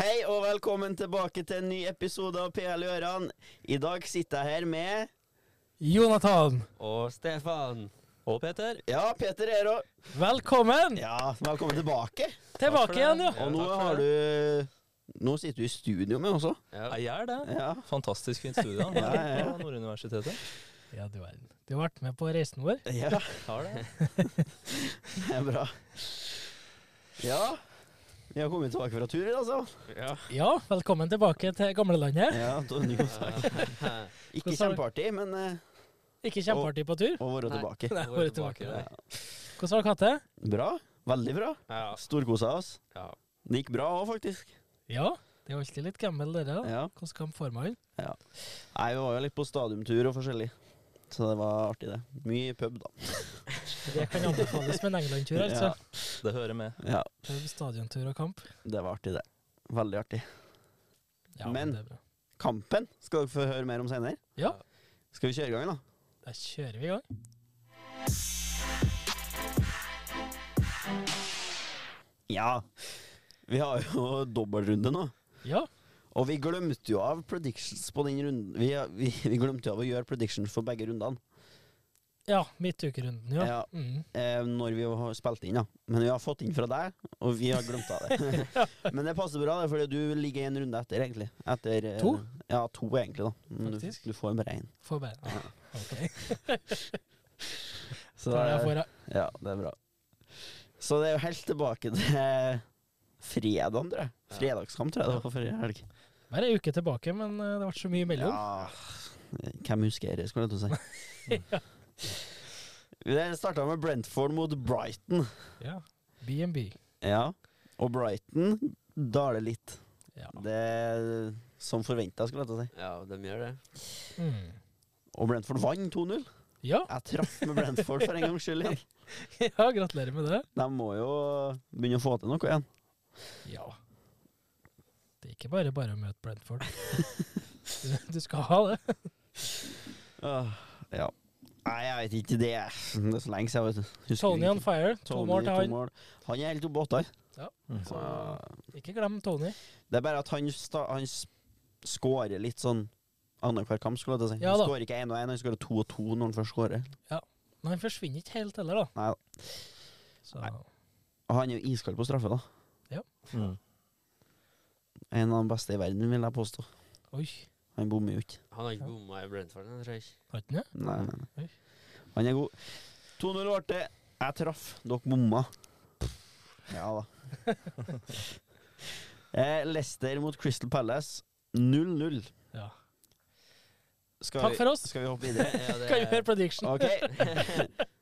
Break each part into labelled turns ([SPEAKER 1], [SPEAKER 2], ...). [SPEAKER 1] Hei og velkommen tilbake til en ny episode av PL Øran. I dag sitter jeg her med
[SPEAKER 2] Jonathan,
[SPEAKER 3] Og Stefan. Og Peter.
[SPEAKER 1] Ja, Peter er òg.
[SPEAKER 2] velkommen
[SPEAKER 1] Ja, velkommen tilbake.
[SPEAKER 2] tilbake igjen, ja.
[SPEAKER 1] Og nå
[SPEAKER 3] takk for
[SPEAKER 1] har du
[SPEAKER 3] det.
[SPEAKER 1] Nå sitter du i studio med også.
[SPEAKER 3] Ja.
[SPEAKER 4] Ja, jeg er det.
[SPEAKER 1] Ja.
[SPEAKER 4] Fantastisk fint studie han,
[SPEAKER 1] Ja, ja, ja.
[SPEAKER 4] her på Norduniversitetet.
[SPEAKER 2] Ja, du verden. Du har vært med på reisen vår.
[SPEAKER 1] ja,
[SPEAKER 4] Har det.
[SPEAKER 1] det er bra. Ja. Vi har kommet tilbake fra tur, altså.
[SPEAKER 3] Ja.
[SPEAKER 2] Ja, velkommen tilbake til gamlelandet.
[SPEAKER 1] Ja, Tony, god sak. Ikke
[SPEAKER 2] Hvordan har-
[SPEAKER 1] kjempeartig, men eh,
[SPEAKER 2] Ikke kjempeartig på tur.
[SPEAKER 1] å være
[SPEAKER 3] Nei.
[SPEAKER 1] tilbake.
[SPEAKER 2] Nei,
[SPEAKER 3] Nå
[SPEAKER 2] bare
[SPEAKER 3] er vi
[SPEAKER 2] tilbake.
[SPEAKER 3] tilbake,
[SPEAKER 2] Hvordan var katte?
[SPEAKER 1] Bra. Veldig bra.
[SPEAKER 3] Ja.
[SPEAKER 1] Storkosa oss.
[SPEAKER 3] ja.
[SPEAKER 1] Det gikk bra òg, faktisk.
[SPEAKER 2] Ja, det er jo alltid litt gammel dere. da.
[SPEAKER 1] Ja.
[SPEAKER 2] Hvordan kom formen?
[SPEAKER 1] Nei, vi var jo litt på stadiumtur og forskjellig. Så det var artig, det. Mye pub, da.
[SPEAKER 2] Det kan anbefales med en England-tur, altså.
[SPEAKER 4] Det hører med.
[SPEAKER 1] Ja,
[SPEAKER 2] Pub, stadiontur og kamp.
[SPEAKER 1] det var artig, det. Veldig artig.
[SPEAKER 2] Ja,
[SPEAKER 1] Men-
[SPEAKER 2] det er bra.
[SPEAKER 1] Kampen skal dere få høre mer om senere.
[SPEAKER 2] Ja,
[SPEAKER 1] Skal vi kjøre i gang, da?
[SPEAKER 2] da kjører vi i gang.
[SPEAKER 1] Ja. Vi har jo dobbeltrunde nå.
[SPEAKER 2] Ja,
[SPEAKER 1] Og vi glemte jo av predictions på den runden. Vi, vi, vi glemte jo av å gjøre predictions for begge rundene
[SPEAKER 2] ja midtukerunden, ja.
[SPEAKER 1] Ja.
[SPEAKER 2] Mm.
[SPEAKER 1] eh, når vi har spilt inn, da. Men vi har fått inn fra deg, og vi har glemt av det. Men det passer bra, det, fordi du ligger en runde etter, egentlig. Etter, eh,
[SPEAKER 2] To?
[SPEAKER 1] Ja, to, egentlig, da. Men du,
[SPEAKER 2] Faktisk.
[SPEAKER 1] du får en rein.
[SPEAKER 2] Får bare ah, OK.
[SPEAKER 1] Så
[SPEAKER 2] Da er jeg for, ja.
[SPEAKER 1] Ja, det er bra. Så det er jo helt tilbake til fredagen, tror jeg. Fredagskamp, tror jeg det var forrige helg.
[SPEAKER 2] Bare ei uke tilbake, men eh, det ble så mye imellom.
[SPEAKER 1] Ja, hvem husker det, skulle jeg til å si. Det starta med Brentford mot Brighton.
[SPEAKER 2] Ja. B&B.
[SPEAKER 1] Ja, og Brighton daler litt.
[SPEAKER 2] Ja.
[SPEAKER 1] Det er som forventa, skulle jeg til å si.
[SPEAKER 3] ja, de gjør det.
[SPEAKER 2] Mm.
[SPEAKER 1] Og Brentford vant 2-0.
[SPEAKER 2] ja.
[SPEAKER 1] Jeg traff med Brentford for en gangs skyld. igjen.
[SPEAKER 2] Ja, gratulerer med det.
[SPEAKER 1] De må jo begynne å få til noe igjen.
[SPEAKER 2] Ja. Det er ikke bare bare å møte Brentford. Du, du skal ha det.
[SPEAKER 1] Åh, Ja. Nei, jeg vet ikke. Det er det er så lenge siden. vet du. Husker
[SPEAKER 2] Tony
[SPEAKER 1] ikke.
[SPEAKER 2] on fire. To
[SPEAKER 1] Tony,
[SPEAKER 2] mål til
[SPEAKER 1] to
[SPEAKER 2] han. Mm.
[SPEAKER 1] mål. Han er helt oppe på åtter.
[SPEAKER 2] Så ikke glem Tony.
[SPEAKER 1] Det er bare at han, sta, han s- skårer litt sånn annenhver kamp, skulle jeg til å si.
[SPEAKER 2] Ja
[SPEAKER 1] han
[SPEAKER 2] da.
[SPEAKER 1] skårer ikke én og én, han skårer to og to når han først skårer.
[SPEAKER 2] Men han forsvinner ikke helt heller, da.
[SPEAKER 1] Nei, da.
[SPEAKER 2] Så
[SPEAKER 1] og han er jo iskald på straffe, da.
[SPEAKER 4] Mm.
[SPEAKER 1] En av de beste i verden, vil jeg påstå.
[SPEAKER 2] oi.
[SPEAKER 1] Han bommer jo ikke.
[SPEAKER 3] Han har ikke bomma i Brentford, han, tror jeg ikke.
[SPEAKER 2] Har ikke han det?
[SPEAKER 1] Nei, nei, nei.
[SPEAKER 2] Oi.
[SPEAKER 1] Han er god. 2-0 ble det. Jeg traff, dere bomma. Ja da. Eh, Leicester mot Crystal Palace 0-0.
[SPEAKER 2] Ja.
[SPEAKER 1] Skal
[SPEAKER 2] Takk
[SPEAKER 1] vi-
[SPEAKER 2] for oss.
[SPEAKER 1] Skal vi hoppe videre?
[SPEAKER 3] Ja, det
[SPEAKER 2] Kan vi høre prediction?
[SPEAKER 1] Ok.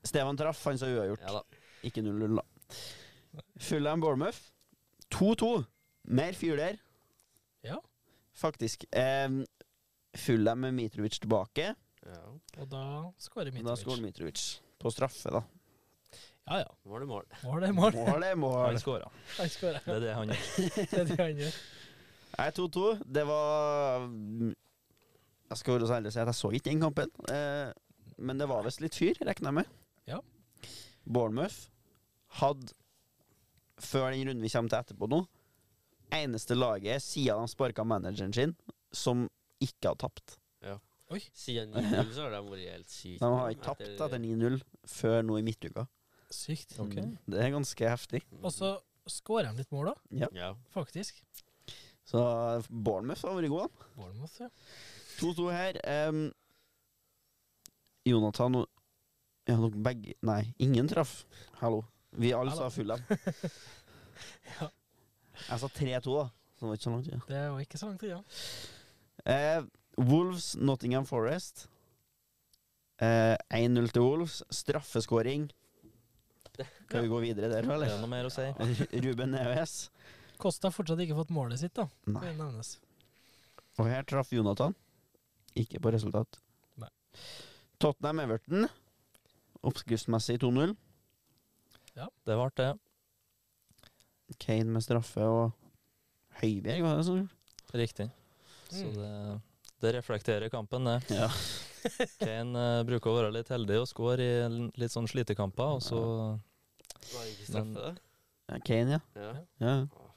[SPEAKER 1] Stefan traff, han sa uavgjort.
[SPEAKER 3] Ja da.
[SPEAKER 1] Ikke 0-0, da. Fulham Bournemouth. 2-2. Mer fyr der,
[SPEAKER 2] Ja.
[SPEAKER 1] faktisk. Um, Fulham med Mitrovic tilbake.
[SPEAKER 3] Ja.
[SPEAKER 2] Og da skårer
[SPEAKER 1] Da skårer
[SPEAKER 2] Mitrovic.
[SPEAKER 1] Mitrovic. På straffe, da.
[SPEAKER 2] Ja ja.
[SPEAKER 3] Mål er mål.
[SPEAKER 2] Mål er mål.
[SPEAKER 1] Mål er mål.
[SPEAKER 4] Han scora.
[SPEAKER 2] Han skårer.
[SPEAKER 4] Det er det han gjør.
[SPEAKER 2] Det er det han gjør.
[SPEAKER 1] Nei, 2-2. Det var Jeg skal være så ærlig å si at jeg så ikke den kampen. Eh, men det var visst litt fyr, regner jeg med.
[SPEAKER 2] Ja.
[SPEAKER 1] Bournemouth hadde, før den runden vi kommer til etterpå nå, eneste laget siden de sparka manageren sin, som ikke har tapt.
[SPEAKER 3] Siden 9-0 så har de vært helt syke.
[SPEAKER 1] De har ikke tapt etter 9-0 før nå i midtuka.
[SPEAKER 2] Sykt. Mm.
[SPEAKER 4] Ok.
[SPEAKER 1] Det er ganske heftig.
[SPEAKER 2] Og så skårer han litt mål, da.
[SPEAKER 3] Mm. Ja.
[SPEAKER 2] Faktisk.
[SPEAKER 1] Så Bournemouth har vært gode.
[SPEAKER 2] Bournemouth, ja.
[SPEAKER 1] 2-2 her. Em, Jonathan og Ja, dere begge Nei, ingen traff. Hallo. Vi alle sa
[SPEAKER 2] Hallo.
[SPEAKER 1] full M.
[SPEAKER 2] Ja.
[SPEAKER 1] Jeg sa 3-2, da. Så det var ikke så langt unna.
[SPEAKER 2] Det var ikke så lang tid, ja.
[SPEAKER 1] Eh, Wolves, Nottingham Forest. Eh, 1-0 til Wolves. Straffeskåring. Skal vi gå videre der,
[SPEAKER 4] Er
[SPEAKER 1] eller?
[SPEAKER 4] det noe mer å si?
[SPEAKER 1] Ru- Ruben Neves.
[SPEAKER 2] Kosta har fortsatt ikke fått målet sitt, da. Det
[SPEAKER 1] Nei.
[SPEAKER 2] nevnes.
[SPEAKER 1] Og her traff Jonathan. Ikke på resultat.
[SPEAKER 2] Nei.
[SPEAKER 1] Tottenham-Everton. Oppskriftsmessig 2-0.
[SPEAKER 4] Det ble det.
[SPEAKER 1] Kane med straffe og Høibjerg, var det sånn?
[SPEAKER 4] Riktig. Så
[SPEAKER 2] Mm.
[SPEAKER 4] det, det reflekterer kampen, det.
[SPEAKER 1] Ja.
[SPEAKER 4] Kane eh, bruker å være litt heldig og score i l- litt sånn slitekamper, og så
[SPEAKER 3] Var det ikke straffe, da?
[SPEAKER 1] Kane, ja.
[SPEAKER 3] Ja.
[SPEAKER 1] ja.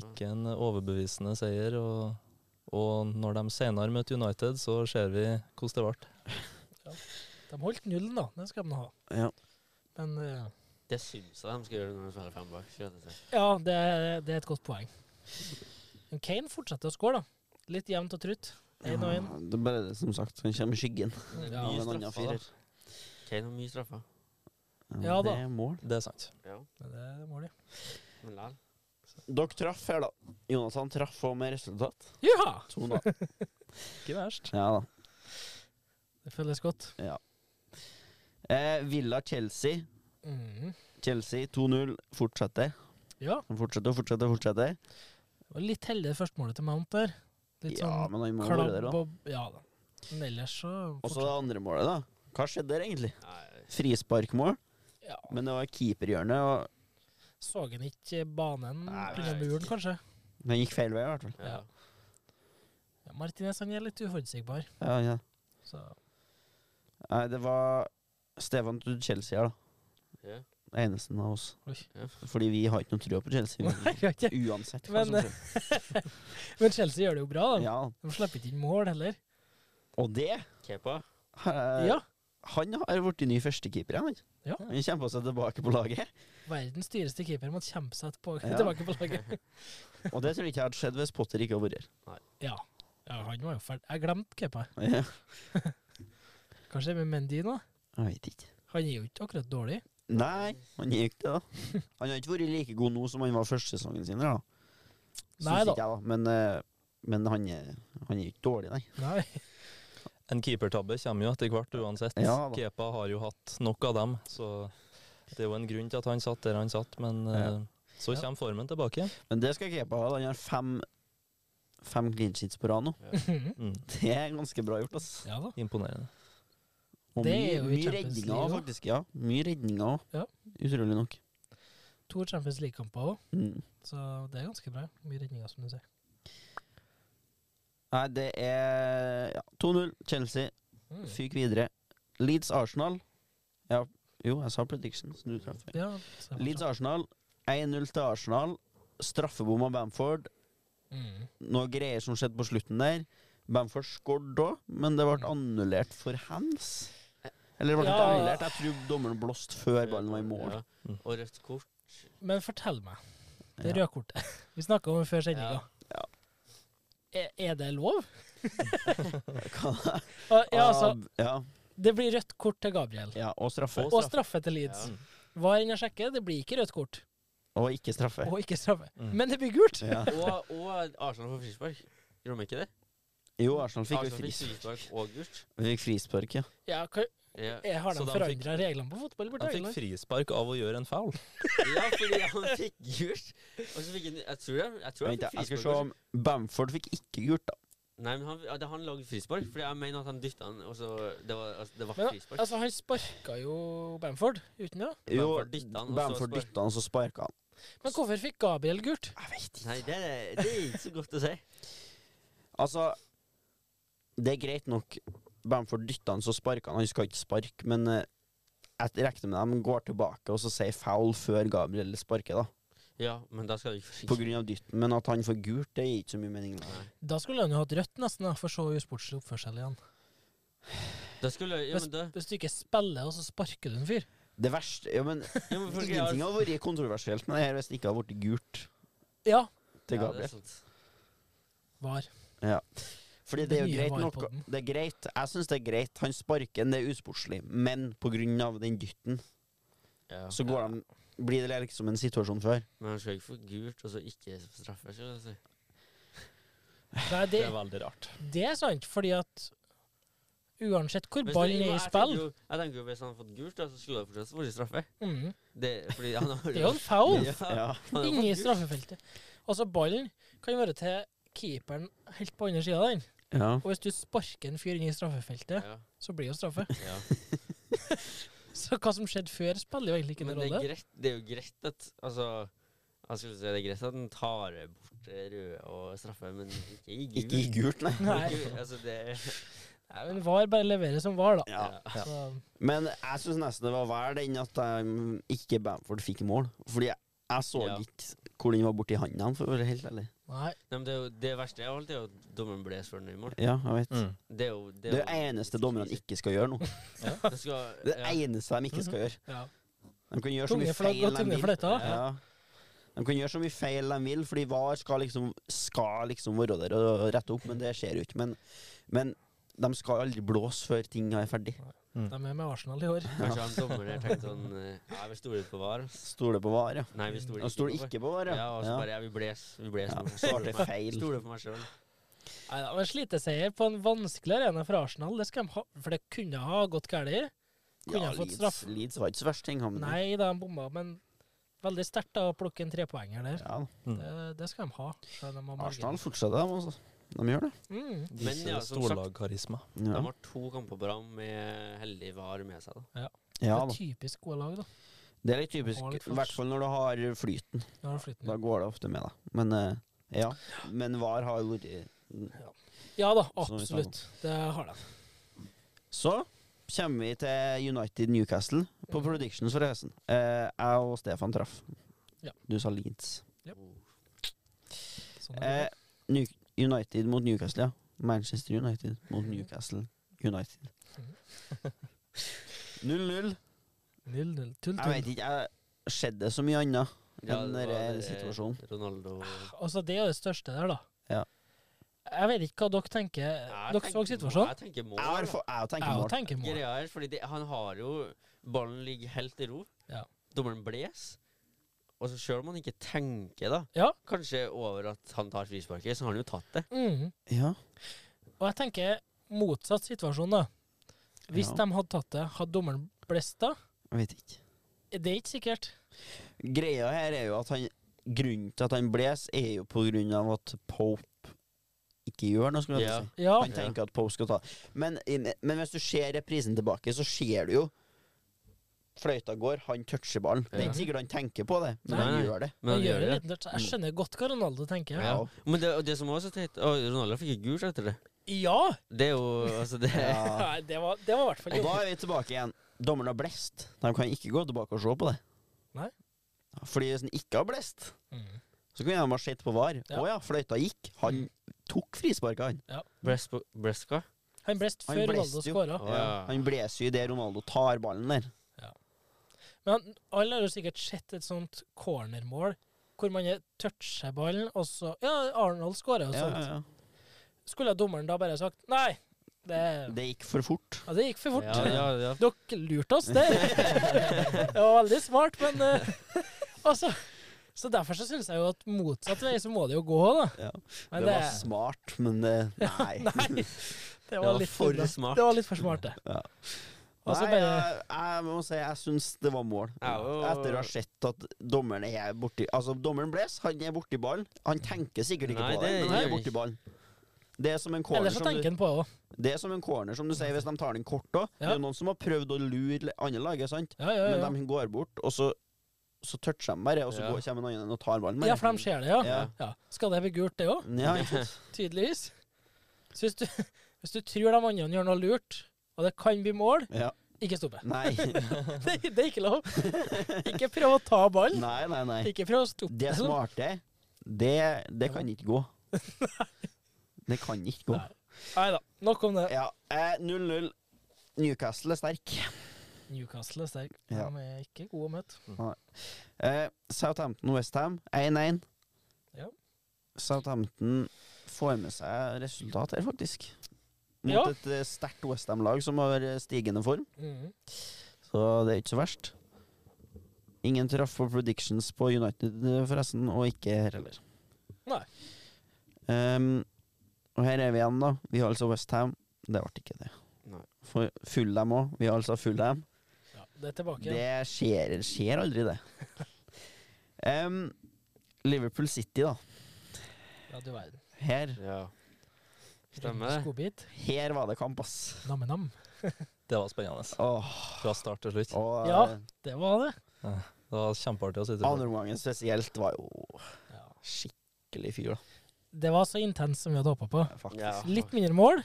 [SPEAKER 4] Ikke en overbevisende seier. Og, og når de senere møter United, så ser vi hvordan det ble.
[SPEAKER 2] De holdt nullen, da. Det skal de nå ha.
[SPEAKER 1] Ja.
[SPEAKER 2] Men eh,
[SPEAKER 3] Det syns jeg de skal gjøre når de spiller fem bak. skal jeg si.
[SPEAKER 2] ja, det er, det er et godt poeng. Men Kane fortsetter å skåre, da. Litt jevnt og trutt. Én og én.
[SPEAKER 1] det er bare det, som sagt. Han kommer i skyggen.
[SPEAKER 3] Det er
[SPEAKER 2] Ja,
[SPEAKER 1] av
[SPEAKER 3] mye
[SPEAKER 1] en annen
[SPEAKER 3] straffer,
[SPEAKER 1] firer.
[SPEAKER 3] da. Kane har mye straffer.
[SPEAKER 2] Ja da.
[SPEAKER 1] Det er mål.
[SPEAKER 4] Det er sant.
[SPEAKER 3] Ja,
[SPEAKER 2] Men det må de.
[SPEAKER 3] men likevel.
[SPEAKER 1] Dere traff her, da. Jonathan traff òg med resultat.
[SPEAKER 2] Ja!
[SPEAKER 1] 2-0.
[SPEAKER 4] Ikke verst.
[SPEAKER 1] Ja da.
[SPEAKER 2] Det føles godt.
[SPEAKER 1] Ja. Eh, Villa Chelsea.
[SPEAKER 2] Mhm.
[SPEAKER 1] Chelsea 2-0 fortsetter.
[SPEAKER 2] Ja.
[SPEAKER 1] De fortsetter og fortsetter og fortsetter.
[SPEAKER 2] Det var litt heldig det første målet til Mount der. Litt
[SPEAKER 1] Ja,
[SPEAKER 2] sånn
[SPEAKER 1] men han må jo være
[SPEAKER 2] klabb
[SPEAKER 1] der òg.
[SPEAKER 2] og Ja da. Men ellers så
[SPEAKER 1] Og så det andre målet, da. Hva skjedde der, egentlig?
[SPEAKER 3] Nei,
[SPEAKER 1] Frisparkmål,
[SPEAKER 2] fortsatt- ja.
[SPEAKER 1] men det var keeperhjørne, og
[SPEAKER 2] Så han ikke banen
[SPEAKER 3] Nei,
[SPEAKER 2] pga.
[SPEAKER 3] jeg vet
[SPEAKER 2] muren,
[SPEAKER 3] ikke.
[SPEAKER 2] kanskje?
[SPEAKER 1] den gikk feil vei, i hvert fall.
[SPEAKER 3] ja.
[SPEAKER 2] Ja. Ja, Martinez han er litt uforutsigbar.
[SPEAKER 1] Ja, ja.
[SPEAKER 2] Så.
[SPEAKER 1] Nei, det var Stefan til Chelsea her, da.
[SPEAKER 3] Ja.
[SPEAKER 1] Eneste av oss.
[SPEAKER 2] Oi.
[SPEAKER 3] Ja.
[SPEAKER 1] Fordi vi har ikke noe trua på Chelsea.
[SPEAKER 2] Nei, jeg vet ikke.
[SPEAKER 1] Uansett hva
[SPEAKER 2] Men, eh,
[SPEAKER 1] som skjer.
[SPEAKER 2] Men Chelsea gjør det jo bra. da.
[SPEAKER 1] Ja.
[SPEAKER 2] De slipper ikke inn mål heller.
[SPEAKER 1] Og det
[SPEAKER 3] Kepa.
[SPEAKER 1] eh,
[SPEAKER 2] Ja,
[SPEAKER 1] Han har blitt ny førstekeeper igjen, han.
[SPEAKER 2] Ja.
[SPEAKER 1] Han kjemper seg tilbake på laget.
[SPEAKER 2] Verdens dyreste keeper måtte kjempe seg etterpå-
[SPEAKER 1] Ja.
[SPEAKER 2] tilbake på laget.
[SPEAKER 1] Og det tror jeg ikke hadde skjedd hvis Potter ikke hadde vært her.
[SPEAKER 2] Ja. ja, han var jo ferdig. Jeg glemte kepa.
[SPEAKER 1] Ja.
[SPEAKER 2] Kanskje det er med Mendy nå?
[SPEAKER 1] Jeg vet ikke.
[SPEAKER 2] Han er jo ikke akkurat dårlig.
[SPEAKER 1] Nei, han gikk det, da. Han har ikke vært like god nå som han var første sesongen sin, da. Syns
[SPEAKER 2] Nei da.
[SPEAKER 1] ikke jeg, da. Men, eh, men han, er, han er ikke dårlig, nei.
[SPEAKER 2] Nei.
[SPEAKER 4] En keepertabbe kommer jo etter hvert uansett.
[SPEAKER 1] Ja da.
[SPEAKER 4] Kepa har jo hatt nok av dem, så det er jo en grunn til at han satt der han satt, men
[SPEAKER 1] Ja.
[SPEAKER 4] eh, så
[SPEAKER 2] Ja.
[SPEAKER 4] kommer formen tilbake.
[SPEAKER 1] Men det skal Kepa ha. da. Han har fem, fem clean sheets på rad nå.
[SPEAKER 4] Mm.
[SPEAKER 1] Det er ganske bra gjort, ass.
[SPEAKER 2] Ja da.
[SPEAKER 4] Imponerende.
[SPEAKER 1] Og
[SPEAKER 2] Det
[SPEAKER 1] mye,
[SPEAKER 2] er jo i
[SPEAKER 1] mye
[SPEAKER 2] Champions
[SPEAKER 1] redninger
[SPEAKER 2] League
[SPEAKER 1] òg,
[SPEAKER 2] også.
[SPEAKER 1] faktisk. Ja. Mye redninger òg.
[SPEAKER 2] Ja.
[SPEAKER 1] Utrolig nok.
[SPEAKER 2] To Champions League-kamper òg,
[SPEAKER 1] Mm.
[SPEAKER 2] så det er ganske bra. Mye redninger, som du sier.
[SPEAKER 1] Nei, det er ja, 2-0 Chelsea.
[SPEAKER 2] Mm.
[SPEAKER 1] Fyk videre. Leeds Arsenal. Ja, jo, jeg sa prediction, så du traff.
[SPEAKER 2] Ja, så er det
[SPEAKER 1] Leeds
[SPEAKER 2] bra.
[SPEAKER 1] Arsenal. 1-0 til Arsenal. Straffebom av Bamford.
[SPEAKER 2] Mm.
[SPEAKER 1] Noe greier som skjedde på slutten der. Bamford skåret òg, men det ble annullert for hands. Eller det ble ikke
[SPEAKER 2] Ja.
[SPEAKER 1] annullert. Jeg tror dommeren blåste før ballen var i mål.
[SPEAKER 3] Ja.
[SPEAKER 4] Mm.
[SPEAKER 3] Og rødt kort.
[SPEAKER 2] Men fortell meg, det
[SPEAKER 1] Ja.
[SPEAKER 2] røde kortet vi snakka om det før sendinga.
[SPEAKER 3] Ja.
[SPEAKER 1] Ja.
[SPEAKER 2] Er, er det lov?
[SPEAKER 1] Hva-
[SPEAKER 2] Ah, Ja, altså,
[SPEAKER 1] ja,
[SPEAKER 2] det blir rødt kort til Gabriel.
[SPEAKER 1] ja, og straffe.
[SPEAKER 2] Og straffe til Leeds.
[SPEAKER 3] Ja.
[SPEAKER 2] Var inne og sjekke, det blir ikke rødt kort.
[SPEAKER 1] Og ikke straffe.
[SPEAKER 2] Og ikke straffe.
[SPEAKER 4] Mm.
[SPEAKER 2] Men det blir gult!
[SPEAKER 1] Ja.
[SPEAKER 3] Og, og Arsenal får frispark. Gjorde de ikke det?
[SPEAKER 1] Jo, Arsenal fikk jo
[SPEAKER 3] Arsenal fikk
[SPEAKER 1] frispark.
[SPEAKER 3] frispark og gult.
[SPEAKER 1] Vi fikk frispark, ja.
[SPEAKER 2] Ja, hva,
[SPEAKER 3] Ja.
[SPEAKER 2] jeg har
[SPEAKER 4] Så
[SPEAKER 2] de
[SPEAKER 4] de
[SPEAKER 2] forandra reglene på fotball borti
[SPEAKER 4] Han fikk
[SPEAKER 2] England?
[SPEAKER 4] frispark av å gjøre en foul.
[SPEAKER 3] ja, fordi han fikk gult. Og så fikk han Jeg tror han, jeg tror han
[SPEAKER 1] Vent,
[SPEAKER 3] fikk
[SPEAKER 1] jeg skal
[SPEAKER 3] frispark.
[SPEAKER 1] se om Bamford fikk ikke gult, da.
[SPEAKER 3] også. Nei, men han, ja, det- han lagde frispark, fordi jeg mener at han dytta han, og så Det var, altså, det var
[SPEAKER 2] Men
[SPEAKER 3] frispark.
[SPEAKER 2] altså, han sparka jo Bamford uten det.
[SPEAKER 1] Jo,
[SPEAKER 3] Bamford dytta han, og så
[SPEAKER 1] Bamford
[SPEAKER 3] spark.
[SPEAKER 1] dytta han, så sparka han.
[SPEAKER 2] Men hvorfor fikk Gabriel gult?
[SPEAKER 1] Jeg vet
[SPEAKER 3] Nei, det, det er ikke så godt å si.
[SPEAKER 1] Altså, det er greit nok. Bamford dytta han, så sparka han. Han skal ikke sparke, men eh, jeg regner med de går tilbake og så sier foul før Gabriel sparker, da.
[SPEAKER 3] Ja, men da skal du ikke
[SPEAKER 1] På grunn av dytten. Men at han får gult, det gir ikke så mye mening. Da.
[SPEAKER 3] Nei.
[SPEAKER 2] Da skulle han jo hatt rødt, nesten, da, for så usportslig oppførsel igjen.
[SPEAKER 3] Da skulle Ja, men da
[SPEAKER 2] Hvis du ikke spiller, og så sparker du en fyr.
[SPEAKER 1] Det verste ja, men
[SPEAKER 3] ja, men folk er-
[SPEAKER 1] Ingenting hadde vært kontroversielt med det her hvis det ikke hadde blitt gult
[SPEAKER 2] Ja,
[SPEAKER 1] til
[SPEAKER 3] Ja, det er
[SPEAKER 1] Gabriel.
[SPEAKER 3] sant.
[SPEAKER 2] var.
[SPEAKER 1] Fordi det er jo
[SPEAKER 2] Den nye
[SPEAKER 1] greit nok
[SPEAKER 2] VAR-podden.
[SPEAKER 1] Det er greit, jeg syns det er greit. Han sparker en, det er usportslig. Men på grunn av den dytten,
[SPEAKER 3] Ja.
[SPEAKER 1] så går de, blir det liksom en situasjon før.
[SPEAKER 3] Men han skal ikke få gult, og så ikke straffe, skal jeg si.
[SPEAKER 2] Nei, det,
[SPEAKER 4] Det er veldig rart.
[SPEAKER 2] det er sant, fordi at uansett hvor
[SPEAKER 3] Hvis det-
[SPEAKER 2] ballen er i
[SPEAKER 3] jeg
[SPEAKER 2] spill
[SPEAKER 3] tenker jo- Jeg tenker jo hvis han hadde fått gult, da, så skulle det fortsatt vært straffe.
[SPEAKER 2] mm,
[SPEAKER 3] Det, fordi han har
[SPEAKER 2] Det er jo en foul
[SPEAKER 3] Ja, han
[SPEAKER 1] Ja.
[SPEAKER 3] har fått
[SPEAKER 2] inni
[SPEAKER 3] gult.
[SPEAKER 2] straffefeltet. Altså, ballen kan jo være til keeperen helt på andre sida av den.
[SPEAKER 1] Ja.
[SPEAKER 2] Og hvis du sparker en fyr inn i straffefeltet,
[SPEAKER 3] Ja,
[SPEAKER 2] så blir det jo straffe.
[SPEAKER 3] ja.
[SPEAKER 2] Så hva som skjedde før, spiller jo egentlig ikke
[SPEAKER 3] Men
[SPEAKER 2] noen
[SPEAKER 3] det er,
[SPEAKER 2] rolle.
[SPEAKER 3] greit, det er jo greit at Altså, jeg skulle si det er greit at han tar bort det røde og straffe, men ikke i gult.
[SPEAKER 1] Ikke i gult, nei.
[SPEAKER 2] Nei.
[SPEAKER 3] Ikke- Altså, det
[SPEAKER 2] Nei, men VAR bare leverer som VAR, da.
[SPEAKER 1] Ja.
[SPEAKER 3] ja.
[SPEAKER 2] Så,
[SPEAKER 1] mm, Men jeg syns nesten det var verre enn at um, ikke Bamford fikk mål. Fordi jeg, Jeg så
[SPEAKER 3] Ja.
[SPEAKER 1] ikke hvor den var borti handa, for å være helt ærlig.
[SPEAKER 2] Nei.
[SPEAKER 3] Nei, men det, er jo, det verste av alt er jo at dommeren ble svørt i mål.
[SPEAKER 1] Ja, jeg vet.
[SPEAKER 4] Mm.
[SPEAKER 3] Det er jo
[SPEAKER 1] Det er det eneste dommerne ikke skal gjøre nå.
[SPEAKER 3] Det skal,
[SPEAKER 1] Det er det
[SPEAKER 3] ja.
[SPEAKER 1] eneste de ikke skal gjøre.
[SPEAKER 2] Ja.
[SPEAKER 1] De kan gjøre så
[SPEAKER 2] Tunge
[SPEAKER 1] mye
[SPEAKER 2] for det,
[SPEAKER 1] feil
[SPEAKER 2] og
[SPEAKER 1] de
[SPEAKER 2] tunge for
[SPEAKER 1] vil.
[SPEAKER 2] dette.
[SPEAKER 1] Ja. De kan gjøre så mye feil de vil, fordi VAR skal liksom, skal liksom være der og rette opp, men det skjer jo ikke. Men, men de skal aldri blåse før ting er ferdig.
[SPEAKER 2] De er med Arsenal i år.
[SPEAKER 3] Kanskje han dommeren der tenkte sånn eh, Ja, vi stoler ikke på VAR. ass.
[SPEAKER 1] Stoler på VAR, ja.
[SPEAKER 3] Nei, vi stoler
[SPEAKER 1] De stoler ikke på VAR,
[SPEAKER 3] Ja,
[SPEAKER 1] ja.
[SPEAKER 3] og så
[SPEAKER 1] ja.
[SPEAKER 3] bare Ja, vi bles. Vi bles
[SPEAKER 1] Ja,
[SPEAKER 3] nå.
[SPEAKER 1] så ble det
[SPEAKER 3] Stoler på meg.
[SPEAKER 1] feil.
[SPEAKER 3] Stoler på meg sjøl.
[SPEAKER 2] Nei, det var en sliteseier på en vanskelig arena for Arsenal. Det skal de ha, for det kunne ha gått galt. Kunne
[SPEAKER 1] ja
[SPEAKER 2] ha fått
[SPEAKER 1] Leeds,
[SPEAKER 2] straff.
[SPEAKER 1] Leeds var ikke så verst, ting. han-
[SPEAKER 2] Nei da, de bomma, men veldig sterkt da å plukke en trepoenger der.
[SPEAKER 1] Ja, da.
[SPEAKER 4] Mm.
[SPEAKER 2] Det, det skal de ha. selv om de har margin.
[SPEAKER 1] Arsenal fortsetter, de, altså. De gjør det.
[SPEAKER 2] Mm.
[SPEAKER 3] Men ja,
[SPEAKER 4] Viser
[SPEAKER 3] som sagt,
[SPEAKER 4] storlagkarisma.
[SPEAKER 3] de
[SPEAKER 1] Ja,
[SPEAKER 3] har to kamper på rad med heldig VAR med seg. da.
[SPEAKER 1] ja
[SPEAKER 2] det
[SPEAKER 1] da.
[SPEAKER 2] er typisk gode lag, da.
[SPEAKER 1] Det er litt typisk,
[SPEAKER 2] Har litt
[SPEAKER 1] i
[SPEAKER 2] flaks.
[SPEAKER 1] hvert fall når du har flyten.
[SPEAKER 2] Nå har de flyttet
[SPEAKER 1] Da
[SPEAKER 2] ned.
[SPEAKER 1] går det ofte med, da. Men eh, ja. Men VAR har jo vært
[SPEAKER 2] Ja da,
[SPEAKER 1] Som vi sånn. sa
[SPEAKER 2] absolutt. Det har de.
[SPEAKER 1] Så kommer vi til United Newcastle på predictions for høsten. Eh, jeg og Stefan traff.
[SPEAKER 2] Ja.
[SPEAKER 1] Du sa Leeds.
[SPEAKER 3] Oh,
[SPEAKER 2] Sånn er
[SPEAKER 1] Eh,
[SPEAKER 2] det.
[SPEAKER 1] New United mot Newcastle, ja. Manchester United mot Newcastle United.
[SPEAKER 2] Mhm.
[SPEAKER 1] 0-0.
[SPEAKER 2] 0-0.
[SPEAKER 1] Jeg
[SPEAKER 2] Tull, tull.
[SPEAKER 1] vet ikke, jeg skjedde så mye annet
[SPEAKER 3] Ja,
[SPEAKER 1] enn
[SPEAKER 3] det var
[SPEAKER 1] denne
[SPEAKER 3] det, eh,
[SPEAKER 1] situasjonen.
[SPEAKER 3] Ronaldo
[SPEAKER 2] Altså, det er det største der, da.
[SPEAKER 1] Ja.
[SPEAKER 2] Jeg vet ikke hva dere tenker.
[SPEAKER 3] Jeg
[SPEAKER 2] dere så
[SPEAKER 3] tenker-
[SPEAKER 2] situasjonen?
[SPEAKER 3] Jeg tenker mål.
[SPEAKER 1] Jeg har
[SPEAKER 3] da.
[SPEAKER 1] fa- jeg tenker
[SPEAKER 2] Jeg
[SPEAKER 1] mål.
[SPEAKER 2] òg tenker mål.
[SPEAKER 3] Greia er, fordi det, han har jo Ballen ligger helt i ro.
[SPEAKER 2] Ja.
[SPEAKER 3] Dommeren bles. Og så selv om han ikke tenker, da,
[SPEAKER 2] Ja.
[SPEAKER 3] kanskje over at han tar frisparket, så har han jo tatt det.
[SPEAKER 2] Mhm.
[SPEAKER 1] Ja.
[SPEAKER 2] Og jeg tenker motsatt situasjon, da. Hvis
[SPEAKER 1] Ja.
[SPEAKER 2] de hadde tatt det, hadde dommeren blest da?
[SPEAKER 1] Jeg vet ikke.
[SPEAKER 2] Det er ikke sikkert.
[SPEAKER 1] Greia her er jo at han Grunnen til at han bles, er jo på grunn av at Pope ikke gjør noe. skulle jeg
[SPEAKER 3] Ja.
[SPEAKER 1] til å si.
[SPEAKER 2] Ja.
[SPEAKER 1] Han tenker at Pope skal ta Men, men hvis du ser reprisen tilbake, så ser du jo Fløyta går, han toucher ballen. Det er
[SPEAKER 3] Ja.
[SPEAKER 1] ikke sikkert han tenker på det, men
[SPEAKER 3] Nei.
[SPEAKER 1] han gjør det. Mm.
[SPEAKER 2] Men gjør det litt, jeg skjønner godt hva Ronaldo tenker.
[SPEAKER 3] Ja. Men det, og det som også er så teit Å, Ronaldo fikk jo gult etter det.
[SPEAKER 2] Ja!
[SPEAKER 3] Det er jo altså det
[SPEAKER 1] Ja.
[SPEAKER 2] Nei, det var det var i hvert fall
[SPEAKER 1] Og da
[SPEAKER 2] ikke
[SPEAKER 1] er vi tilbake igjen. Dommeren har blest. De kan ikke gå tilbake og se på det.
[SPEAKER 2] Nei.
[SPEAKER 1] Fordi hvis han ikke har blest,
[SPEAKER 2] Mm.
[SPEAKER 1] så kunne de ha sett på VAR. Å
[SPEAKER 2] Ja.
[SPEAKER 1] ja, fløyta gikk. Han tok frisparket, han.
[SPEAKER 3] Bresco- Bresca.
[SPEAKER 2] Han blest
[SPEAKER 1] Han
[SPEAKER 2] før
[SPEAKER 1] blest
[SPEAKER 2] Ronaldo
[SPEAKER 1] jo.
[SPEAKER 2] skåra.
[SPEAKER 3] Ja.
[SPEAKER 1] Han blåser jo idet Ronaldo tar ballen der.
[SPEAKER 2] Men han- alle har jo sikkert sett et sånt cornermål hvor man er- toucher ballen, og så Ja, Arnold skårer jo sånt. Skulle dommeren da bare sagt Nei, det,
[SPEAKER 1] Det gikk for fort.
[SPEAKER 2] ja, det gikk for fort.
[SPEAKER 3] Ja, ja, ja.
[SPEAKER 2] Dere lurte oss der. det var veldig smart, men eh, altså Så derfor så syns jeg jo at motsatt vei så må det jo gå, da.
[SPEAKER 1] Ja.
[SPEAKER 2] Men
[SPEAKER 1] det var smart, men det, nei.
[SPEAKER 2] Nei, det
[SPEAKER 3] Det
[SPEAKER 2] var
[SPEAKER 3] var
[SPEAKER 2] litt
[SPEAKER 3] for
[SPEAKER 2] unna.
[SPEAKER 3] smart.
[SPEAKER 2] Det var litt for smart, det.
[SPEAKER 1] Ja.
[SPEAKER 2] Og så
[SPEAKER 1] Nei, eh,
[SPEAKER 2] bare
[SPEAKER 1] jeg, jeg må si jeg syns det var mål.
[SPEAKER 3] Ja, og-
[SPEAKER 1] Etter å ha sett at dommeren er borti Altså, dommeren blåser, han er borti ballen. Han tenker sikkert ikke
[SPEAKER 3] Nei,
[SPEAKER 1] på det,
[SPEAKER 3] det
[SPEAKER 1] men han
[SPEAKER 3] gjør
[SPEAKER 1] er borti ballen. Det er som en corner,
[SPEAKER 2] Ellers så
[SPEAKER 1] som
[SPEAKER 2] tenker
[SPEAKER 1] du,
[SPEAKER 2] han på det òg.
[SPEAKER 1] det er som en corner, som du sier, hvis de tar den kort òg. Det
[SPEAKER 2] Ja.
[SPEAKER 1] er jo noen som har prøvd å lure andre laget, sant?
[SPEAKER 2] Ja, ja, ja.
[SPEAKER 1] Men de går bort, og så, så toucher de bare, og så
[SPEAKER 3] Ja.
[SPEAKER 1] går, kommer en annen og tar ballen.
[SPEAKER 2] ja, for de ser det, ja.
[SPEAKER 1] Ja.
[SPEAKER 2] ja. Skal det bli gult, det òg?
[SPEAKER 1] Ja, ikke sant?
[SPEAKER 2] Tydeligvis. Så hvis du, hvis du tror de andre gjør noe lurt, og det kan bli mål,
[SPEAKER 1] Ja.
[SPEAKER 2] ikke stoppe.
[SPEAKER 1] Nei.
[SPEAKER 2] Det, det er ikke lov. Ikke prøv å ta ballen.
[SPEAKER 1] nei, nei, nei.
[SPEAKER 2] Ikke prøv å stoppe
[SPEAKER 1] Det
[SPEAKER 2] den.
[SPEAKER 1] smarte, det, det kan ikke gå. Det kan ikke gå.
[SPEAKER 2] Nei. Nei da, nok om det.
[SPEAKER 1] Ja, eh, 0-0. Newcastle er sterk.
[SPEAKER 2] Newcastle er sterk. De
[SPEAKER 1] Ja.
[SPEAKER 2] er ikke gode å møte.
[SPEAKER 1] Eh, Southampton Westham 1-1.
[SPEAKER 2] Ja.
[SPEAKER 1] Southampton får med seg resultat her, faktisk. Mot
[SPEAKER 2] Ja.
[SPEAKER 1] et eh, sterkt Westham-lag som har eh, stigende form.
[SPEAKER 2] Mhm.
[SPEAKER 1] Så det er ikke så verst. Ingen traff på predictions på United, eh, forresten, og ikke her heller.
[SPEAKER 2] Nei.
[SPEAKER 1] Ehm, og her er vi igjen, da. Vi har altså Westham. Det ble ikke det.
[SPEAKER 3] Nei.
[SPEAKER 1] For full dem òg. Vi har altså full dem.
[SPEAKER 2] Ja, det er tilbake. igjen.
[SPEAKER 1] Det skjer, skjer aldri, det. Ehm, Liverpool City, da.
[SPEAKER 2] Ja, du verden.
[SPEAKER 1] Her,
[SPEAKER 3] Ja. Stemmer det.
[SPEAKER 2] Skobit.
[SPEAKER 1] her var det kamp, ass.
[SPEAKER 2] Nam-nam.
[SPEAKER 4] Det var spennende.
[SPEAKER 1] Åh,
[SPEAKER 4] Fra start til slutt.
[SPEAKER 1] og
[SPEAKER 2] Ja.
[SPEAKER 1] eh,
[SPEAKER 2] Det var det.
[SPEAKER 4] Det var kjempeartig å sitte
[SPEAKER 1] andre
[SPEAKER 4] på.
[SPEAKER 1] omgangen spesielt var jo
[SPEAKER 2] Ja.
[SPEAKER 1] skikkelig fyr, da.
[SPEAKER 2] Det var så intenst som vi hadde håpa på.
[SPEAKER 1] Faktisk.
[SPEAKER 3] Ja.
[SPEAKER 2] Litt mindre mål.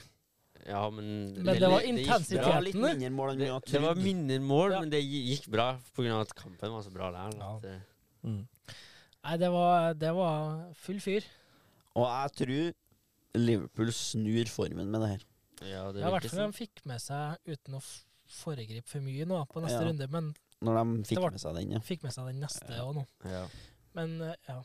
[SPEAKER 3] Ja, men
[SPEAKER 2] Men det var
[SPEAKER 3] gikk
[SPEAKER 1] Det
[SPEAKER 2] intensitet.
[SPEAKER 3] bra.
[SPEAKER 1] var litt mindre mål enn vi
[SPEAKER 3] Det,
[SPEAKER 1] hadde
[SPEAKER 3] det var
[SPEAKER 1] trodd.
[SPEAKER 3] mindre mål,
[SPEAKER 2] Ja.
[SPEAKER 3] men det gi- gikk bra pga. at kampen var så bra der. da.
[SPEAKER 2] Ja.
[SPEAKER 3] At, eh,
[SPEAKER 4] Mm.
[SPEAKER 2] Nei, det var, det var full fyr.
[SPEAKER 1] Og jeg tror Liverpool snur formen med det her.
[SPEAKER 3] Ja, det
[SPEAKER 2] Ja, I hvert
[SPEAKER 3] virker
[SPEAKER 2] fall
[SPEAKER 3] sånn.
[SPEAKER 2] de fikk med seg, uten å f- foregripe for mye nå på neste
[SPEAKER 1] Ja.
[SPEAKER 2] runde, men
[SPEAKER 1] Når de fikk
[SPEAKER 2] Det var-
[SPEAKER 1] med seg den, ja.
[SPEAKER 2] fikk med seg den neste òg nå.
[SPEAKER 3] Ja.
[SPEAKER 2] Men eh, ja.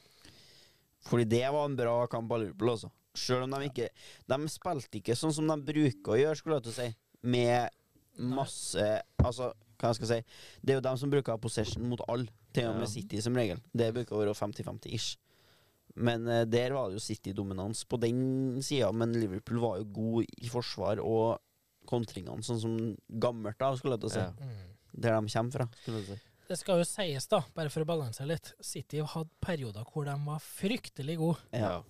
[SPEAKER 1] Fordi det var en bra kamp av Liverpool, altså. Selv om de ikke De spilte ikke sånn som de bruker å gjøre, skulle jeg til å si. Med masse Altså, hva jeg skal jeg si Det er jo dem som bruker possession mot alle. Til og med
[SPEAKER 3] Ja.
[SPEAKER 1] City, som regel. Det bruker å være 50-50-ish. Men eh, der var det jo City-dominans på den sida, men Liverpool var jo god i forsvar og kontringene, sånn som gammelt av, skulle jeg til å si.
[SPEAKER 3] Ja.
[SPEAKER 2] Mm.
[SPEAKER 1] Der de kommer fra.
[SPEAKER 3] Skulle du si.
[SPEAKER 2] Det skal jo sies, da, bare for å balansere litt, City hadde perioder hvor de var fryktelig gode.
[SPEAKER 1] Ja.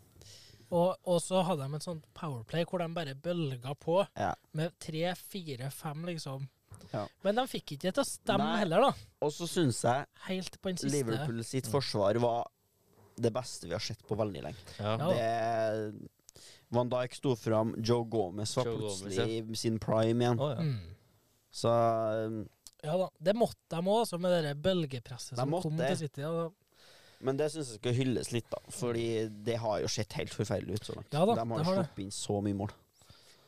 [SPEAKER 2] Og, og så hadde de en sånn powerplay hvor de bare bølga på
[SPEAKER 1] Ja.
[SPEAKER 2] med tre, fire, fem, liksom.
[SPEAKER 1] Ja.
[SPEAKER 2] Men de fikk ikke det til å stemme
[SPEAKER 1] Nei.
[SPEAKER 2] heller, da.
[SPEAKER 1] Og så syns jeg
[SPEAKER 2] Helt på den siste.
[SPEAKER 1] Liverpool sitt forsvar var det beste vi har sett på veldig lenge.
[SPEAKER 3] Ja.
[SPEAKER 2] Ja.
[SPEAKER 1] Det Van Dijk sto fram, Joe Gomez var
[SPEAKER 3] Joe Gomez,
[SPEAKER 1] plutselig i sin prime igjen.
[SPEAKER 4] Å, ja.
[SPEAKER 2] Mm.
[SPEAKER 1] Så um,
[SPEAKER 2] Ja da. Det måtte de òg, med det der bølgepresset
[SPEAKER 1] De
[SPEAKER 2] som
[SPEAKER 1] måtte
[SPEAKER 2] kom
[SPEAKER 1] det.
[SPEAKER 2] til City. Ja, da.
[SPEAKER 1] Men det syns jeg skal hylles litt, da. Fordi det har jo sett helt forferdelig ut så langt.
[SPEAKER 2] Ja da,
[SPEAKER 1] De
[SPEAKER 2] det
[SPEAKER 1] har
[SPEAKER 2] har det.
[SPEAKER 1] sluppet inn så mye mål.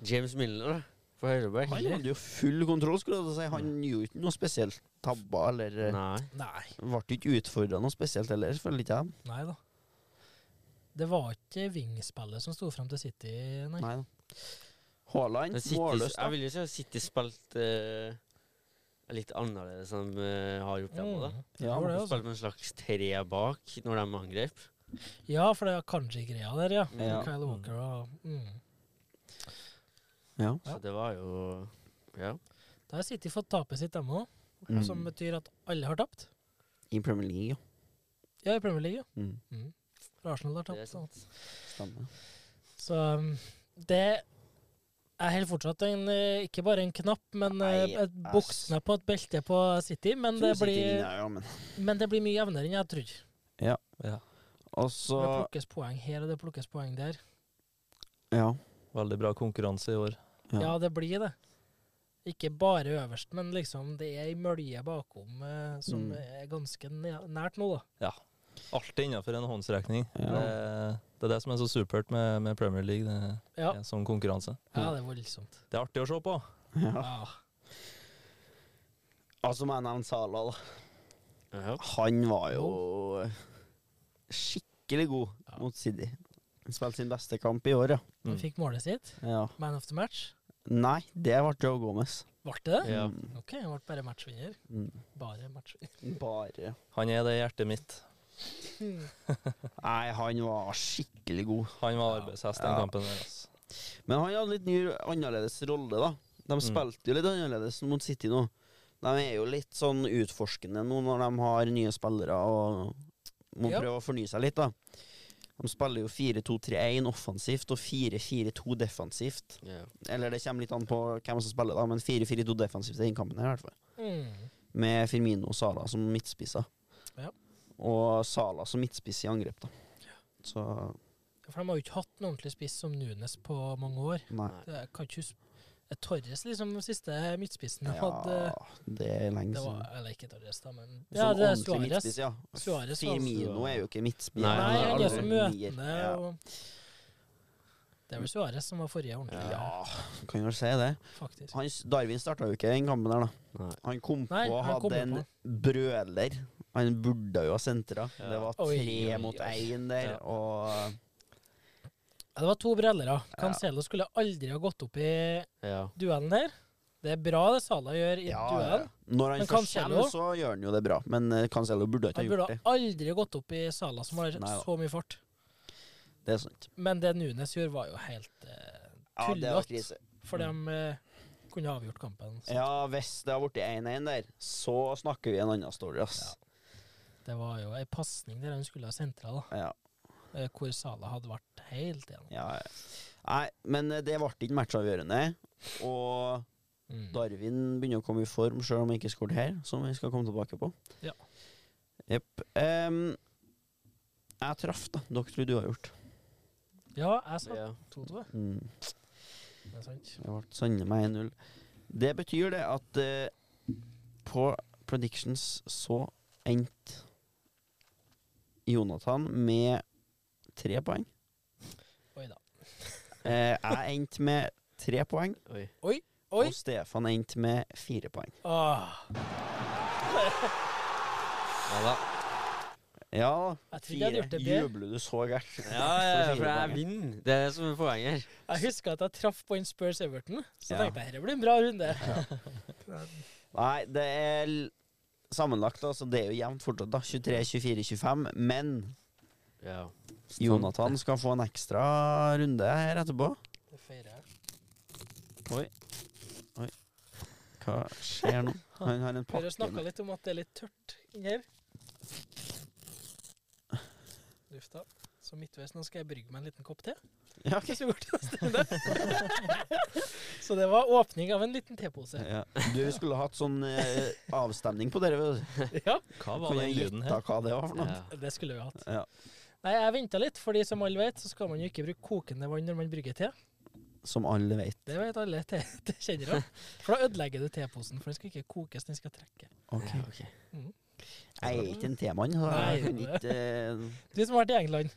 [SPEAKER 3] James Milner, da. På høyreback.
[SPEAKER 1] Han hadde jo full kontroll, skulle jeg til å si. Han gjorde ikke noe spesielt tabber, eller eh,
[SPEAKER 3] Nei.
[SPEAKER 2] Nei.
[SPEAKER 1] ble ikke utfordra noe spesielt heller, føler ikke jeg.
[SPEAKER 2] Nei da. Det var ikke vingspillet som sto fram til City, nei.
[SPEAKER 1] Nei da. Haaland,
[SPEAKER 3] Men City,
[SPEAKER 1] målløs, da.
[SPEAKER 3] jeg vil jo si at City spilte eh, litt annerledes enn de eh, har gjort dem. da.
[SPEAKER 2] Mm.
[SPEAKER 1] Ja,
[SPEAKER 2] det var det,
[SPEAKER 3] De
[SPEAKER 2] altså.
[SPEAKER 3] spilte med en slags tre bak når de angrep.
[SPEAKER 2] ja, for det er kanji-greia der, ja.
[SPEAKER 3] Ja.
[SPEAKER 2] Med Kyle Walker og mm.
[SPEAKER 1] Ja.
[SPEAKER 2] Ja.
[SPEAKER 3] Så det var jo Ja.
[SPEAKER 2] Da har City fått tapet sitt, dem òg.
[SPEAKER 1] Mm.
[SPEAKER 2] Som betyr at alle har tapt.
[SPEAKER 1] I Premier League, ja.
[SPEAKER 2] Ja, i Premier League. ja.
[SPEAKER 1] Mm.
[SPEAKER 2] Mm. For Arsenal har
[SPEAKER 3] Det er
[SPEAKER 2] tapt. da.
[SPEAKER 1] Stemmer.
[SPEAKER 2] Så um, det er helt fortsatt en, eh, ikke bare en knapp, men eh,
[SPEAKER 1] Nei,
[SPEAKER 2] et buksene på et belte på City. Men det,
[SPEAKER 1] Tror City
[SPEAKER 2] blir,
[SPEAKER 1] vinner, ja, men.
[SPEAKER 2] men det blir mye jevnere enn jeg trodde.
[SPEAKER 4] ja.
[SPEAKER 1] Og
[SPEAKER 2] Det
[SPEAKER 1] så
[SPEAKER 2] plukkes poeng her, og det plukkes poeng der.
[SPEAKER 1] Ja.
[SPEAKER 4] Veldig bra konkurranse i år.
[SPEAKER 1] Ja.
[SPEAKER 2] Ja, det blir det. Ikke bare øverst, men liksom det er ei mølje bakom eh, som
[SPEAKER 1] Mm.
[SPEAKER 2] er ganske næ- nært nå, da.
[SPEAKER 4] Alltid innenfor en håndsrekning.
[SPEAKER 1] Ja.
[SPEAKER 4] Det, det er det som er så supert med, med Premier League det,
[SPEAKER 2] Ja,
[SPEAKER 4] er som konkurranse.
[SPEAKER 2] ja det er voldsomt. Ah,
[SPEAKER 4] Det er artig å se på.
[SPEAKER 1] ja.
[SPEAKER 2] Ja.
[SPEAKER 1] Altså, må jeg nevne Salah, da.
[SPEAKER 3] Ja.
[SPEAKER 1] Han var jo skikkelig god
[SPEAKER 2] Ja.
[SPEAKER 1] mot City. Han spilte sin beste kamp i år, ja.
[SPEAKER 2] Han
[SPEAKER 4] Mm.
[SPEAKER 2] fikk målet sitt.
[SPEAKER 1] ja.
[SPEAKER 2] Man of the match.
[SPEAKER 1] Nei, det ble Joe Gomez.
[SPEAKER 2] Ble det det?
[SPEAKER 3] Ja.
[SPEAKER 1] Mm.
[SPEAKER 2] OK, han ble bare matchvinner.
[SPEAKER 1] Mm.
[SPEAKER 2] Bare matchvinner.
[SPEAKER 1] Bare
[SPEAKER 4] Han er det i hjertet mitt.
[SPEAKER 1] Nei, han var skikkelig god.
[SPEAKER 4] Han var arbeidshest den
[SPEAKER 1] Ja.
[SPEAKER 4] kampen der. Altså.
[SPEAKER 1] Men han hadde litt ny, annerledes rolle, da. De
[SPEAKER 2] Mm.
[SPEAKER 1] spilte jo litt annerledes mot City nå. De er jo litt sånn utforskende nå når de har nye spillere og må
[SPEAKER 2] Ja.
[SPEAKER 1] prøve å fornye seg litt, da. De spiller jo 4-2-3-1 offensivt og 4-4-2 defensivt.
[SPEAKER 3] Ja.
[SPEAKER 1] Eller det kommer litt an på hvem som spiller, da, men 4-4-2 defensivt er innkampen her, i hvert fall.
[SPEAKER 2] Mm.
[SPEAKER 1] Med Firmino og Sala som midtspisser.
[SPEAKER 2] Ja.
[SPEAKER 1] Og Sala som midtspiss i angrep, da. Så
[SPEAKER 2] For de har jo ikke hatt en ordentlig spiss som Nunes på mange år.
[SPEAKER 1] nei.
[SPEAKER 2] Det jeg kan ikke huske Det er Torres, liksom, den siste midtspissen de hadde.
[SPEAKER 1] Ja, det er lenge
[SPEAKER 2] Det var,
[SPEAKER 1] siden.
[SPEAKER 2] eller ikke Torres, da, men
[SPEAKER 1] Som
[SPEAKER 2] ja, det er
[SPEAKER 1] ordentlig
[SPEAKER 2] Suárez.
[SPEAKER 1] midtspiss, ja.
[SPEAKER 2] Suarez var
[SPEAKER 1] Firmino
[SPEAKER 3] altså-
[SPEAKER 1] er jo ikke midtspiss.
[SPEAKER 3] Nei,
[SPEAKER 2] Nei,
[SPEAKER 3] han
[SPEAKER 2] han
[SPEAKER 3] er
[SPEAKER 2] er så
[SPEAKER 1] aldri nier.
[SPEAKER 2] møtende.
[SPEAKER 1] Ja.
[SPEAKER 2] Og det er vel Suárez som var forrige ordentlige,
[SPEAKER 1] Ja, kan jo si det.
[SPEAKER 2] faktisk.
[SPEAKER 1] Han, Darwin starta jo ikke den kampen der, da.
[SPEAKER 3] Nei.
[SPEAKER 1] Han kom på
[SPEAKER 2] Nei,
[SPEAKER 1] og
[SPEAKER 2] han kom
[SPEAKER 1] hadde
[SPEAKER 2] jo
[SPEAKER 1] en
[SPEAKER 2] på.
[SPEAKER 1] brøler. Han burde jo ha sentra.
[SPEAKER 3] Ja.
[SPEAKER 1] Det var
[SPEAKER 2] Oi,
[SPEAKER 1] tre
[SPEAKER 2] oi,
[SPEAKER 1] mot
[SPEAKER 2] oi.
[SPEAKER 1] én der,
[SPEAKER 4] Ja.
[SPEAKER 1] og
[SPEAKER 2] Ja, det var to brellere. Cancelo skulle aldri ha gått opp i
[SPEAKER 3] Ja.
[SPEAKER 2] duellen her. Det er bra det Salah gjør i
[SPEAKER 1] ja, ja.
[SPEAKER 2] duellen.
[SPEAKER 1] Når han først
[SPEAKER 2] Men Cancelo-
[SPEAKER 1] kommer, så gjør han jo det bra. Men eh, Cancelo burde ikke ha
[SPEAKER 2] Han burde
[SPEAKER 1] gjort det.
[SPEAKER 2] aldri ha gått opp i Salah, som har
[SPEAKER 1] Nei da.
[SPEAKER 2] så mye fart.
[SPEAKER 1] Det er sant.
[SPEAKER 2] Men det Nunes gjorde, var jo helt eh,
[SPEAKER 1] Ja, det var
[SPEAKER 2] Tullete.
[SPEAKER 1] krise.
[SPEAKER 2] For de eh, kunne ha avgjort kampen. Så
[SPEAKER 1] Mm. Ja, hvis det har blitt 1-1 der, så snakker vi en annen story, ass.
[SPEAKER 2] Det var jo ei pasning der han skulle ha sentra, da,
[SPEAKER 1] Ja.
[SPEAKER 2] eh, hvor Salah hadde vært helt igjennom.
[SPEAKER 1] ja. Nei, men eh, det ble ikke matchavgjørende. Og
[SPEAKER 2] Mm.
[SPEAKER 1] Darwin begynner å komme i form, selv om han ikke skåret her, som vi skal komme tilbake på.
[SPEAKER 2] Ja.
[SPEAKER 1] Jepp. Em, jeg traff, da. Dere tror du har gjort.
[SPEAKER 2] Ja, jeg sa
[SPEAKER 3] ja.
[SPEAKER 2] 2-2.
[SPEAKER 1] Mm.
[SPEAKER 2] Det er sant.
[SPEAKER 1] Det ble sannelig meg 1-0. Det betyr det at eh, på predictions så endte Jonathan med tre poeng.
[SPEAKER 2] Oi da.
[SPEAKER 1] Eh, jeg endte med tre poeng,
[SPEAKER 3] Oi.
[SPEAKER 2] Oi!
[SPEAKER 1] og Stefan endte med fire poeng.
[SPEAKER 2] Åh,
[SPEAKER 3] Ja da.
[SPEAKER 1] Ja,
[SPEAKER 2] jeg trodde jeg hadde
[SPEAKER 1] fire.
[SPEAKER 2] gjort det bedre.
[SPEAKER 1] Jubler du så gærent?
[SPEAKER 3] Ja, ja, ja, for jeg vinner. Det er det som er poenget her.
[SPEAKER 2] Jeg husker at jeg traff på en Spurs Everton, så
[SPEAKER 1] Ja.
[SPEAKER 2] tenkte jeg dette blir en bra runde.
[SPEAKER 1] Nei, det er l- sammenlagt, altså. Det er jo jevnt fortsatt, da. 23, 24, 25. Men
[SPEAKER 3] Ja.
[SPEAKER 1] Jonathan skal få en ekstra runde her etterpå.
[SPEAKER 2] Det feirer jeg.
[SPEAKER 1] Hva skjer nå? Han har en
[SPEAKER 2] Vi har jo
[SPEAKER 1] pakke
[SPEAKER 2] snakka
[SPEAKER 1] med
[SPEAKER 2] litt om at det er litt tørt inni her. Duft da. Så midtveis nå skal jeg brygge meg en liten kopp te.
[SPEAKER 1] ja, ok.
[SPEAKER 2] Hvis vi går til neste runde. Så det var åpning av en liten tepose.
[SPEAKER 1] ja. Du skulle hatt sånn eh, avstemning på dere. vet du.
[SPEAKER 2] Ja,
[SPEAKER 4] Hva var
[SPEAKER 1] Kunne
[SPEAKER 4] den
[SPEAKER 1] jeg
[SPEAKER 4] lyden
[SPEAKER 1] gjetta
[SPEAKER 4] her?
[SPEAKER 1] hva det var for noe?
[SPEAKER 3] ja.
[SPEAKER 2] det skulle vi hatt.
[SPEAKER 1] Ja.
[SPEAKER 2] Nei, jeg venta litt, fordi som alle vet, så skal man jo ikke bruke kokende vann når man brygger te.
[SPEAKER 1] Som alle vet.
[SPEAKER 2] Det vet alle te te kjenner av. For da ødelegger du teposen, for den skal ikke kokes, den skal trekke.
[SPEAKER 1] Ok.
[SPEAKER 3] Ja, ok.
[SPEAKER 1] Jeg er ikke en temann, så jeg
[SPEAKER 2] Nei.
[SPEAKER 1] kunne ikke eh,
[SPEAKER 2] Du som har vært i England.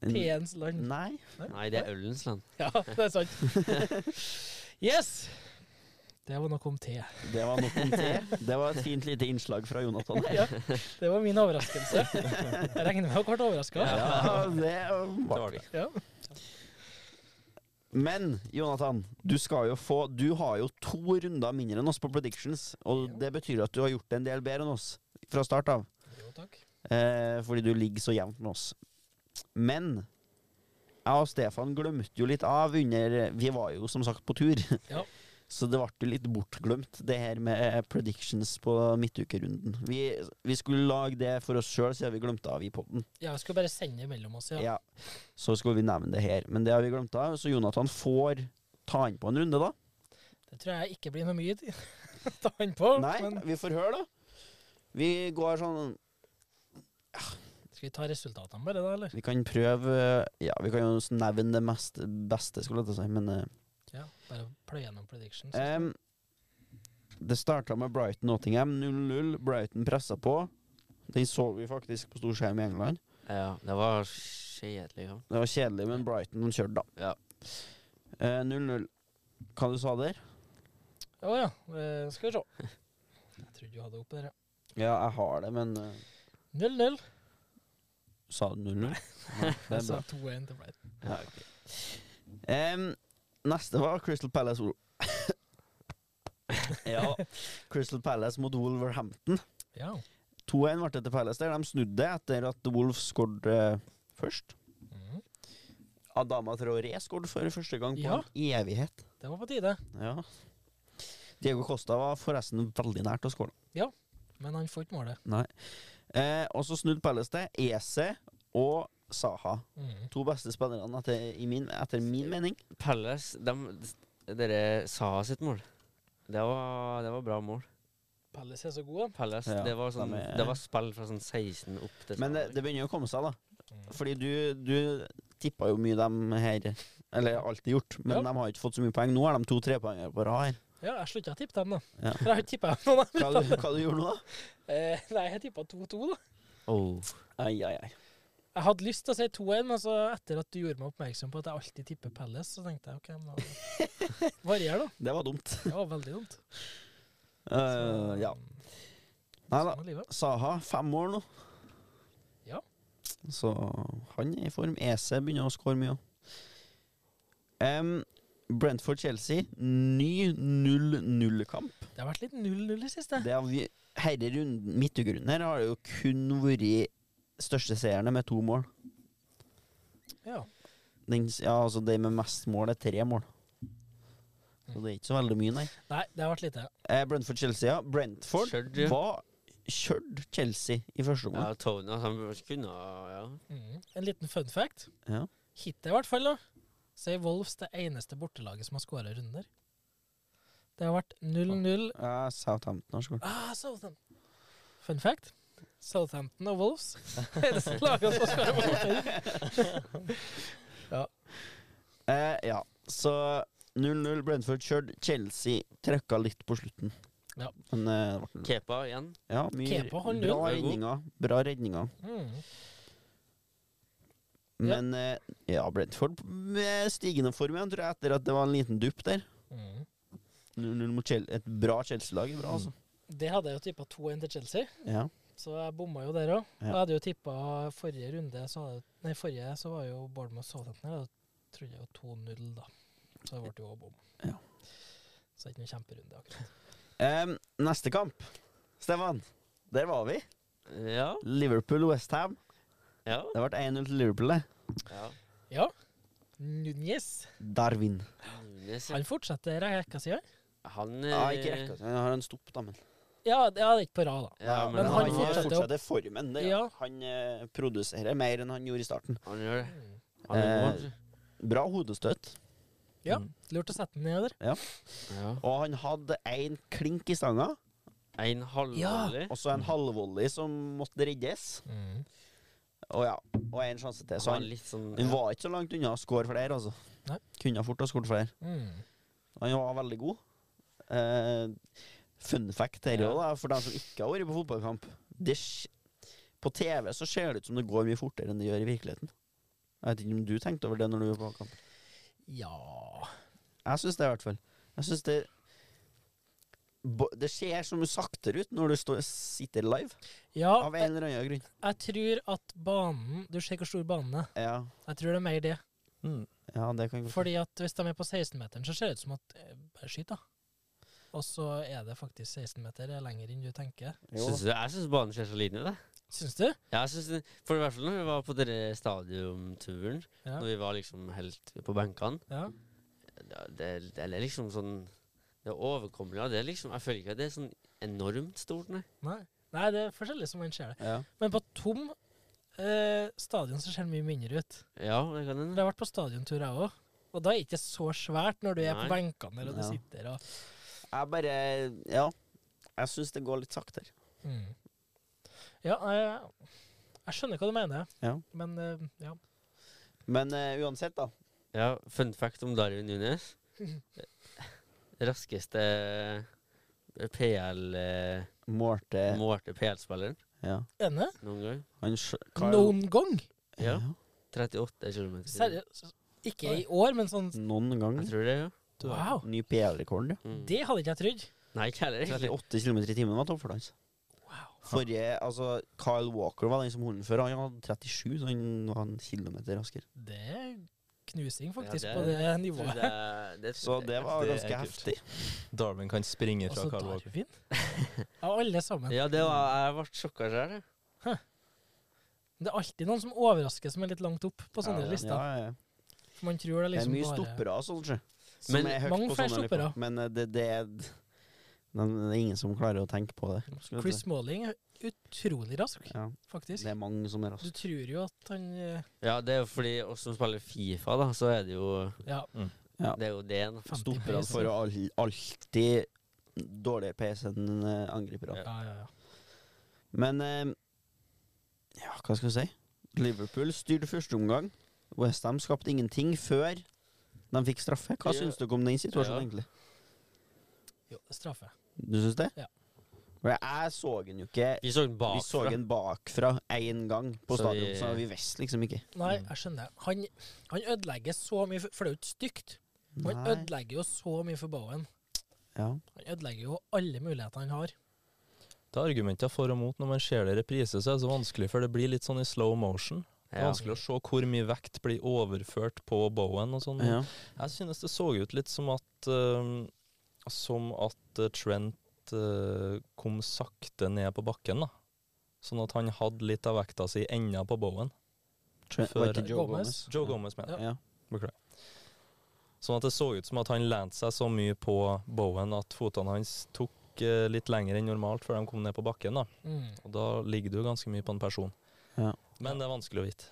[SPEAKER 1] en,
[SPEAKER 2] Teens land.
[SPEAKER 1] Nei.
[SPEAKER 3] Nei, det er ølens land.
[SPEAKER 2] Ja, det er sant. Yes! Det var noe om te.
[SPEAKER 1] Det var nok om te. Det var et fint lite innslag fra Jonathan. her.
[SPEAKER 2] Ja, det var min overraskelse. Jeg regner med dere ble overraska.
[SPEAKER 1] Ja, det
[SPEAKER 4] Det
[SPEAKER 1] var
[SPEAKER 4] var det.
[SPEAKER 2] Ja.
[SPEAKER 1] Men Jonathan, du skal jo få Du har jo to runder mindre enn oss på predictions, og det betyr at du har gjort det en del bedre enn oss fra start av.
[SPEAKER 2] Jo, takk.
[SPEAKER 1] Eh, fordi du ligger så jevnt med oss. Men jeg og Stefan glemte jo litt av under Vi var jo som sagt på tur.
[SPEAKER 2] Ja.
[SPEAKER 1] Så det ble jo litt bortglemt, det her med eh, predictions på midtukerunden. Vi, vi skulle lage det for oss sjøl, siden vi glemte av i poden.
[SPEAKER 2] Ja, jeg skulle bare sende mellom oss, ja.
[SPEAKER 1] Ja. Så skulle vi nevne det her. Men det har vi glemt av, så Jonathan får ta inn på en runde, da.
[SPEAKER 2] Det tror jeg ikke blir noe mye å ta han på.
[SPEAKER 1] Nei,
[SPEAKER 2] Men
[SPEAKER 1] vi får høre, da. Vi går sånn
[SPEAKER 2] skal vi ta resultatene bare, da, eller?
[SPEAKER 1] Vi kan prøve Ja, vi kan jo nevne det mest, beste, skulle jeg til å si, men eh,
[SPEAKER 2] Ja, bare pløye gjennom predictions.
[SPEAKER 1] Em, det starta med Brighton-Nottingham 0-0. Brighton pressa på. Den så vi faktisk på stor skjerm i England.
[SPEAKER 3] Ja, det var kjedelig. Ja.
[SPEAKER 1] Det var kjedelig, men Brighton kjørte, da.
[SPEAKER 3] Ja.
[SPEAKER 1] Eh, 0-0. Hva du sa der?
[SPEAKER 2] Å ja, eh, skal vi se. Jeg trodde du hadde oppe der, ja.
[SPEAKER 1] Ja, jeg har det, men eh,
[SPEAKER 2] 0-0.
[SPEAKER 1] Sa du 0-0? Nei, det
[SPEAKER 2] Jeg
[SPEAKER 1] er
[SPEAKER 2] sa
[SPEAKER 1] bra.
[SPEAKER 2] 2-1 til Brighton.
[SPEAKER 1] Ja, ok. Em, neste var Crystal Palace Ja, Crystal Palace mot Wolverhampton.
[SPEAKER 2] Ja.
[SPEAKER 1] 2-1 ble det til Palace der. De snudde etter at Wolf skåret eh, først.
[SPEAKER 2] Mhm.
[SPEAKER 1] Adama Traoré skåret for første gang på
[SPEAKER 2] Ja.
[SPEAKER 1] en evighet.
[SPEAKER 2] Det var på tide.
[SPEAKER 1] Ja. Diego Costa var forresten veldig nært å skåre.
[SPEAKER 2] Men han får ikke målet.
[SPEAKER 1] Eh, og så snudde Palace det. Ese og Saha.
[SPEAKER 2] Mhm.
[SPEAKER 1] To beste spillerne etter, i min, etter min mening.
[SPEAKER 3] Palace, de, dere sa sitt mål. Det var, det var bra mål.
[SPEAKER 2] Palace er så god,
[SPEAKER 3] Palace,
[SPEAKER 1] Ja,
[SPEAKER 3] det, var sånn,
[SPEAKER 1] de er-
[SPEAKER 3] det var spill fra sånn 16 opp til
[SPEAKER 1] Men det,
[SPEAKER 3] sånn-
[SPEAKER 1] det begynner jo å komme seg, da.
[SPEAKER 2] han. Mhm.
[SPEAKER 1] Fordi du, du tippa jo mye dem her. Eller alltid gjort, men
[SPEAKER 2] Ja.
[SPEAKER 1] de har ikke fått så mye poeng. Nå har de to trepoengere på rad her.
[SPEAKER 2] Ja, jeg slutta å tippe dem, da.
[SPEAKER 1] Ja.
[SPEAKER 2] For jeg har ikke tippa noen av dem.
[SPEAKER 1] Hva, du- hva du gjorde nå, da?
[SPEAKER 2] Eh, nei, jeg tippa 2-2, da.
[SPEAKER 3] oh.
[SPEAKER 1] Ai, ai, ai.
[SPEAKER 2] Jeg hadde lyst til å si 2-1, men så etter at du gjorde meg oppmerksom på at jeg alltid tipper Palace, så tenkte jeg OK, men da Varier, da.
[SPEAKER 1] Det var dumt.
[SPEAKER 2] Det var veldig dumt.
[SPEAKER 1] Eh, ja. Nei da.
[SPEAKER 2] Sånn er livet.
[SPEAKER 1] Saha, fem år nå.
[SPEAKER 2] Ja.
[SPEAKER 1] Så han er i form. EC begynner å skåre mye òg. Brentford-Chelsea, ny 0-0-kamp.
[SPEAKER 2] Det har vært litt 0-0 i siste.
[SPEAKER 1] Det har vi- Herre runden, midtugrunden her har det jo kun vært størsteseierne med to mål.
[SPEAKER 2] Ja.
[SPEAKER 1] Den, s- ja, altså det med mest mål er tre mål. Så det er ikke så veldig mye, nei.
[SPEAKER 2] Nei, det har vært lite.
[SPEAKER 1] Eh, Brentford-Chelsea, ja. Brentford
[SPEAKER 3] Skjørt, ja.
[SPEAKER 1] var kjørt Chelsea i første
[SPEAKER 3] Ja,
[SPEAKER 1] omgang.
[SPEAKER 3] Tony altså, han kunne ja.
[SPEAKER 2] Mhm. En liten fun fact.
[SPEAKER 1] Ja.
[SPEAKER 2] Hittil, i hvert fall, da, så er Wolves det eneste bortelaget som har skåra runder. Det har vært 0-0
[SPEAKER 1] Ja, Eh, Southampton har skåret.
[SPEAKER 2] ah, Southampton. Fun fact. Southampton og Wolves. eneste laget som har skåra bortelag.
[SPEAKER 1] Eh, ja, så 0-0 Brentford kjørt. Chelsea trøkka litt på slutten.
[SPEAKER 2] Ja.
[SPEAKER 1] Men eh, det ble
[SPEAKER 3] Kepa igjen.
[SPEAKER 1] ja, mye
[SPEAKER 2] Kepa holder
[SPEAKER 1] bra
[SPEAKER 3] ut.
[SPEAKER 1] redninger. Bra redninger.
[SPEAKER 2] Mm.
[SPEAKER 1] Men eh, ja, Brentford med stigende form igjen, tror jeg, etter at det var en liten dupp der.
[SPEAKER 2] Mm.
[SPEAKER 1] 0-0 mot Chel et bra Chelsea-lag. er Bra, altså.
[SPEAKER 2] Det hadde jeg jo tippa 2-1 til Chelsea,
[SPEAKER 1] Mm. Ja.
[SPEAKER 2] så jeg bomma jo der òg.
[SPEAKER 1] Ja.
[SPEAKER 2] Jeg hadde jo tippa forrige runde så hadde, Nei, forrige så var jo Bournemouth Southampton her. Da trodde jeg jo 2-0, da. Så det ble jo òg bom.
[SPEAKER 1] Ja.
[SPEAKER 2] Så det er ikke noen kjemperunde, akkurat.
[SPEAKER 1] Em, neste kamp, Stefan. Der var vi.
[SPEAKER 3] Ja.
[SPEAKER 1] Liverpool-Westham.
[SPEAKER 3] Ja.
[SPEAKER 1] Det ble 1-0 til Liverpool. det.
[SPEAKER 3] ja.
[SPEAKER 2] Ja. Núñez.
[SPEAKER 1] Darwin.
[SPEAKER 3] Nunes, ja.
[SPEAKER 2] Han fortsetter rekka si, han.
[SPEAKER 3] Han eh,
[SPEAKER 1] Ja, ikke altså. rekka. Han har en stopp, da, men.
[SPEAKER 2] Ja, det ja, det er ikke på rad, da.
[SPEAKER 3] Ja,
[SPEAKER 1] Ja,
[SPEAKER 3] men
[SPEAKER 2] Men
[SPEAKER 3] han,
[SPEAKER 2] han
[SPEAKER 1] har
[SPEAKER 2] fortsetter
[SPEAKER 1] fortsatt det formen. Det, ja.
[SPEAKER 2] Ja.
[SPEAKER 1] Han eh, produserer mer enn han gjorde i starten.
[SPEAKER 3] han gjør det.
[SPEAKER 2] Mm.
[SPEAKER 3] Han er
[SPEAKER 1] Eh,
[SPEAKER 3] god.
[SPEAKER 1] Bra hodestøtt.
[SPEAKER 2] Ja,
[SPEAKER 4] Mm.
[SPEAKER 2] lurt å sette den ned der.
[SPEAKER 3] Ja.
[SPEAKER 1] Og han hadde én klink i stanga,
[SPEAKER 3] En halvårlig.
[SPEAKER 1] og så en halvvolley som måtte reddes.
[SPEAKER 2] Mm.
[SPEAKER 1] Og ja, og én sjanse til. Så
[SPEAKER 3] Så
[SPEAKER 1] han,
[SPEAKER 3] litt sånn
[SPEAKER 1] han var ikke så langt unna å score flere, altså.
[SPEAKER 2] Nei.
[SPEAKER 1] Kunne fort ha skåret flere.
[SPEAKER 2] Mm.
[SPEAKER 1] Han var veldig god. Eh, fun fact her
[SPEAKER 3] Ja.
[SPEAKER 1] òg, da, for dem som ikke har vært på fotballkamp. Det, sk- på TV så ser det ut som det går mye fortere enn det gjør i virkeligheten. Jeg vet ikke om du tenkte over det når du var på kamp.
[SPEAKER 2] Ja
[SPEAKER 1] Jeg syns det, i hvert fall. Jeg synes det Bo- Det ser som saktere ut når du står, sitter live,
[SPEAKER 2] Ja,
[SPEAKER 1] av en eller annen grunn.
[SPEAKER 2] jeg tror at banen Du ser hvor stor banen er.
[SPEAKER 1] Ja,
[SPEAKER 2] Jeg tror det er mer det.
[SPEAKER 4] Mm.
[SPEAKER 1] ja det kan jeg godt
[SPEAKER 2] Fordi at hvis de er på 16-meteren, så ser det ut som at eh, Bare skyt, da. Og så er det faktisk 16-meter er lenger enn du tenker.
[SPEAKER 1] Jo.
[SPEAKER 3] Syns du- Jeg syns banen ser så liten ut, jeg.
[SPEAKER 2] Syns du?
[SPEAKER 3] Ja, jeg synes det, for i hvert fall når vi var på denne stadionturen,
[SPEAKER 2] Ja.
[SPEAKER 3] når vi var liksom helt på benkene
[SPEAKER 2] ja.
[SPEAKER 3] ja, det, det er liksom sånn Det er overkommelig. og Det er liksom, jeg føler ikke at det er sånn enormt stort, nei.
[SPEAKER 2] Nei. Nei, det er forskjellig som man ser det.
[SPEAKER 1] Ja.
[SPEAKER 2] Men på tom eh, stadion så ser det mye mindre ut.
[SPEAKER 3] Ja, det kan
[SPEAKER 2] For
[SPEAKER 3] hende.
[SPEAKER 2] Jeg har vært på stadiontur, jeg òg. Og da er det ikke så svært når du er på
[SPEAKER 3] Nei.
[SPEAKER 2] benkene der og du
[SPEAKER 1] Ja.
[SPEAKER 2] sitter og
[SPEAKER 1] Jeg bare Ja. Jeg syns det går litt saktere.
[SPEAKER 2] mm. Ja, jeg, jeg skjønner hva du mener,
[SPEAKER 1] Ja.
[SPEAKER 2] men eh, ja.
[SPEAKER 1] Men eh, uansett, da.
[SPEAKER 3] Ja, fun fact om Darwin Nunes. Raskeste eh, PL-målte
[SPEAKER 1] Målte
[SPEAKER 3] PL-spilleren
[SPEAKER 1] Ja.
[SPEAKER 2] Enne?
[SPEAKER 3] noen gang.
[SPEAKER 1] Han sj- Kyle-
[SPEAKER 2] Noen gang?
[SPEAKER 3] Ja. 38 km. Jeg
[SPEAKER 2] Seriøst? Ikke i år, men sånn
[SPEAKER 1] Noen gang.
[SPEAKER 3] tror det, ja.
[SPEAKER 2] Wow!
[SPEAKER 1] Ny PL-rekord, ja.
[SPEAKER 3] Mm.
[SPEAKER 2] Det hadde ikke jeg trodd.
[SPEAKER 3] Nei, ikke heller, egentlig.
[SPEAKER 1] 38 km i timen var toppfarten hans.
[SPEAKER 2] Wow.
[SPEAKER 1] Forrige, altså Kyle Walker var den som holdt den før. Han hadde 37, så han var en kilometer raskere.
[SPEAKER 2] Det er knusing, faktisk,
[SPEAKER 3] det-
[SPEAKER 2] på det
[SPEAKER 3] Tror
[SPEAKER 2] nivået.
[SPEAKER 3] Det, det,
[SPEAKER 1] Så det var
[SPEAKER 4] Det er
[SPEAKER 1] ganske
[SPEAKER 4] kult.
[SPEAKER 1] heftig.
[SPEAKER 4] Darwin kan springe fra
[SPEAKER 2] Altså
[SPEAKER 4] Carl Walker.
[SPEAKER 2] Darwin. Av alle sammen.
[SPEAKER 3] Ja, det var, jeg ble sjokka sjøl. jeg.
[SPEAKER 2] Men Det er alltid noen som overrasker som er litt langt opp på sånne
[SPEAKER 3] Ja, ja.
[SPEAKER 2] lister.
[SPEAKER 1] Ja, ja, ja.
[SPEAKER 2] For man tror det
[SPEAKER 1] Det er
[SPEAKER 2] liksom
[SPEAKER 1] mye
[SPEAKER 2] bare
[SPEAKER 1] stoppere og sånt, sjø.
[SPEAKER 3] Men
[SPEAKER 1] Som er høyt
[SPEAKER 2] mange
[SPEAKER 1] på
[SPEAKER 2] flere
[SPEAKER 1] sånne
[SPEAKER 2] stoppere.
[SPEAKER 1] nivå. Men eh, det, det, er, men eh, det er ingen som klarer å tenke på det. Skulle jeg
[SPEAKER 2] Chris
[SPEAKER 1] tro.
[SPEAKER 2] Malling er utrolig rask,
[SPEAKER 1] ja,
[SPEAKER 2] faktisk.
[SPEAKER 1] det er mange som er
[SPEAKER 2] Du
[SPEAKER 1] raske.
[SPEAKER 2] tror jo at han eh,
[SPEAKER 3] Ja, det er jo fordi oss som spiller Fifa, da, så er det jo
[SPEAKER 2] Ja,
[SPEAKER 1] Ja.
[SPEAKER 3] Det er jo det. da.
[SPEAKER 2] 50
[SPEAKER 1] Stopperne
[SPEAKER 2] pace.
[SPEAKER 1] får all, alltid dårligere pace enn eh, angriperne.
[SPEAKER 2] Ja, ja, ja.
[SPEAKER 1] Men eh, Ja, hva skal vi si? Liverpool styrte første omgang. Westham skapte ingenting før de fikk straffe. Hva
[SPEAKER 3] Ja.
[SPEAKER 1] syns dere om den situasjonen,
[SPEAKER 3] Ja.
[SPEAKER 1] egentlig?
[SPEAKER 2] Jo, straffe.
[SPEAKER 1] Du syns det?
[SPEAKER 2] Ja.
[SPEAKER 1] For jeg så den jo ikke
[SPEAKER 3] Vi så den bakfra.
[SPEAKER 1] Vi så den bakfra én gang på
[SPEAKER 3] Så
[SPEAKER 1] stadion,
[SPEAKER 3] vi-
[SPEAKER 1] så vi visste liksom ikke.
[SPEAKER 2] Nei, jeg skjønner. Han, han ødelegger så mye, for, for det er jo ikke stygt. Han
[SPEAKER 1] Nei.
[SPEAKER 2] ødelegger jo så mye for Bowen.
[SPEAKER 1] Ja.
[SPEAKER 2] Han ødelegger jo alle muligheter han har.
[SPEAKER 4] Det er argumenter for og mot når man ser det i reprise, så er det så vanskelig, for det blir litt sånn i slow motion. Det er
[SPEAKER 3] Ja.
[SPEAKER 4] vanskelig å se hvor mye vekt blir overført på Bowen og
[SPEAKER 3] Mm.
[SPEAKER 4] sånn.
[SPEAKER 1] Ja.
[SPEAKER 4] Jeg synes det så ut litt som at eh, Som at eh, Trent eh, kom sakte ned på bakken, da. Sånn at han hadde litt av vekta si i enda på Bowen.
[SPEAKER 1] Trent,
[SPEAKER 4] Før-
[SPEAKER 1] var ikke Joe Gomez.
[SPEAKER 2] Gomez.
[SPEAKER 4] Joe Gomez, mener jeg.
[SPEAKER 1] Ja. Ja.
[SPEAKER 4] Sånn at det så ut som at han lente seg så mye på Bowen at føttene hans tok eh, litt lenger enn normalt før de kom ned på bakken. da.
[SPEAKER 2] Mm.
[SPEAKER 4] Og da ligger du ganske mye på en person.
[SPEAKER 1] Ja.
[SPEAKER 4] Men det er vanskelig å vite.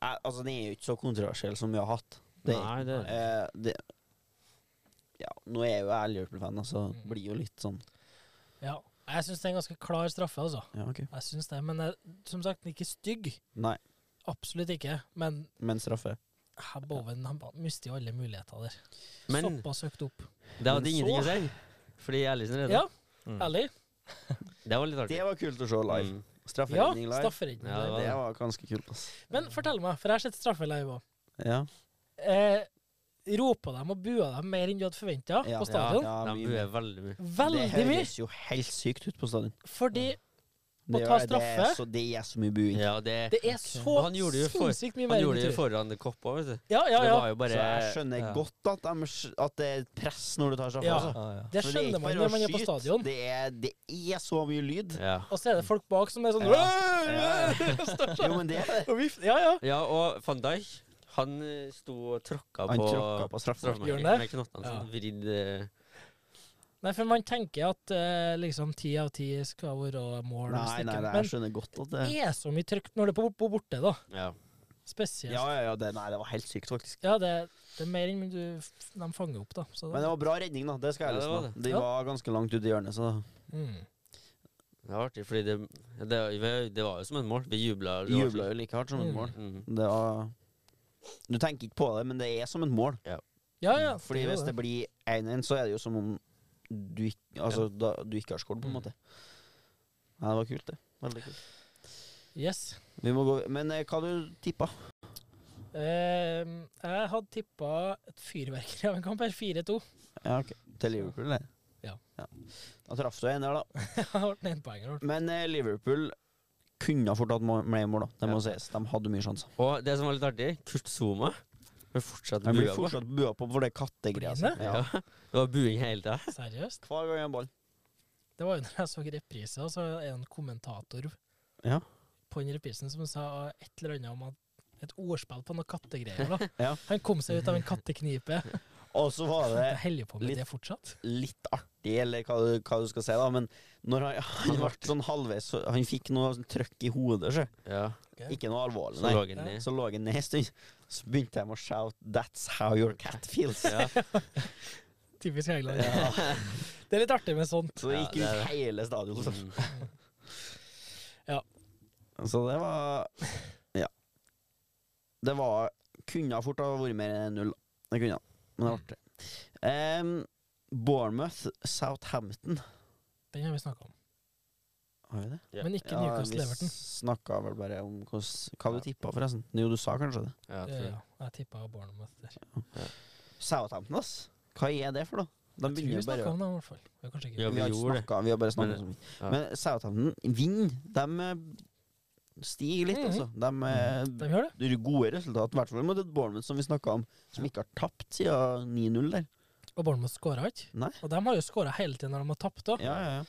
[SPEAKER 1] Jeg- Altså, den er jo ikke så kontroversiell som vi har hatt. Det,
[SPEAKER 3] Nei, det er
[SPEAKER 1] eh, det ja, nå er jo jeg Liverpool-fan, så
[SPEAKER 2] Mm.
[SPEAKER 1] blir jo litt sånn
[SPEAKER 2] Ja. Jeg syns det er en ganske klar straffe, altså.
[SPEAKER 1] Ja, ok.
[SPEAKER 2] Jeg synes det, Men jeg, som sagt, den er ikke stygg.
[SPEAKER 1] Nei,
[SPEAKER 2] Absolutt ikke. Men
[SPEAKER 1] men straffe.
[SPEAKER 2] eh, Bowen han ba- mister jo alle muligheter der.
[SPEAKER 3] Men
[SPEAKER 2] Såpass høyt opp.
[SPEAKER 3] det hadde
[SPEAKER 1] Men så-
[SPEAKER 3] ingenting å si. Fordi Ellison redda.
[SPEAKER 2] Ja,
[SPEAKER 4] Mm.
[SPEAKER 2] ærlig.
[SPEAKER 3] Det var litt artig.
[SPEAKER 1] Det var kult å se live.
[SPEAKER 3] Mm.
[SPEAKER 2] Ja,
[SPEAKER 1] Strafferedning live.
[SPEAKER 2] strafferedning.
[SPEAKER 3] Ja,
[SPEAKER 2] der.
[SPEAKER 1] det var ganske kult, ass.
[SPEAKER 2] Men fortell meg, for jeg har sett straffe live òg.
[SPEAKER 1] Ja.
[SPEAKER 2] Eh, ropa dem og bua dem mer enn du hadde forventa
[SPEAKER 1] Ja,
[SPEAKER 2] på stadion?
[SPEAKER 1] ja,
[SPEAKER 3] De
[SPEAKER 1] mye
[SPEAKER 3] buer veldig mye.
[SPEAKER 2] Veldig
[SPEAKER 1] Det
[SPEAKER 2] mye!
[SPEAKER 1] høres jo helt sykt ut på stadion.
[SPEAKER 2] Fordi Å
[SPEAKER 1] Det
[SPEAKER 2] ta
[SPEAKER 1] gjør det. Det er
[SPEAKER 2] straffe?
[SPEAKER 1] så, det er så mye buing.
[SPEAKER 3] Ja, det,
[SPEAKER 2] det er så
[SPEAKER 3] Men han gjorde det jo for-
[SPEAKER 2] sinnssykt mye
[SPEAKER 3] han
[SPEAKER 2] mer enn
[SPEAKER 3] gjorde
[SPEAKER 2] du
[SPEAKER 3] det jo
[SPEAKER 2] tror.
[SPEAKER 3] foran koppa, vet du.
[SPEAKER 2] Ja, ja,
[SPEAKER 3] Det
[SPEAKER 2] ja.
[SPEAKER 3] var jo
[SPEAKER 1] Så
[SPEAKER 3] bare
[SPEAKER 1] jeg skjønner
[SPEAKER 4] Ja.
[SPEAKER 1] godt at, dem sk- at det er press når du tar straffe.
[SPEAKER 2] Ja.
[SPEAKER 1] altså.
[SPEAKER 4] Ja, ja.
[SPEAKER 2] Det
[SPEAKER 1] For er
[SPEAKER 2] skjønner
[SPEAKER 1] ikke
[SPEAKER 2] man
[SPEAKER 1] bare
[SPEAKER 2] når
[SPEAKER 1] å
[SPEAKER 2] man er på
[SPEAKER 1] skyte,
[SPEAKER 2] stadion.
[SPEAKER 1] Det er, det er så mye lyd.
[SPEAKER 3] Ja.
[SPEAKER 2] Og så er det folk bak som er sånn
[SPEAKER 1] Ja.
[SPEAKER 2] Står
[SPEAKER 1] Jo,
[SPEAKER 2] sånn
[SPEAKER 1] men det er det.
[SPEAKER 2] og vifter. Ja, ja.
[SPEAKER 3] ja, og van Dijk, han eh, sto og tråkka
[SPEAKER 1] Han
[SPEAKER 3] på
[SPEAKER 1] tråkka på straffen.
[SPEAKER 2] Gjør han
[SPEAKER 3] straffemerket
[SPEAKER 2] det?
[SPEAKER 3] med knottene
[SPEAKER 2] Ja.
[SPEAKER 3] sine. Vridd eh,
[SPEAKER 2] Nei, for man tenker at eh, liksom ti av ti skal være mål. og
[SPEAKER 1] Nei, nei,
[SPEAKER 2] stikke.
[SPEAKER 1] nei, jeg skjønner godt at det
[SPEAKER 2] Men det er så mye trøkk når det er på, på borte, da.
[SPEAKER 3] Ja.
[SPEAKER 2] Spesielt.
[SPEAKER 1] Ja,
[SPEAKER 2] Ja,
[SPEAKER 1] ja, ja. Det, nei, det var helt sykt, faktisk.
[SPEAKER 2] det, det er mer enn du, de fanger opp, da. Så,
[SPEAKER 1] Men det var bra redning, da. Det skal jeg
[SPEAKER 3] Ja, det var
[SPEAKER 1] liksom.
[SPEAKER 3] det.
[SPEAKER 1] De
[SPEAKER 2] Ja.
[SPEAKER 1] var ganske langt ute i hjørnet, så
[SPEAKER 2] mm.
[SPEAKER 3] Det var artig, fordi det, det, det var jo som en mål. Vi jubla.
[SPEAKER 1] de jubla jo like hardt som et
[SPEAKER 2] Mm.
[SPEAKER 1] mål.
[SPEAKER 3] Mm.
[SPEAKER 1] Det var Du tenker ikke på det, men det er som et mål.
[SPEAKER 2] Ja, ja.
[SPEAKER 1] Mm, Fordi
[SPEAKER 2] er jo
[SPEAKER 1] hvis det blir 1-1, så er det jo som om du, ikk- altså, da, du ikke har skåret, på en
[SPEAKER 2] Mm.
[SPEAKER 1] måte. Nei, det var kult, det. Veldig kult.
[SPEAKER 2] Yes.
[SPEAKER 1] Vi må gå Men eh, hva du tippa du?
[SPEAKER 2] Eh, jeg hadde tippa et fyrverkeri av en kamp her. 4-2.
[SPEAKER 1] Ja, ok. Til Liverpool, eller?
[SPEAKER 2] Ja.
[SPEAKER 1] Da traff du en der, da.
[SPEAKER 2] Jeg har vært en poenger.
[SPEAKER 1] Men eh, Liverpool kunne ha fort hatt må- flere mål, da. Det må sies. De hadde mye sjanser.
[SPEAKER 3] Og det som var litt artig, Kurt Zuma ble fortsatt
[SPEAKER 1] De blir
[SPEAKER 3] bua på.
[SPEAKER 1] fortsatt bua på for det kattegreia si.
[SPEAKER 2] Blir det?
[SPEAKER 1] Ja.
[SPEAKER 3] Det var buing hele tida.
[SPEAKER 2] Seriøst.
[SPEAKER 1] Hver gang en ball.
[SPEAKER 2] Det var jo når jeg så repriser, så er det en kommentator
[SPEAKER 1] Ja.
[SPEAKER 2] på den reprisen som sa et eller annet om at et ordspill på noen kattegreier. da.
[SPEAKER 1] Ja.
[SPEAKER 2] Han kom seg ut av en katteknipe.
[SPEAKER 1] Og så var det
[SPEAKER 2] Jeg holder på med
[SPEAKER 1] litt-
[SPEAKER 2] det fortsatt.
[SPEAKER 1] litt artig, eller hva, du- hva du skal si, da, men når han, han ble sånn halvveis så Han fikk noe sånn trøkk i hodet, sjø.
[SPEAKER 3] Ja.
[SPEAKER 1] Ikke noe alvorlig,
[SPEAKER 3] Så
[SPEAKER 1] nei.
[SPEAKER 3] lå han
[SPEAKER 2] Ja.
[SPEAKER 3] ned.
[SPEAKER 1] Så lå han ned en stund. Så begynte de å shout 'That's how your cat feels'.
[SPEAKER 3] Ja.
[SPEAKER 2] Typisk England. Det er litt artig med sånt.
[SPEAKER 1] Så det gikk
[SPEAKER 3] Ja, det er
[SPEAKER 1] ut hele stadion. liksom. Så.
[SPEAKER 3] Mm.
[SPEAKER 1] så det var Ja. Det var Kunne ha fort ha vært mer enn null. Det kunne ha, men det var artig. Em, Bournemouth, Southampton
[SPEAKER 2] Den har vi snakka om.
[SPEAKER 1] Har vi det?
[SPEAKER 3] Ja.
[SPEAKER 2] Men ikke
[SPEAKER 1] Ja,
[SPEAKER 2] Newcastle
[SPEAKER 1] Vi
[SPEAKER 2] Everton.
[SPEAKER 1] snakka vel bare om hvordan, hva du tippa, forresten. Jo, du sa kanskje det.
[SPEAKER 3] Ja, jeg
[SPEAKER 2] Ja,
[SPEAKER 3] tror det.
[SPEAKER 2] ja. Jeg tippa Bournemouth der.
[SPEAKER 1] Southampton, ass. Hva er det for noe? De
[SPEAKER 2] Jeg tror
[SPEAKER 1] begynner
[SPEAKER 2] vi
[SPEAKER 1] jo bare
[SPEAKER 2] snakka om det, i hvert fall. Vi har kanskje ikke
[SPEAKER 3] Ja,
[SPEAKER 1] Vi har ikke
[SPEAKER 3] gjorde det.
[SPEAKER 1] snakka, vi har bare snakka
[SPEAKER 3] Men-
[SPEAKER 1] så mye.
[SPEAKER 3] ja.
[SPEAKER 1] Men Southampton vinner. De eh, stiger litt,
[SPEAKER 2] Mhm.
[SPEAKER 1] altså. De eh,
[SPEAKER 2] Mm-hmm. De gjør det.
[SPEAKER 1] det er gode resultat, i hvert fall mot et Bournemouth som vi snakka om, som ikke har tapt siden 9-0 der.
[SPEAKER 2] Og Bournemouth skåra ikke.
[SPEAKER 1] Nei.
[SPEAKER 2] Og de har jo skåra hele tiden når de har tapt òg.
[SPEAKER 1] Ja, ja, ja.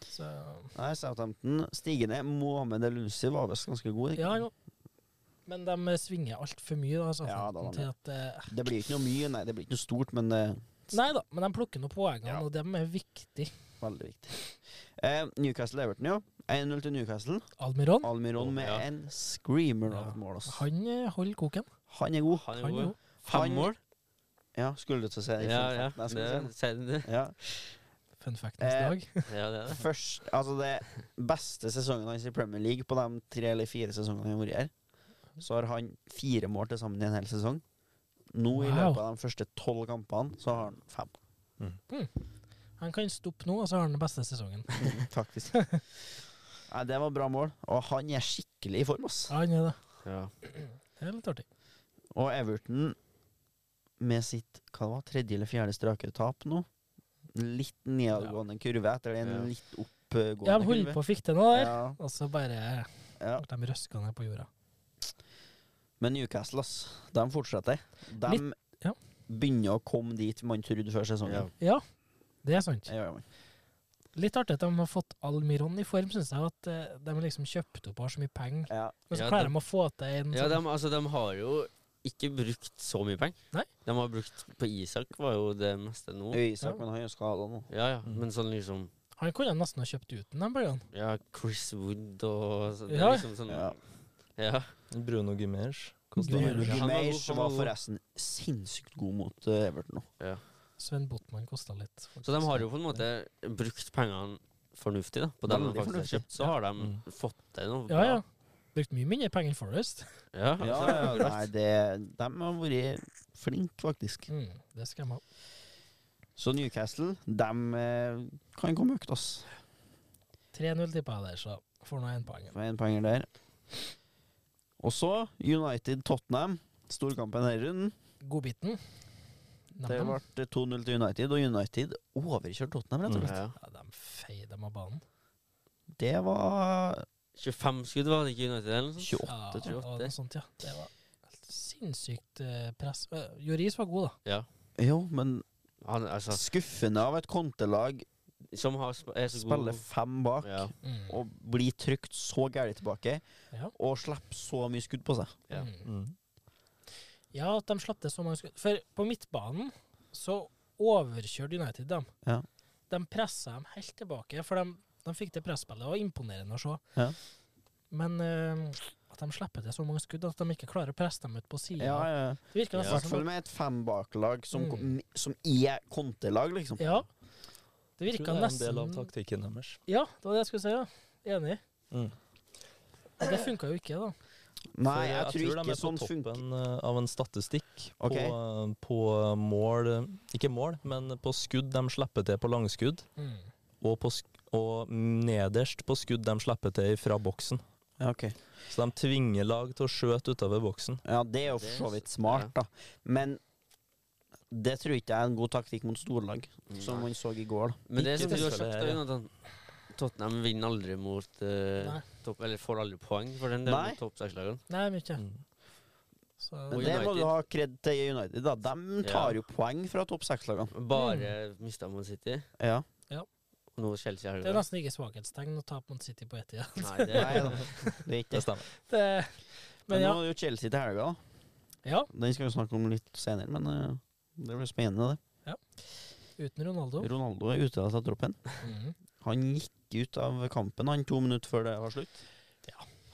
[SPEAKER 2] Så
[SPEAKER 1] Nei, Southampton stigende. Mohammed Elunsi var visst ganske god. ikke?
[SPEAKER 2] ja, jo. Men de svinger altfor mye, da. Altså,
[SPEAKER 1] Ja, da, da.
[SPEAKER 2] til at, eh,
[SPEAKER 1] Det blir ikke noe mye, nei, det blir ikke noe stort, men eh, det er
[SPEAKER 2] nei da, men de plukker nå poengene,
[SPEAKER 1] Ja.
[SPEAKER 2] og dem er viktig.
[SPEAKER 1] veldig viktig. Eh, Newcastle Everton, ja. 1-0 til Newcastle.
[SPEAKER 2] Almiron,
[SPEAKER 1] Almiron med
[SPEAKER 3] Ja.
[SPEAKER 1] en screamer av
[SPEAKER 2] Ja.
[SPEAKER 1] et mål. ass.
[SPEAKER 2] han eh, holder koken.
[SPEAKER 1] Han er god.
[SPEAKER 3] Han er
[SPEAKER 2] Han
[SPEAKER 3] god.
[SPEAKER 2] jo.
[SPEAKER 1] Han-
[SPEAKER 3] Fem mål?
[SPEAKER 1] Ja, skulle du til å si det?
[SPEAKER 3] Ja, ja.
[SPEAKER 1] Nei,
[SPEAKER 3] Det,
[SPEAKER 1] skulle du si
[SPEAKER 3] sier du det?
[SPEAKER 1] det? ja.
[SPEAKER 2] Fun fact neste
[SPEAKER 1] Eh,
[SPEAKER 2] dag.
[SPEAKER 3] ja, det er det.
[SPEAKER 1] Først, altså det beste sesongen hans i Premier League på de tre eller fire sesongene han har vært her, så har han fire mål til sammen i en hel sesong. Nå i
[SPEAKER 2] Wow.
[SPEAKER 1] løpet av de første tolv kampene så har han fem.
[SPEAKER 2] Han kan stoppe nå, og så har han den beste sesongen.
[SPEAKER 1] Faktisk. Nei, det var bra mål, og han er skikkelig i form, ass.
[SPEAKER 2] Ja, han gjør det.
[SPEAKER 3] Ja.
[SPEAKER 2] Det er litt artig.
[SPEAKER 1] Og Everton med sitt hva det var, tredje eller fjerde strake tap nå. Litt nedadgående kurve etter det,
[SPEAKER 3] Ja.
[SPEAKER 1] en litt oppgående
[SPEAKER 2] Ja, de holder på å fikk til noe der,
[SPEAKER 1] Ja,
[SPEAKER 2] og så bare
[SPEAKER 1] ja.
[SPEAKER 2] ble de røska ned på jorda.
[SPEAKER 1] Men Newcastle, ass, de fortsetter. De
[SPEAKER 2] Litt- ja.
[SPEAKER 1] begynner å komme dit man trodde før
[SPEAKER 3] Ja.
[SPEAKER 1] sesongen.
[SPEAKER 2] Ja, det er sant.
[SPEAKER 1] Det gjør man.
[SPEAKER 2] Litt artig at de har fått Almiron i form, syns jeg. At eh, de har liksom kjøpt opp og har så mye penger.
[SPEAKER 1] Ja.
[SPEAKER 2] Men så
[SPEAKER 3] Ja,
[SPEAKER 2] klarer
[SPEAKER 3] de-
[SPEAKER 2] de å få til en
[SPEAKER 3] ja de,
[SPEAKER 2] sånn
[SPEAKER 3] altså, de har jo ikke brukt så mye penger.
[SPEAKER 2] Nei.
[SPEAKER 3] De har brukt på Isak, var jo det meste nå.
[SPEAKER 1] Isak,
[SPEAKER 2] Ja.
[SPEAKER 1] men han er jo skada nå.
[SPEAKER 3] Ja, ja.
[SPEAKER 4] Mm.
[SPEAKER 3] Men sånn liksom
[SPEAKER 2] Han kunne nesten ha kjøpt uten den bølgen.
[SPEAKER 3] Ja, Chris Wood og så, det er
[SPEAKER 2] Ja.
[SPEAKER 3] liksom sånn
[SPEAKER 1] Ja.
[SPEAKER 3] Ja.
[SPEAKER 4] Bruno Gimmers.
[SPEAKER 2] Bruno
[SPEAKER 4] Hvordan
[SPEAKER 2] Guimers.
[SPEAKER 4] var
[SPEAKER 3] han var god,
[SPEAKER 1] Gimeis
[SPEAKER 3] han var
[SPEAKER 1] var
[SPEAKER 3] god.
[SPEAKER 1] forresten sinnssykt god mot eh, Everton nå.
[SPEAKER 2] Sven Botman kosta litt.
[SPEAKER 3] Så de har jo på en måte brukt pengene fornuftig, da. På den de
[SPEAKER 1] Veldig
[SPEAKER 3] faktisk har
[SPEAKER 1] fornuftig.
[SPEAKER 3] kjøpt. Så har de
[SPEAKER 4] Mm.
[SPEAKER 3] fått til noe
[SPEAKER 2] Ja, ja. Brukt mye mindre penger enn Forest.
[SPEAKER 3] Ja, altså.
[SPEAKER 1] Ja, ja, nei, det, de har vært flinke, faktisk.
[SPEAKER 2] Mm, det skal de ha.
[SPEAKER 1] Så Newcastle, de eh, kan komme høyt, ass.
[SPEAKER 2] 3-0 tippa jeg der, så får nå en poeng.
[SPEAKER 1] Får en poenger der. Og så United-Tottenham. Storkampen denne runden.
[SPEAKER 2] Godbiten. Nam,
[SPEAKER 1] Det
[SPEAKER 2] nam.
[SPEAKER 1] ble 2-0 til United, og United overkjørte Tottenham, rett og slett.
[SPEAKER 3] Ja.
[SPEAKER 2] Ja, de feier dem av banen.
[SPEAKER 1] Det var
[SPEAKER 3] 25 skudd var det ikke i United eller noe
[SPEAKER 1] 28.
[SPEAKER 3] sånt?
[SPEAKER 2] Ja,
[SPEAKER 3] 28.
[SPEAKER 2] og noe sånt, ja. Det var helt sinnssykt eh, press. Eh, Joris var god, da.
[SPEAKER 1] Jo, men
[SPEAKER 3] Han, altså,
[SPEAKER 1] skuffende av et kontelag
[SPEAKER 3] som har, sp- er så god
[SPEAKER 1] spiller fem bak
[SPEAKER 3] Ja.
[SPEAKER 2] Mm.
[SPEAKER 1] og blir trykt så gærent tilbake
[SPEAKER 2] Ja.
[SPEAKER 1] og slipper så mye skudd på seg.
[SPEAKER 3] Ja.
[SPEAKER 2] Mm.
[SPEAKER 4] Mm.
[SPEAKER 2] Ja, at de slapp til så mange skudd. For på midtbanen så overkjørte United dem.
[SPEAKER 1] Ja.
[SPEAKER 2] De pressa dem helt tilbake, for de, de fikk til presspillet. Det var imponerende å se.
[SPEAKER 1] Ja.
[SPEAKER 2] Men eh, at de slipper til så mange skudd at de ikke klarer å presse dem ut på sida
[SPEAKER 1] Ja, ja.
[SPEAKER 2] Det virker
[SPEAKER 1] I
[SPEAKER 2] nesten
[SPEAKER 1] hvert fall
[SPEAKER 2] som at,
[SPEAKER 1] med et fembaklag som,
[SPEAKER 2] Mm.
[SPEAKER 1] kom- som er kontelag, liksom.
[SPEAKER 2] Ja. Det
[SPEAKER 4] Jeg
[SPEAKER 2] virka
[SPEAKER 4] tror det er en del av
[SPEAKER 2] nesten
[SPEAKER 4] taktikken deres.
[SPEAKER 2] Ja, det var det jeg skulle si, ja. Enig.
[SPEAKER 4] Mm.
[SPEAKER 2] Men Det funka jo ikke, da.
[SPEAKER 1] Nei,
[SPEAKER 4] For
[SPEAKER 1] jeg, tror,
[SPEAKER 4] de
[SPEAKER 1] ikke
[SPEAKER 4] er på
[SPEAKER 1] sånn funker.
[SPEAKER 4] toppen eh, av en statistikk
[SPEAKER 1] Ok.
[SPEAKER 4] på, eh, på mål eh, Ikke mål, men på skudd de slipper til på langskudd,
[SPEAKER 2] Mm.
[SPEAKER 4] og, på sk og nederst på skudd de slipper til fra boksen.
[SPEAKER 1] Ja, ok.
[SPEAKER 4] Så de tvinger lag til å skjøte utover boksen.
[SPEAKER 1] ja, det er jo for
[SPEAKER 3] Det er
[SPEAKER 1] så
[SPEAKER 3] s-
[SPEAKER 1] vidt smart, da. Men det tror jeg ikke er en god taktikk mot storlag, Mm. som
[SPEAKER 3] Nei.
[SPEAKER 1] man så i går. da
[SPEAKER 3] Men det er som
[SPEAKER 4] Ikke
[SPEAKER 3] du har
[SPEAKER 4] tilfellet
[SPEAKER 3] sagt,
[SPEAKER 4] her,
[SPEAKER 3] da,
[SPEAKER 4] ja.
[SPEAKER 3] Jonathan. Tottenham vinner aldri mot eh,
[SPEAKER 2] Nei.
[SPEAKER 3] topp, Eller får aldri poeng for den delen
[SPEAKER 1] Nei.
[SPEAKER 3] mot toppsakslagene.
[SPEAKER 2] Nei, mye.
[SPEAKER 4] Mm.
[SPEAKER 2] Så
[SPEAKER 1] Men
[SPEAKER 3] Og
[SPEAKER 1] det må
[SPEAKER 3] United.
[SPEAKER 1] du ha kred til United. da De tar jo poeng fra topp seks-lagene.
[SPEAKER 3] Bare mista Man City.
[SPEAKER 1] Ja.
[SPEAKER 3] Og nå Chelsea i helga.
[SPEAKER 2] det er nesten ikke svakhetstegn å tape mot City på ett igjen.
[SPEAKER 3] Nei, det
[SPEAKER 1] Nei da, det er ikke
[SPEAKER 4] Det
[SPEAKER 1] det.
[SPEAKER 4] stemmer.
[SPEAKER 2] Det- Men
[SPEAKER 1] Men nå
[SPEAKER 2] ja.
[SPEAKER 1] er det jo Chelsea til helga, da.
[SPEAKER 2] ja.
[SPEAKER 1] Den skal vi snakke om litt senere, men eh, det blir spennende, det.
[SPEAKER 2] Uten Ronaldo.
[SPEAKER 1] Ronaldo er ute av troppen.
[SPEAKER 2] Mhm.
[SPEAKER 1] Han gikk ut av kampen han to minutter før det var slutt.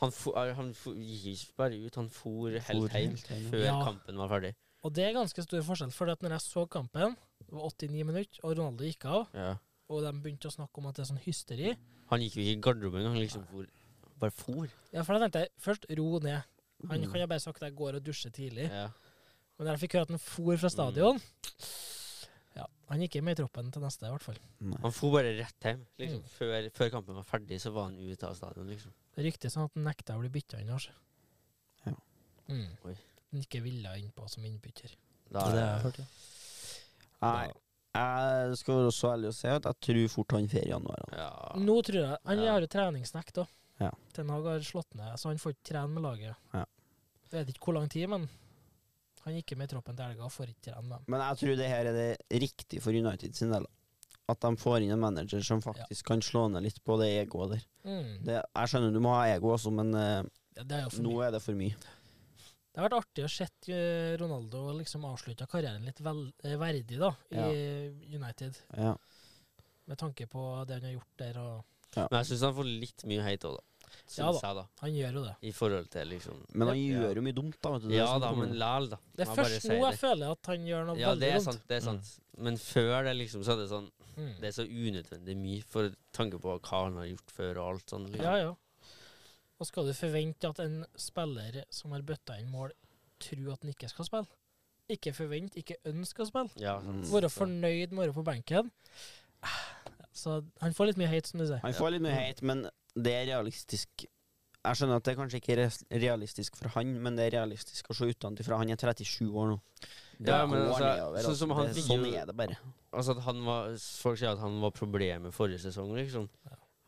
[SPEAKER 3] Han, fo, er- han fo, gikk ikke bare ut, han for
[SPEAKER 1] For
[SPEAKER 3] helt hjem
[SPEAKER 1] helt hjem.
[SPEAKER 3] før
[SPEAKER 2] Ja.
[SPEAKER 3] kampen var ferdig.
[SPEAKER 2] Og det er ganske stor forskjell, for at når jeg så kampen, det var 89 minutter, og Ronaldo gikk av,
[SPEAKER 3] Ja.
[SPEAKER 2] og de begynte å snakke om at det er sånn hysteri
[SPEAKER 3] Han gikk jo ikke i garderoben engang. Han liksom for, bare for.
[SPEAKER 2] Ja, for da tenkte jeg først ro ned. Han
[SPEAKER 4] Mm.
[SPEAKER 2] kan jo bare sagt at jeg går og dusjer tidlig,
[SPEAKER 3] Ja.
[SPEAKER 2] men når jeg fikk høre at han for fra stadion Ja, han gikk hjem i troppen til neste, i hvert fall.
[SPEAKER 1] Nei.
[SPEAKER 3] Han for bare rett hjem. Liksom,
[SPEAKER 2] Mm.
[SPEAKER 3] før, før kampen var ferdig, så var han ute av stadion. liksom.
[SPEAKER 2] Det er riktig sånn at han nekta å bli bytta inn, kanskje.
[SPEAKER 1] Ja.
[SPEAKER 2] Mm.
[SPEAKER 3] Oi.
[SPEAKER 2] Han ikke ville innpå som innbytter.
[SPEAKER 3] Da,
[SPEAKER 4] Det er det jeg har hørt, ja.
[SPEAKER 1] Nei. Jeg skal være så ærlig å si at jeg tror fort han får i januar. da.
[SPEAKER 3] ja.
[SPEAKER 2] Nå tror jeg Han
[SPEAKER 3] Ja.
[SPEAKER 2] har jo treningsnekt, da.
[SPEAKER 1] Ja.
[SPEAKER 2] Ten Hag har slått ned, så han får ikke trene med laget.
[SPEAKER 1] Ja.
[SPEAKER 2] Jeg vet ikke hvor lang tid, men han gikk med i troppen til helga og får ikke trene med dem.
[SPEAKER 1] Men jeg tror det her er det riktige for United sin del. At de får inn en manager som faktisk kan slå ned litt på det egoet der.
[SPEAKER 2] Mm. Det,
[SPEAKER 1] Det, jeg skjønner du må ha ego også, men eh,
[SPEAKER 2] det, er jo for
[SPEAKER 1] nå
[SPEAKER 2] mye.
[SPEAKER 1] er det for mye.
[SPEAKER 2] det har vært artig å se eh, Ronaldo liksom avslutta karrieren litt vel, eh, verdig da, i United,
[SPEAKER 1] Ja.
[SPEAKER 2] med tanke på det han har gjort der. Og
[SPEAKER 3] Men jeg syns han får litt mye hate òg, da. Synes
[SPEAKER 2] Ja da.
[SPEAKER 3] jeg, da.
[SPEAKER 2] han gjør jo det.
[SPEAKER 3] I forhold til liksom
[SPEAKER 1] Men han
[SPEAKER 3] Ja.
[SPEAKER 1] gjør jo mye dumt, da. Vet du, det er
[SPEAKER 3] Ja
[SPEAKER 1] som
[SPEAKER 3] da,
[SPEAKER 1] kommer.
[SPEAKER 3] men læl, da.
[SPEAKER 2] Det
[SPEAKER 3] Må
[SPEAKER 2] er
[SPEAKER 3] jeg bare
[SPEAKER 2] først
[SPEAKER 3] si
[SPEAKER 2] nå jeg
[SPEAKER 3] det.
[SPEAKER 2] føler at han gjør noe
[SPEAKER 3] Ja, det
[SPEAKER 2] veldig
[SPEAKER 3] er
[SPEAKER 2] dumt.
[SPEAKER 3] sant.
[SPEAKER 1] Mm.
[SPEAKER 3] det er sant Men før det, liksom, så er det sånn
[SPEAKER 2] Mm.
[SPEAKER 3] Det er så unødvendig mye for tanke på hva han har gjort før og alt sånn.
[SPEAKER 2] Ja,
[SPEAKER 3] Liksom.
[SPEAKER 2] ja. Og skal du forvente at en spiller som har bøtta inn mål, tror at han ikke skal spille? Ikke forvente, ikke ønske å spille.
[SPEAKER 3] Ja,
[SPEAKER 1] Mm.
[SPEAKER 3] sant.
[SPEAKER 2] Være fornøyd med å være på benken. Så han får litt mye hate, som du sier.
[SPEAKER 1] Han får litt mye hate, men det er realistisk. Jeg skjønner at det kanskje ikke er res- realistisk for han, men det er realistisk å se utenfra. Han er 37 år nå. Det
[SPEAKER 3] Ja, men
[SPEAKER 1] går
[SPEAKER 3] altså,
[SPEAKER 1] nedover,
[SPEAKER 3] sånn som
[SPEAKER 1] altså.
[SPEAKER 3] han
[SPEAKER 1] det,
[SPEAKER 3] fikk
[SPEAKER 1] sånn
[SPEAKER 3] jo-
[SPEAKER 1] er det bare.
[SPEAKER 3] Altså at han var Folk sier at han var problemet forrige sesong, liksom.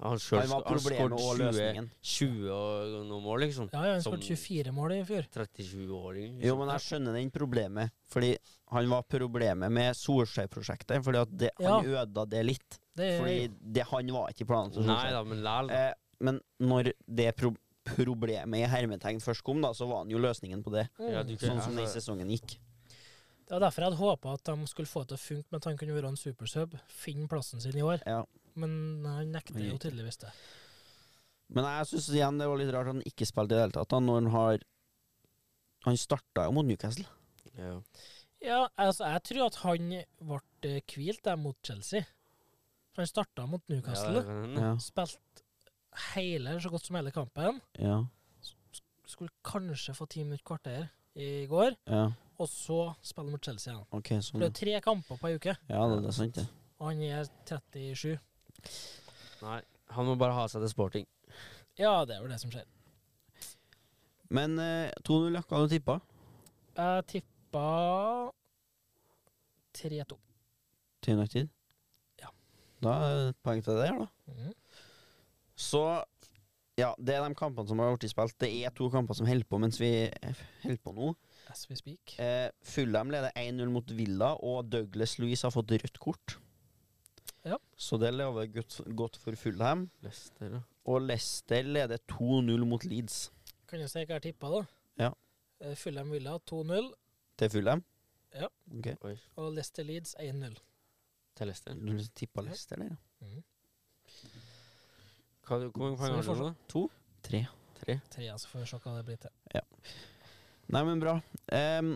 [SPEAKER 3] Han sjøl
[SPEAKER 1] Han var problemet og
[SPEAKER 3] skåret 20,
[SPEAKER 1] løsningen.
[SPEAKER 3] 20 og noen mål, liksom.
[SPEAKER 2] Ja, ja, han
[SPEAKER 3] Som-
[SPEAKER 2] skåret 24 mål i fjor.
[SPEAKER 3] 37-åring.
[SPEAKER 1] Jo, men jeg skjønner den problemet, fordi han var problemet med Solskjær-prosjektet. Fordi at det, han øda det litt.
[SPEAKER 2] Det er,
[SPEAKER 1] Fordi det, han var ikke i planen til
[SPEAKER 3] Eh. Nei
[SPEAKER 1] Solskjær.
[SPEAKER 3] da, altså. men læl. da.
[SPEAKER 1] Eh, men når det pro problemet i hermetegn først kom, da, så var han jo løsningen på det.
[SPEAKER 2] mm.
[SPEAKER 3] Ja, du kan-
[SPEAKER 1] Sånn som den
[SPEAKER 3] altså-
[SPEAKER 1] sesongen gikk.
[SPEAKER 2] Det var derfor jeg hadde håpa at de skulle få det til å funke, men at han kunne være en supersub, finne plassen sin i år.
[SPEAKER 1] Ja.
[SPEAKER 2] Men han nekter
[SPEAKER 1] Han
[SPEAKER 2] jo
[SPEAKER 1] gikk.
[SPEAKER 2] tydeligvis det.
[SPEAKER 1] Men jeg syns igjen det var litt rart at han ikke spilte i det hele tatt, da, når han har Han starta jo mot Newcastle.
[SPEAKER 3] Ja.
[SPEAKER 2] Ja, altså, jeg tror at han ble eh, hvilt der mot Chelsea. For han starta mot
[SPEAKER 3] Ja,
[SPEAKER 2] Newcastle.
[SPEAKER 3] det kan hende.
[SPEAKER 1] Ja.
[SPEAKER 2] spilt hele, så godt som hele kampen.
[SPEAKER 1] ja,
[SPEAKER 2] Skulle kanskje få ti minutter kvarter i går,
[SPEAKER 1] ja.
[SPEAKER 2] og så spille mot Chelsea igjen.
[SPEAKER 1] OK,
[SPEAKER 2] Det
[SPEAKER 1] sånn.
[SPEAKER 2] ble tre kamper på ei uke,
[SPEAKER 1] Ja, det, det er sant, det.
[SPEAKER 2] og han er 37.
[SPEAKER 3] Nei, han må bare ha seg til sporting.
[SPEAKER 2] Ja, det er vel det som skjer.
[SPEAKER 1] Men eh, 2-0, ja. Hva hadde du tippa?
[SPEAKER 2] Jeg tippa 3-2.
[SPEAKER 1] Til United?
[SPEAKER 2] Ja.
[SPEAKER 1] Da er det et poeng til det her, da.
[SPEAKER 2] Mhm.
[SPEAKER 1] Så ja, det er de kampene som har blitt spilt. Det er to kamper som holder på mens vi holder på nå.
[SPEAKER 2] As we speak.
[SPEAKER 1] Eh, Fulham leder 1-0 mot Villa, og Douglas Louise har fått rødt kort.
[SPEAKER 2] Ja.
[SPEAKER 1] Så det lover godt, godt for Fulham.
[SPEAKER 3] Leicester, da.
[SPEAKER 1] Og Leicester leder 2-0 mot Leeds
[SPEAKER 2] Kan jo si hva jeg tippa, da.
[SPEAKER 1] Ja.
[SPEAKER 2] Eh, Fulham Villa 2-0,
[SPEAKER 1] til Fulham.
[SPEAKER 2] Ja.
[SPEAKER 1] Ok.
[SPEAKER 3] Oi.
[SPEAKER 2] og Leicester Leeds 1-0.
[SPEAKER 3] Til Leicester.
[SPEAKER 1] Du tippa Leicester, eller?
[SPEAKER 2] Mhm.
[SPEAKER 3] Hva, hvor mange poeng
[SPEAKER 2] Så vi
[SPEAKER 3] har du
[SPEAKER 2] får
[SPEAKER 3] nå?
[SPEAKER 1] Tre.
[SPEAKER 3] Tre?
[SPEAKER 2] Tre, så får vi se hva det blir til.
[SPEAKER 1] Nei, men bra. Em,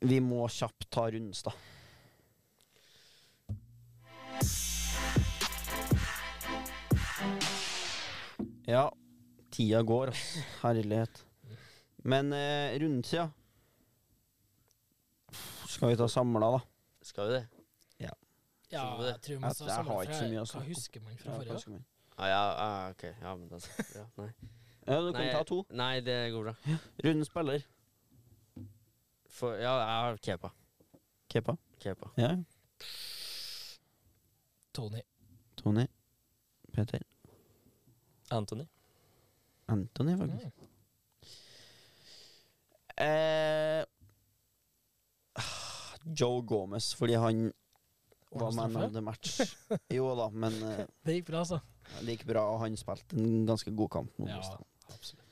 [SPEAKER 1] vi må kjapt ta rundens, da. Ja, tida går, ass. Herlighet. Men eh, rundtida Skal vi ta samla, da?
[SPEAKER 3] Skal vi det?
[SPEAKER 2] Ja,
[SPEAKER 3] Tror du det?
[SPEAKER 2] jeg tror man
[SPEAKER 1] Jeg-
[SPEAKER 2] skal
[SPEAKER 1] jeg
[SPEAKER 2] samle
[SPEAKER 1] har ikke
[SPEAKER 2] fra-
[SPEAKER 1] så mye å snakke
[SPEAKER 2] Hva
[SPEAKER 1] om.
[SPEAKER 2] husker man fra
[SPEAKER 1] Ja,
[SPEAKER 2] forrige?
[SPEAKER 1] ganske mye.
[SPEAKER 3] Ah, ja, ah, ok. Ja, men da ja, Nei.
[SPEAKER 1] ja, du
[SPEAKER 3] Nei,
[SPEAKER 1] kan ta to.
[SPEAKER 3] Nei, det går bra.
[SPEAKER 1] Rundens spiller.
[SPEAKER 3] For, ja, jeg har Kepa.
[SPEAKER 1] Kepa.
[SPEAKER 3] Kepa.
[SPEAKER 1] Ja,
[SPEAKER 2] Tony.
[SPEAKER 1] Tony. Peter.
[SPEAKER 4] Anthony.
[SPEAKER 1] Anthony, faktisk.
[SPEAKER 2] Mm.
[SPEAKER 1] Eh, ah, Joe Gomez, fordi han var
[SPEAKER 2] Ordnet
[SPEAKER 1] man
[SPEAKER 2] straffe?
[SPEAKER 1] of the match. Jo da, men eh,
[SPEAKER 2] Det gikk bra, altså.
[SPEAKER 1] det gikk bra, og han spilte en ganske god kamp mot
[SPEAKER 2] Ja,
[SPEAKER 1] Boston.
[SPEAKER 2] absolutt.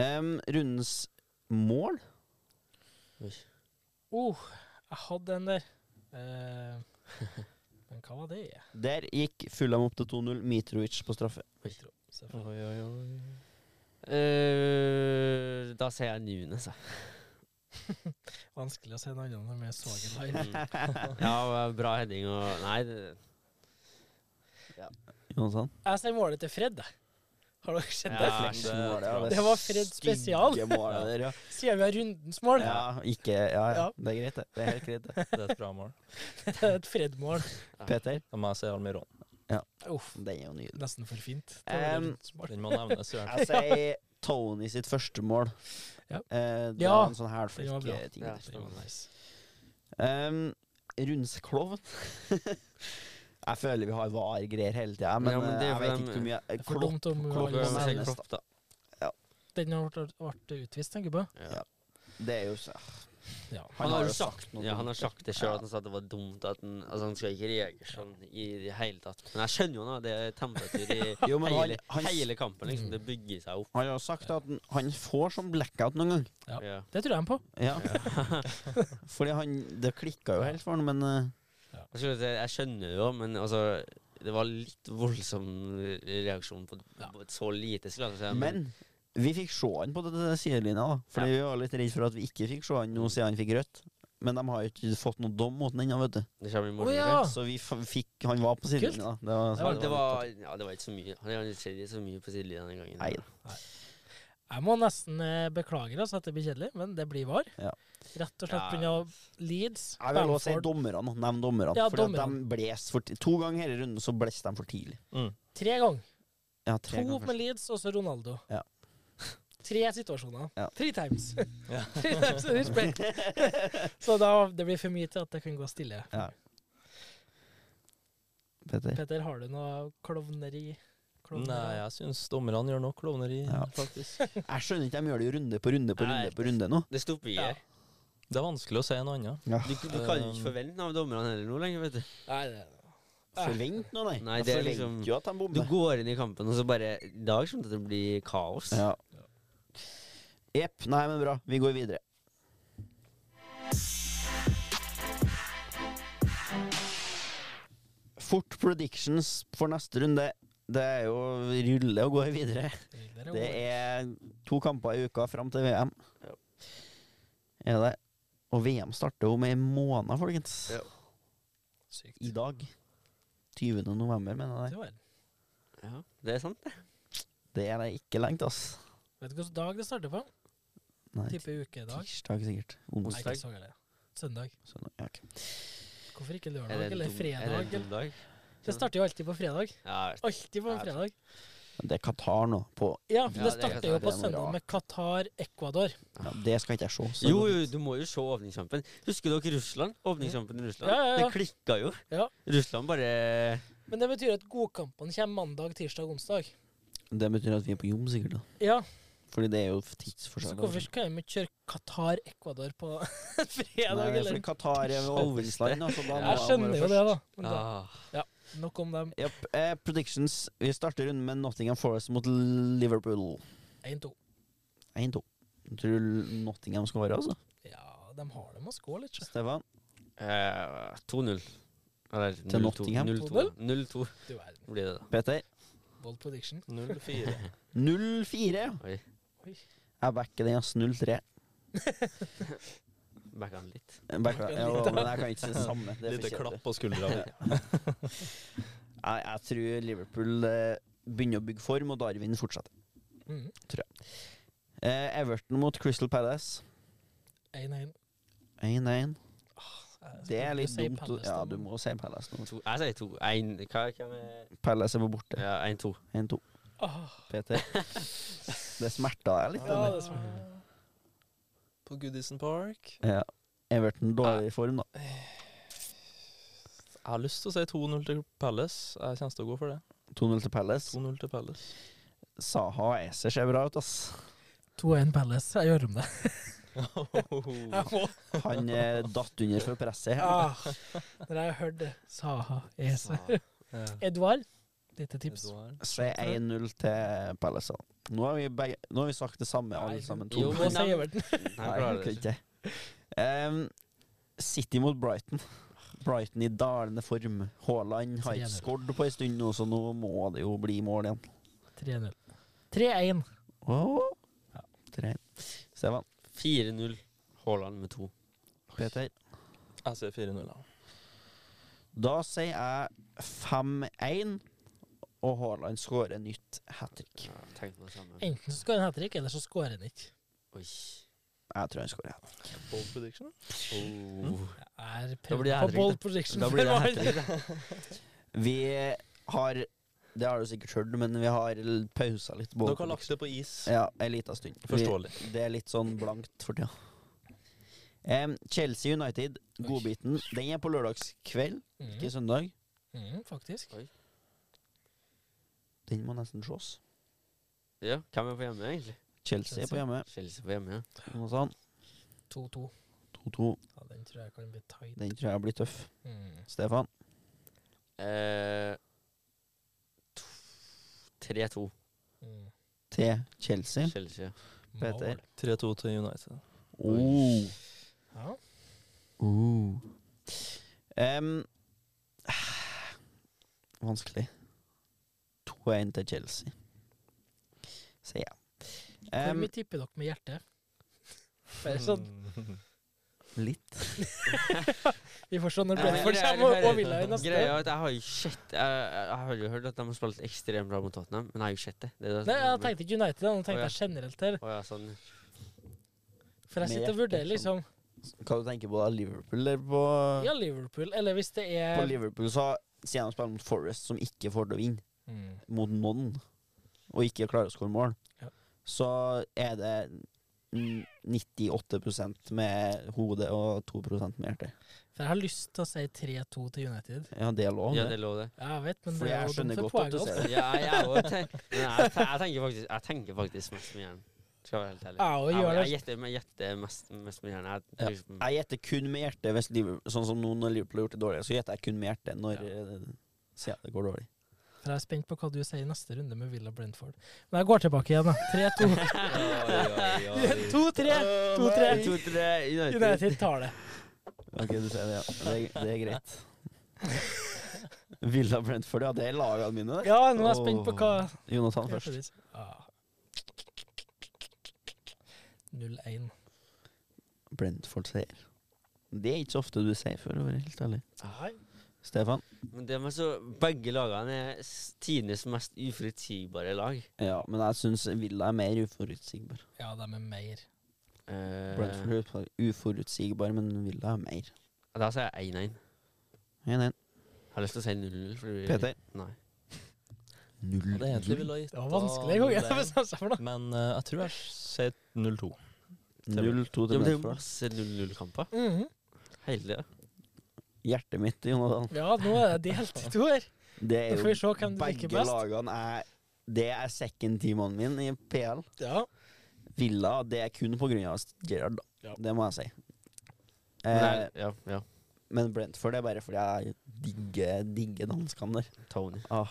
[SPEAKER 1] Em, rundens mål?
[SPEAKER 2] Oh, jeg hadde en der. Eh, men hva var det?
[SPEAKER 1] Der gikk Fulham opp til 2-0. Mitrovic på straffe.
[SPEAKER 2] Selvfølgelig.
[SPEAKER 3] Oi, oi, oi. Eh, da sier jeg Nunes, jeg.
[SPEAKER 2] Vanskelig å se noe annet når vi er så glad i
[SPEAKER 3] Mm. Ja, bra heading og Nei, det,
[SPEAKER 1] Johansson?
[SPEAKER 2] Jeg ser målet til Fred, jeg. Har dere sett det?
[SPEAKER 3] Ja,
[SPEAKER 1] Refleksmålet, ja,
[SPEAKER 4] det-
[SPEAKER 2] Det var Fred
[SPEAKER 1] stygge
[SPEAKER 2] spesial.
[SPEAKER 1] målet der, ja.
[SPEAKER 2] Sier vi har rundens mål?
[SPEAKER 1] ja, ikke Ja, ja.
[SPEAKER 2] Ja.
[SPEAKER 1] Det er greit, det. Det er helt greit, det.
[SPEAKER 4] Det er et bra mål.
[SPEAKER 2] Det er et Fred-mål.
[SPEAKER 1] Peter?
[SPEAKER 4] Da må jeg si Almiron.
[SPEAKER 2] Uff,
[SPEAKER 1] Den er jo nydelig.
[SPEAKER 2] nesten for fint. Det var
[SPEAKER 1] Em,
[SPEAKER 2] rundens mål.
[SPEAKER 4] Den må nevnes. i hvert fall.
[SPEAKER 1] Jeg sier Tony sitt første mål.
[SPEAKER 2] Ja.
[SPEAKER 1] Eh, det
[SPEAKER 2] Ja,
[SPEAKER 1] var en sånn
[SPEAKER 2] den var bra.
[SPEAKER 1] hælflikk-ting.
[SPEAKER 3] Ja.
[SPEAKER 2] Det var nice.
[SPEAKER 1] Um, Rundsklovn Jeg føler vi har var-greier hele tida, men,
[SPEAKER 3] Ja, men det er
[SPEAKER 1] eh, jeg
[SPEAKER 3] for
[SPEAKER 1] vet
[SPEAKER 3] dem-
[SPEAKER 1] ikke hvor mye
[SPEAKER 2] Det er for
[SPEAKER 1] Klopp,
[SPEAKER 2] dumt om
[SPEAKER 1] klopp-
[SPEAKER 2] alle
[SPEAKER 1] klopp-
[SPEAKER 2] nevnes.
[SPEAKER 1] klopp-
[SPEAKER 3] da.
[SPEAKER 2] Den har vært- vært utvist, den gubba.
[SPEAKER 1] Ja. det er jo så
[SPEAKER 2] Ja.
[SPEAKER 1] Han har jo sagt noe
[SPEAKER 3] Ja, han har
[SPEAKER 1] dumt, ja.
[SPEAKER 3] sagt det sjøl, at han sa at det var dumt at han Altså, han skal ikke reagere sånn i det hele tatt. Men jeg skjønner jo nå, det er temperatur i
[SPEAKER 1] Jo, men han,
[SPEAKER 3] hele,
[SPEAKER 1] han,
[SPEAKER 3] hele kampen, liksom. Det bygger seg opp.
[SPEAKER 1] han har jo sagt at han- han får sånn blackout noen gang.
[SPEAKER 2] Ja.
[SPEAKER 3] Ja.
[SPEAKER 2] Det tror jeg han på.
[SPEAKER 1] Ja. Fordi han Det klikka jo helt for han, men eh,
[SPEAKER 3] Jeg, skulle si, jeg skjønner det jo, men altså Det var litt voldsom reaksjon på,
[SPEAKER 2] Ja.
[SPEAKER 3] på et så lite, skulle jeg si.
[SPEAKER 1] Men vi fikk se han på det- det sidelinja, da. Fordi vi var litt redd for at vi ikke fikk se han nå siden han fikk rødt. Men de har jo ikke fått noen dom mot han ennå, vet du.
[SPEAKER 3] det kommer i
[SPEAKER 2] Å,
[SPEAKER 3] morgen.
[SPEAKER 2] ja.
[SPEAKER 3] ikke?
[SPEAKER 1] Så vi f fikk Han var på sidelinja, da. Det var,
[SPEAKER 3] Ja, det var, ja, det var ikke så mye. Han har ikke sett så mye på sidelinja den gangen.
[SPEAKER 1] Nei.
[SPEAKER 2] Jeg må nesten eh, beklage altså, at det blir kjedelig, men det blir var.
[SPEAKER 1] Ja.
[SPEAKER 2] Rett og slett
[SPEAKER 3] Ja.
[SPEAKER 2] pga. Leeds.
[SPEAKER 1] Jeg vil også si
[SPEAKER 2] Bamford.
[SPEAKER 1] dommerne. Nevn dommerne.
[SPEAKER 2] Ja,
[SPEAKER 1] fordi at
[SPEAKER 2] dommerne.
[SPEAKER 1] de bles for ti- to ganger hele runden så blåste de for tidlig.
[SPEAKER 4] Mm.
[SPEAKER 2] Tre ganger.
[SPEAKER 1] Ja, tre
[SPEAKER 2] To
[SPEAKER 1] ganger
[SPEAKER 2] med Leeds, og så Ronaldo.
[SPEAKER 1] Ja.
[SPEAKER 2] Tre situasjoner.
[SPEAKER 1] Ja.
[SPEAKER 2] Three times.
[SPEAKER 4] Ja.
[SPEAKER 2] Three times and respect. så da, det blir for mye til at det kan gå stille.
[SPEAKER 1] Ja. Petter.
[SPEAKER 2] Petter, har du noe klovneri?
[SPEAKER 4] Nei, jeg syns dommerne gjør nok klovneri,
[SPEAKER 1] Ja.
[SPEAKER 4] faktisk.
[SPEAKER 1] Jeg skjønner ikke, de gjør det jo runde på runde på
[SPEAKER 3] Nei.
[SPEAKER 1] runde på runde nå.
[SPEAKER 3] Det stopper i
[SPEAKER 2] Ja.
[SPEAKER 3] her.
[SPEAKER 4] Det er vanskelig å si noe annet.
[SPEAKER 3] Du, du kan jo ikke forvente noe av dommerne heller nå lenger, vet du.
[SPEAKER 2] Nei, det,
[SPEAKER 1] Forvent nå, nei.
[SPEAKER 3] Nei,
[SPEAKER 1] Jeg
[SPEAKER 3] det er
[SPEAKER 1] forventer
[SPEAKER 3] liksom-
[SPEAKER 1] jo at de
[SPEAKER 3] Du
[SPEAKER 1] bommer.
[SPEAKER 3] går inn i kampen, og så bare I dag kommer det til å bli kaos.
[SPEAKER 1] Ja. Jepp. Nei, men bra. Vi går videre. Fort predictions for neste runde. Det er jo rulle og gå videre.
[SPEAKER 2] det, er
[SPEAKER 1] Det
[SPEAKER 2] ord.
[SPEAKER 1] er to kamper i uka fram til VM.
[SPEAKER 3] Ja.
[SPEAKER 1] Er det Og VM starter om ei måned, folkens.
[SPEAKER 3] Ja.
[SPEAKER 2] sykt.
[SPEAKER 1] I dag. 20. november, mener jeg.
[SPEAKER 2] Det var-
[SPEAKER 3] Ja, det er sant, det.
[SPEAKER 1] Det er det ikke lengt, ass.
[SPEAKER 2] Vet du hvilken dag det starter på?
[SPEAKER 1] Nei,
[SPEAKER 2] Tipper ukedag.
[SPEAKER 1] tirsdag sikkert.
[SPEAKER 2] Nei,
[SPEAKER 1] Onsdag.
[SPEAKER 2] ikke så gærent. Søndag.
[SPEAKER 1] Søndag. Ja, ok.
[SPEAKER 2] Hvorfor ikke
[SPEAKER 3] Er
[SPEAKER 2] lørdag
[SPEAKER 3] det en
[SPEAKER 2] eller
[SPEAKER 3] dum- Er det
[SPEAKER 2] fredag?
[SPEAKER 3] en dum dag?
[SPEAKER 2] Det starter jo alltid på fredag.
[SPEAKER 3] Ja, jeg vet.
[SPEAKER 2] Alltid på en
[SPEAKER 3] Ja.
[SPEAKER 2] fredag.
[SPEAKER 1] Det er Qatar nå. På,
[SPEAKER 2] Ja,
[SPEAKER 3] Ja,
[SPEAKER 2] for
[SPEAKER 3] det
[SPEAKER 2] det
[SPEAKER 3] er
[SPEAKER 2] starter
[SPEAKER 3] Qatar,
[SPEAKER 2] jo
[SPEAKER 1] det
[SPEAKER 2] på
[SPEAKER 1] er noe
[SPEAKER 2] søndag
[SPEAKER 1] rart.
[SPEAKER 2] med Qatar-Ecuador.
[SPEAKER 1] ja, det skal ikke jeg se. så-
[SPEAKER 3] Jo, jo, du må jo se åpningskampen. Husker dere Russland? Åpningskampen i Russland?
[SPEAKER 2] Ja, ja, ja.
[SPEAKER 3] Det klikka jo.
[SPEAKER 2] Ja.
[SPEAKER 3] Russland bare
[SPEAKER 2] Men det betyr at godkampene kommer mandag, tirsdag, onsdag.
[SPEAKER 1] Det betyr at vi er på jobb, sikkert. da.
[SPEAKER 2] Ja,
[SPEAKER 1] Fordi det er jo
[SPEAKER 2] Så
[SPEAKER 1] tidsforskjell.
[SPEAKER 2] hvorfor kan vi ikke kjøre Qatar-Ecuador på
[SPEAKER 1] Nei,
[SPEAKER 2] fredag,
[SPEAKER 1] det er
[SPEAKER 2] eller?
[SPEAKER 1] fordi Qatar er overgangsland. Altså, da må
[SPEAKER 2] Jeg skjønner
[SPEAKER 1] være
[SPEAKER 2] jo det,
[SPEAKER 1] først.
[SPEAKER 2] da. Men da
[SPEAKER 3] ah.
[SPEAKER 2] nok om dem.
[SPEAKER 1] Japp, eh, predictions. Vi starter runden med Nottingham Forest mot Liverpool.
[SPEAKER 2] 1-2.
[SPEAKER 1] 1-2. Jeg Tror Nottingham skal være, altså.
[SPEAKER 2] Ja, de har dem å skåle litt. sjø.
[SPEAKER 1] Stefan?
[SPEAKER 3] Eh, 2-0. Eller
[SPEAKER 1] Til Nottingham?
[SPEAKER 3] 0-2 0-2
[SPEAKER 2] Du verden.
[SPEAKER 3] blir det, da.
[SPEAKER 1] Peter?
[SPEAKER 2] Bold prediction.
[SPEAKER 4] 0-4.
[SPEAKER 1] 0-4.
[SPEAKER 3] Oi.
[SPEAKER 1] Jeg backer den, ass. 0-3.
[SPEAKER 3] Backa han litt.
[SPEAKER 1] Jeg backer den. Ja, men jeg kan ikke si det samme. Det er
[SPEAKER 4] Lite
[SPEAKER 1] for kjedelig.
[SPEAKER 4] klapp på skuldra.
[SPEAKER 1] Jeg, jeg tror Liverpool eh, begynner å bygge form, og Darwin fortsetter.
[SPEAKER 2] Mhm.
[SPEAKER 1] Eh, Everton mot Crystal Palace.
[SPEAKER 2] 1-1.
[SPEAKER 1] 1-1.
[SPEAKER 2] Jeg
[SPEAKER 1] Det er
[SPEAKER 2] skulle
[SPEAKER 1] litt
[SPEAKER 2] si
[SPEAKER 1] dumt.
[SPEAKER 2] Palace,
[SPEAKER 1] Ja,
[SPEAKER 2] da,
[SPEAKER 1] du
[SPEAKER 2] men-
[SPEAKER 1] må si Palace nå.
[SPEAKER 3] To, jeg sier to. Ein, hva, hvem er
[SPEAKER 1] Palace er på borte.
[SPEAKER 3] Ja, 1-2.
[SPEAKER 1] 1-2.
[SPEAKER 2] Ah,
[SPEAKER 1] Peter. Det smerta deg litt.
[SPEAKER 2] ja,
[SPEAKER 1] eller?
[SPEAKER 2] det smaker.
[SPEAKER 4] På Goodison Park.
[SPEAKER 1] Ja. Everton dårlig i form, da.
[SPEAKER 4] Jeg har lyst til å si 2-0 til Palace. Jeg kommer til å gå for det.
[SPEAKER 1] 2-0 til Palace.
[SPEAKER 4] 2-0 til Palace.
[SPEAKER 1] Saha og Æser ser bra ut, ass.
[SPEAKER 2] 2-1 Palace. Jeg gjør om det. Jeg må.
[SPEAKER 1] Han eh, datt under for presset. her.
[SPEAKER 2] Ah, når jeg har hørt det. Saha Ese.
[SPEAKER 4] Ja.
[SPEAKER 2] Eduard, lite tips.
[SPEAKER 4] Edouard.
[SPEAKER 1] Så er 1-0 til Palace. da. Nå har vi, begge, nå har vi sagt det samme, alle sammen.
[SPEAKER 3] Jo,
[SPEAKER 1] to.
[SPEAKER 3] men-
[SPEAKER 2] Åse Everton.
[SPEAKER 3] Nei,
[SPEAKER 1] Nei,
[SPEAKER 3] klarer
[SPEAKER 1] jeg
[SPEAKER 3] det ikke.
[SPEAKER 1] kan ikke. Um, City mot Brighton. Brighton i dalende form. Haaland har ikke
[SPEAKER 2] 3-0.
[SPEAKER 1] skåret på en stund nå, så nå må det jo bli mål igjen.
[SPEAKER 2] 3-0. 3-1.
[SPEAKER 1] Åh. Tre. Stefan.
[SPEAKER 3] 4-0 Haaland med to.
[SPEAKER 1] Peter.
[SPEAKER 4] Jeg sier 4-0. da.
[SPEAKER 1] Da sier jeg 5-1, og Haaland skårer nytt hat trick.
[SPEAKER 3] Ja, tenk på det samme.
[SPEAKER 2] Enten så skårer han hat trick, eller så skårer han ikke.
[SPEAKER 3] Oi.
[SPEAKER 1] Jeg tror han skårer. hat-trick.
[SPEAKER 4] Bold prediction.
[SPEAKER 3] Oh.
[SPEAKER 2] Jeg er
[SPEAKER 3] Da blir
[SPEAKER 2] prøvd
[SPEAKER 3] det hat
[SPEAKER 2] på
[SPEAKER 3] trick,
[SPEAKER 2] bold
[SPEAKER 3] da.
[SPEAKER 2] prediction.
[SPEAKER 3] Da blir det
[SPEAKER 2] for
[SPEAKER 3] hat
[SPEAKER 2] meg.
[SPEAKER 3] trick, da.
[SPEAKER 1] Vi har Det har du sikkert hørt, men vi har l- pausa litt. på-
[SPEAKER 4] Dere har lagt det på is.
[SPEAKER 1] Ja, en liten stund. Vi-
[SPEAKER 4] Forståelig.
[SPEAKER 1] Det er litt sånn blankt for tida. Em, Chelsea United, godbiten. Den er på lørdagskveld, ikke
[SPEAKER 2] Mm,
[SPEAKER 1] søndag.
[SPEAKER 2] mm, faktisk.
[SPEAKER 1] Den må nesten ses.
[SPEAKER 3] Ja, hvem er på hjemme, egentlig?
[SPEAKER 1] Chelsea er på hjemme.
[SPEAKER 3] Chelsea på hjemme, ja.
[SPEAKER 1] Noe sånt.
[SPEAKER 2] 2-2.
[SPEAKER 1] 2-2.
[SPEAKER 2] Ja, den tror jeg kan bli tight.
[SPEAKER 1] Den tror jeg blir tøff.
[SPEAKER 2] Mm.
[SPEAKER 1] Stefan.
[SPEAKER 3] Eh, to- 3-2
[SPEAKER 2] Mm.
[SPEAKER 1] Til Chelsea.
[SPEAKER 3] Chelsea. ja.
[SPEAKER 1] Peter.
[SPEAKER 2] Mål.
[SPEAKER 4] 3-2 til United.
[SPEAKER 1] Oh.
[SPEAKER 2] Ja.
[SPEAKER 1] Oh. Em, vanskelig. 2-1 til Chelsea, sier jeg.
[SPEAKER 2] Hvor
[SPEAKER 1] Em,
[SPEAKER 2] mye tipper dere med hjertet? Bare sånn.
[SPEAKER 1] litt.
[SPEAKER 2] Vi får se når
[SPEAKER 3] Nei,
[SPEAKER 2] Brentford
[SPEAKER 3] det er-
[SPEAKER 2] kommer og- altså.
[SPEAKER 3] det er-
[SPEAKER 2] og Villa i neste.
[SPEAKER 3] Greia er at jeg har jo sett Jeg, jeg har jo hørt at de har spilt ekstremt bra mot Tottenham, men jeg har jo sett det. det, er det
[SPEAKER 2] Nei, jeg
[SPEAKER 3] som-
[SPEAKER 2] tenkte ikke United, da. nå tenkte
[SPEAKER 3] Å, ja.
[SPEAKER 2] jeg generelt her.
[SPEAKER 3] Å ja, sånn.
[SPEAKER 2] For
[SPEAKER 1] Med
[SPEAKER 2] jeg sitter og
[SPEAKER 1] hjertet,
[SPEAKER 2] vurderer liksom
[SPEAKER 1] Hva du tenker du på da? Liverpool eller på
[SPEAKER 3] sånn.
[SPEAKER 2] Ja, Liverpool, eller hvis det
[SPEAKER 1] På
[SPEAKER 2] er
[SPEAKER 1] Liverpool så sier de spiller mot Forest, som ikke får til å vinne
[SPEAKER 2] Mm.
[SPEAKER 1] mot noen, og ikke klarer å skåre mål,
[SPEAKER 2] Ja.
[SPEAKER 1] så er det mm, 98 med hodet og 2 med hjertet.
[SPEAKER 2] For jeg har lyst til å si 3-2 til United.
[SPEAKER 1] Ja, det er lov.
[SPEAKER 3] Ja,
[SPEAKER 1] det.
[SPEAKER 3] det lå det.
[SPEAKER 2] Ja, Jeg vet, men
[SPEAKER 1] For
[SPEAKER 2] det er
[SPEAKER 1] jeg
[SPEAKER 2] jo
[SPEAKER 1] skjønner
[SPEAKER 2] dumt for
[SPEAKER 1] godt at du
[SPEAKER 2] poenget,
[SPEAKER 1] ser
[SPEAKER 2] altså.
[SPEAKER 1] det.
[SPEAKER 3] Ja, jeg, jeg, også tenk- men jeg, jeg tenker faktisk Jeg tenker faktisk mest med hjernen. Skal jeg være helt ærlig.
[SPEAKER 2] Ja, og
[SPEAKER 3] Jeg,
[SPEAKER 2] gjør
[SPEAKER 3] jeg,
[SPEAKER 2] det.
[SPEAKER 3] gjetter, jeg gjetter mest, mest med hjernen. Jeg,
[SPEAKER 1] Ja.
[SPEAKER 3] liksom,
[SPEAKER 1] Jeg gjetter kun med hjertet, hvis Liverpool, sånn som nå når Liverpool har gjort det dårlig. Så gjetter jeg kun med hjertet når eh, sier at det går dårlig.
[SPEAKER 2] For jeg er spent på hva du sier i neste runde med Villa Brentford. Men jeg går tilbake igjen, da. 3-2.
[SPEAKER 4] Oi, oi, oi.
[SPEAKER 2] 2-3.
[SPEAKER 3] En,
[SPEAKER 2] 2-3.
[SPEAKER 3] to, tre, United.
[SPEAKER 2] United tar det.
[SPEAKER 1] Ok, du sier det, ja. Det, er- det er greit. Villa Brentford, ja. Det er lagene mine, det.
[SPEAKER 2] Ja, nå er jeg spent på hva
[SPEAKER 1] Jonathan først.
[SPEAKER 2] Ja. 0-1.
[SPEAKER 1] Brentford-seier. Det er ikke så ofte du sier for å være helt ærlig.
[SPEAKER 2] Nei.
[SPEAKER 1] Stefan?
[SPEAKER 3] Men det med så, begge lagene er s- tidenes mest uforutsigbare lag.
[SPEAKER 1] Ja, men jeg syns Villa er mer uforutsigbar.
[SPEAKER 2] Ja, de er mer.
[SPEAKER 3] Eh,
[SPEAKER 1] Brentford er uforutsigbar, men Villa er mer.
[SPEAKER 3] da sier jeg 1-1.
[SPEAKER 1] 1-1.
[SPEAKER 3] Jeg har lyst til å si 0-0. fordi-
[SPEAKER 1] Peter?
[SPEAKER 3] Nei.
[SPEAKER 1] 0-0.
[SPEAKER 4] Det er egentlig ville ha gitt
[SPEAKER 2] Det var
[SPEAKER 4] da
[SPEAKER 2] vanskelig en gang jeg
[SPEAKER 4] null-en,
[SPEAKER 2] bestemte seg for noe.
[SPEAKER 4] Men eh, jeg tror jeg sier 0-2.
[SPEAKER 1] 0-2 til
[SPEAKER 3] Ja, men det er jo
[SPEAKER 1] Medford.
[SPEAKER 3] masse 0-0-kamper
[SPEAKER 2] Mhm.
[SPEAKER 3] hele tida.
[SPEAKER 1] Hjertet mitt, Jonathan.
[SPEAKER 2] Ja, nå er det delt i to her.
[SPEAKER 1] Det
[SPEAKER 2] Da
[SPEAKER 1] er
[SPEAKER 2] får vi
[SPEAKER 1] jo
[SPEAKER 2] se hvem du
[SPEAKER 1] begge
[SPEAKER 2] liker best.
[SPEAKER 1] lagene er Det er second teamen min i PL.
[SPEAKER 2] Ja.
[SPEAKER 1] Villa, det er kun på grunn av Gerrard, da.
[SPEAKER 2] Ja.
[SPEAKER 1] Det må jeg si. Eh,
[SPEAKER 3] Nei, ja, ja.
[SPEAKER 1] men Brentford er bare fordi jeg digger, digger danskene der.
[SPEAKER 3] Tony.
[SPEAKER 1] Ah,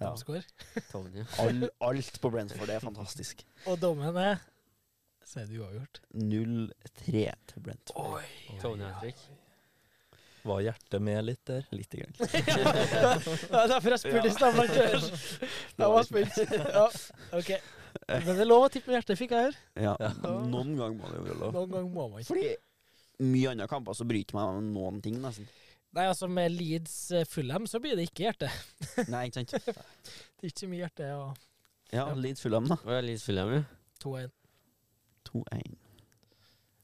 [SPEAKER 1] ja.
[SPEAKER 2] Toppskår.
[SPEAKER 3] Tony.
[SPEAKER 1] All, alt på Brentford er fantastisk.
[SPEAKER 2] Og dommen er Så er det uavgjort.
[SPEAKER 1] 0-3 til Brentford.
[SPEAKER 2] Oi.
[SPEAKER 3] Tony Hattrick.
[SPEAKER 4] Var hjertet med litt der?
[SPEAKER 1] Lite grann.
[SPEAKER 2] Det var derfor jeg spurte i stad. Mark Jørgensen. Jeg var spent. Ja, OK. Men det er lov å tippe med hjertet, fikk jeg høre.
[SPEAKER 1] Ja. Noen gang må det jo være lov.
[SPEAKER 2] Noen gang må man ikke.
[SPEAKER 1] Fordi mye andre kamper så bryter meg om noen ting, nesten.
[SPEAKER 2] Nei, altså med Leeds eh, Fulham så blir det ikke hjerte.
[SPEAKER 1] Nei, ikke sant?
[SPEAKER 2] Det er ikke så mye hjerte og
[SPEAKER 1] Ja, litt full av dem, da.
[SPEAKER 3] Og jeg er litt full av meg.
[SPEAKER 2] 2-1.
[SPEAKER 1] 2-1.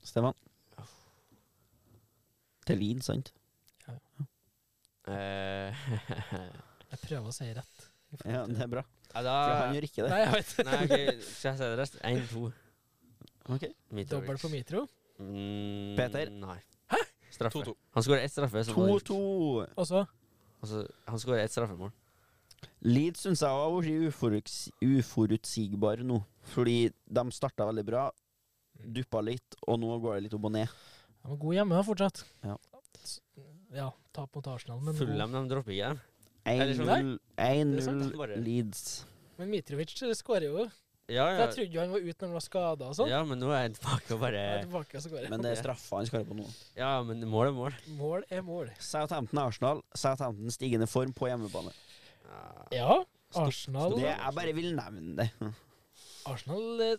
[SPEAKER 1] Stefan. Til Lien, sant?
[SPEAKER 3] Eh,
[SPEAKER 2] Jeg prøver å si rett.
[SPEAKER 1] Ja, det er bra. Eh,
[SPEAKER 3] ja,
[SPEAKER 1] For
[SPEAKER 3] da
[SPEAKER 1] han gjør ikke det.
[SPEAKER 2] Nei, jeg vet
[SPEAKER 3] Nei, ok, skal jeg si det rest? 1-2.
[SPEAKER 1] Ok.
[SPEAKER 2] Dobbel på Mitro,
[SPEAKER 3] Mm,
[SPEAKER 1] Peter?
[SPEAKER 3] Nei. Hæ? Straffe.
[SPEAKER 4] 2-2.
[SPEAKER 3] Han skårer ett straffe. som var-
[SPEAKER 1] 2-2.
[SPEAKER 2] og så
[SPEAKER 3] Altså, han skårer ett straffemål.
[SPEAKER 1] Leeds syns jeg har vært uforuts uforutsigbar nå. Fordi de starta veldig bra, duppa litt, og nå går det litt opp og ned.
[SPEAKER 2] Han var god hjemme da, fortsatt.
[SPEAKER 1] Ja.
[SPEAKER 2] S- Ja, tap mot Arsenal, men, god.
[SPEAKER 3] Fullham de dropper ikke dem. Eller sånn-
[SPEAKER 1] 1-0
[SPEAKER 3] Det er sant,
[SPEAKER 1] 1-0
[SPEAKER 3] bare-
[SPEAKER 1] Leeds.
[SPEAKER 2] men Mitrovic eh, skårer jo.
[SPEAKER 3] Ja,
[SPEAKER 2] For
[SPEAKER 3] ja.
[SPEAKER 2] Jeg trodde jo han var ute når han var skada og sånn.
[SPEAKER 3] ja, men nå er jeg tilbake og
[SPEAKER 2] Jeg er
[SPEAKER 3] bare
[SPEAKER 2] tilbake og skårer.
[SPEAKER 1] Men det er straffa han skårer på nå.
[SPEAKER 3] Ja, men mål er mål.
[SPEAKER 2] Mål er mål.
[SPEAKER 1] Southampton-Arsenal. Southampton stigende form på hjemmebane.
[SPEAKER 3] Ja.
[SPEAKER 2] Ja, Arsenal,
[SPEAKER 1] Det Jeg bare vil nevne det.
[SPEAKER 2] Arsenal eh,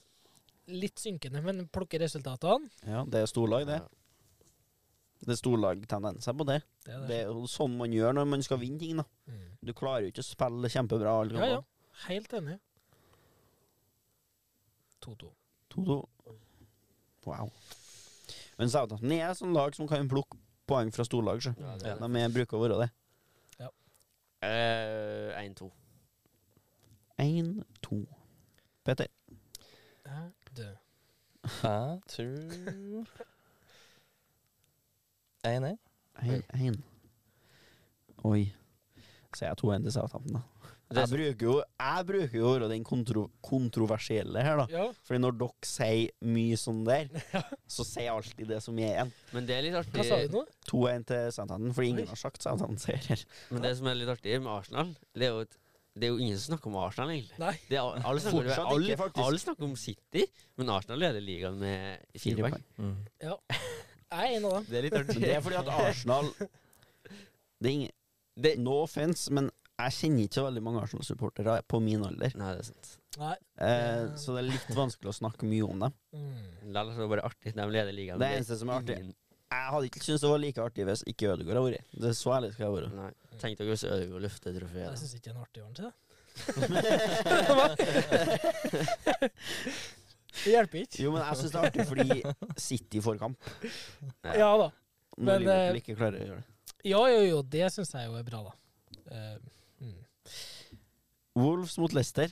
[SPEAKER 2] litt synkende, men plukker resultatene.
[SPEAKER 1] Ja, det er storlag, det.
[SPEAKER 3] Ja.
[SPEAKER 1] Det er storlagtendenser på det.
[SPEAKER 2] Det er
[SPEAKER 1] Det
[SPEAKER 2] det.
[SPEAKER 1] er jo sånn man gjør når man skal vinne ting, da.
[SPEAKER 2] Mm.
[SPEAKER 1] Du klarer jo ikke å spille kjempebra alle
[SPEAKER 2] Ja, ja.
[SPEAKER 1] kamper.
[SPEAKER 2] Helt enig. 2-2.
[SPEAKER 1] 2-2. Wow. Men Southampton er et sånt lag som kan plukke poeng fra storlag, sjø.
[SPEAKER 3] Ja, det er det.
[SPEAKER 1] De er- bruker å være det.
[SPEAKER 3] Eh, 1-2.
[SPEAKER 1] 1-2. Petter.
[SPEAKER 2] Jeg dør.
[SPEAKER 4] Jeg tror 1-1.
[SPEAKER 1] 1-1. Oi. Sier jeg 2-1 til Southampton, da.
[SPEAKER 3] Det er
[SPEAKER 1] Jeg bruker jo, jeg bruker jo å være den kontro kontroversielle her, da.
[SPEAKER 2] Ja.
[SPEAKER 1] Fordi når dere sier mye sånn der, så sier jeg alltid det som er igjen.
[SPEAKER 3] Men det er litt artig
[SPEAKER 2] Hva sa du nå?
[SPEAKER 1] 2-1 til Southampton, fordi
[SPEAKER 2] Oi.
[SPEAKER 1] ingen har sagt Southampton-seier.
[SPEAKER 3] Men det som er litt artig med Arsenal, det er jo at det er jo ingen som snakker om Arsenal, egentlig.
[SPEAKER 2] Nei.
[SPEAKER 3] Det er, al- alle, snakker,
[SPEAKER 1] Fortsatt
[SPEAKER 3] alle,
[SPEAKER 1] ikke, faktisk.
[SPEAKER 3] alle snakker om City, men Arsenal leder ligaen med fire poeng.
[SPEAKER 4] Mm.
[SPEAKER 2] Jeg er en av dem.
[SPEAKER 3] Det er litt artig.
[SPEAKER 1] Men det er fordi at Arsenal det er ingen,
[SPEAKER 3] Det-
[SPEAKER 1] No offense, men jeg kjenner ikke så veldig mange Arsenal-supportere på min alder.
[SPEAKER 3] Nei, det er sant.
[SPEAKER 2] Nei.
[SPEAKER 1] Eh, så det er litt vanskelig å snakke mye om dem.
[SPEAKER 2] Mm.
[SPEAKER 3] Lall er det bare artig. De leder ligaen.
[SPEAKER 1] Det
[SPEAKER 3] men
[SPEAKER 1] eneste som er artig.
[SPEAKER 3] ingen-
[SPEAKER 1] Jeg hadde ikke syntes det var like artig hvis ikke Ødegaard hadde vært. Det er så ærlig skal jeg være.
[SPEAKER 3] Nei. Tenk dere hvis Ødegaard løfter trofeet.
[SPEAKER 2] Jeg
[SPEAKER 3] da.
[SPEAKER 2] syns ikke det er en artig ordentlig. Det hjelper ikke.
[SPEAKER 1] Jo, men jeg syns det er artig fordi City får kamp.
[SPEAKER 3] Ja.
[SPEAKER 2] Ja da.
[SPEAKER 1] Når
[SPEAKER 2] Men,
[SPEAKER 1] Liverpool ikke klarer å gjøre det.
[SPEAKER 2] Ja, jo, jo, det syns jeg jo er bra, da. Eh, mm.
[SPEAKER 1] Wolves mot Leicester.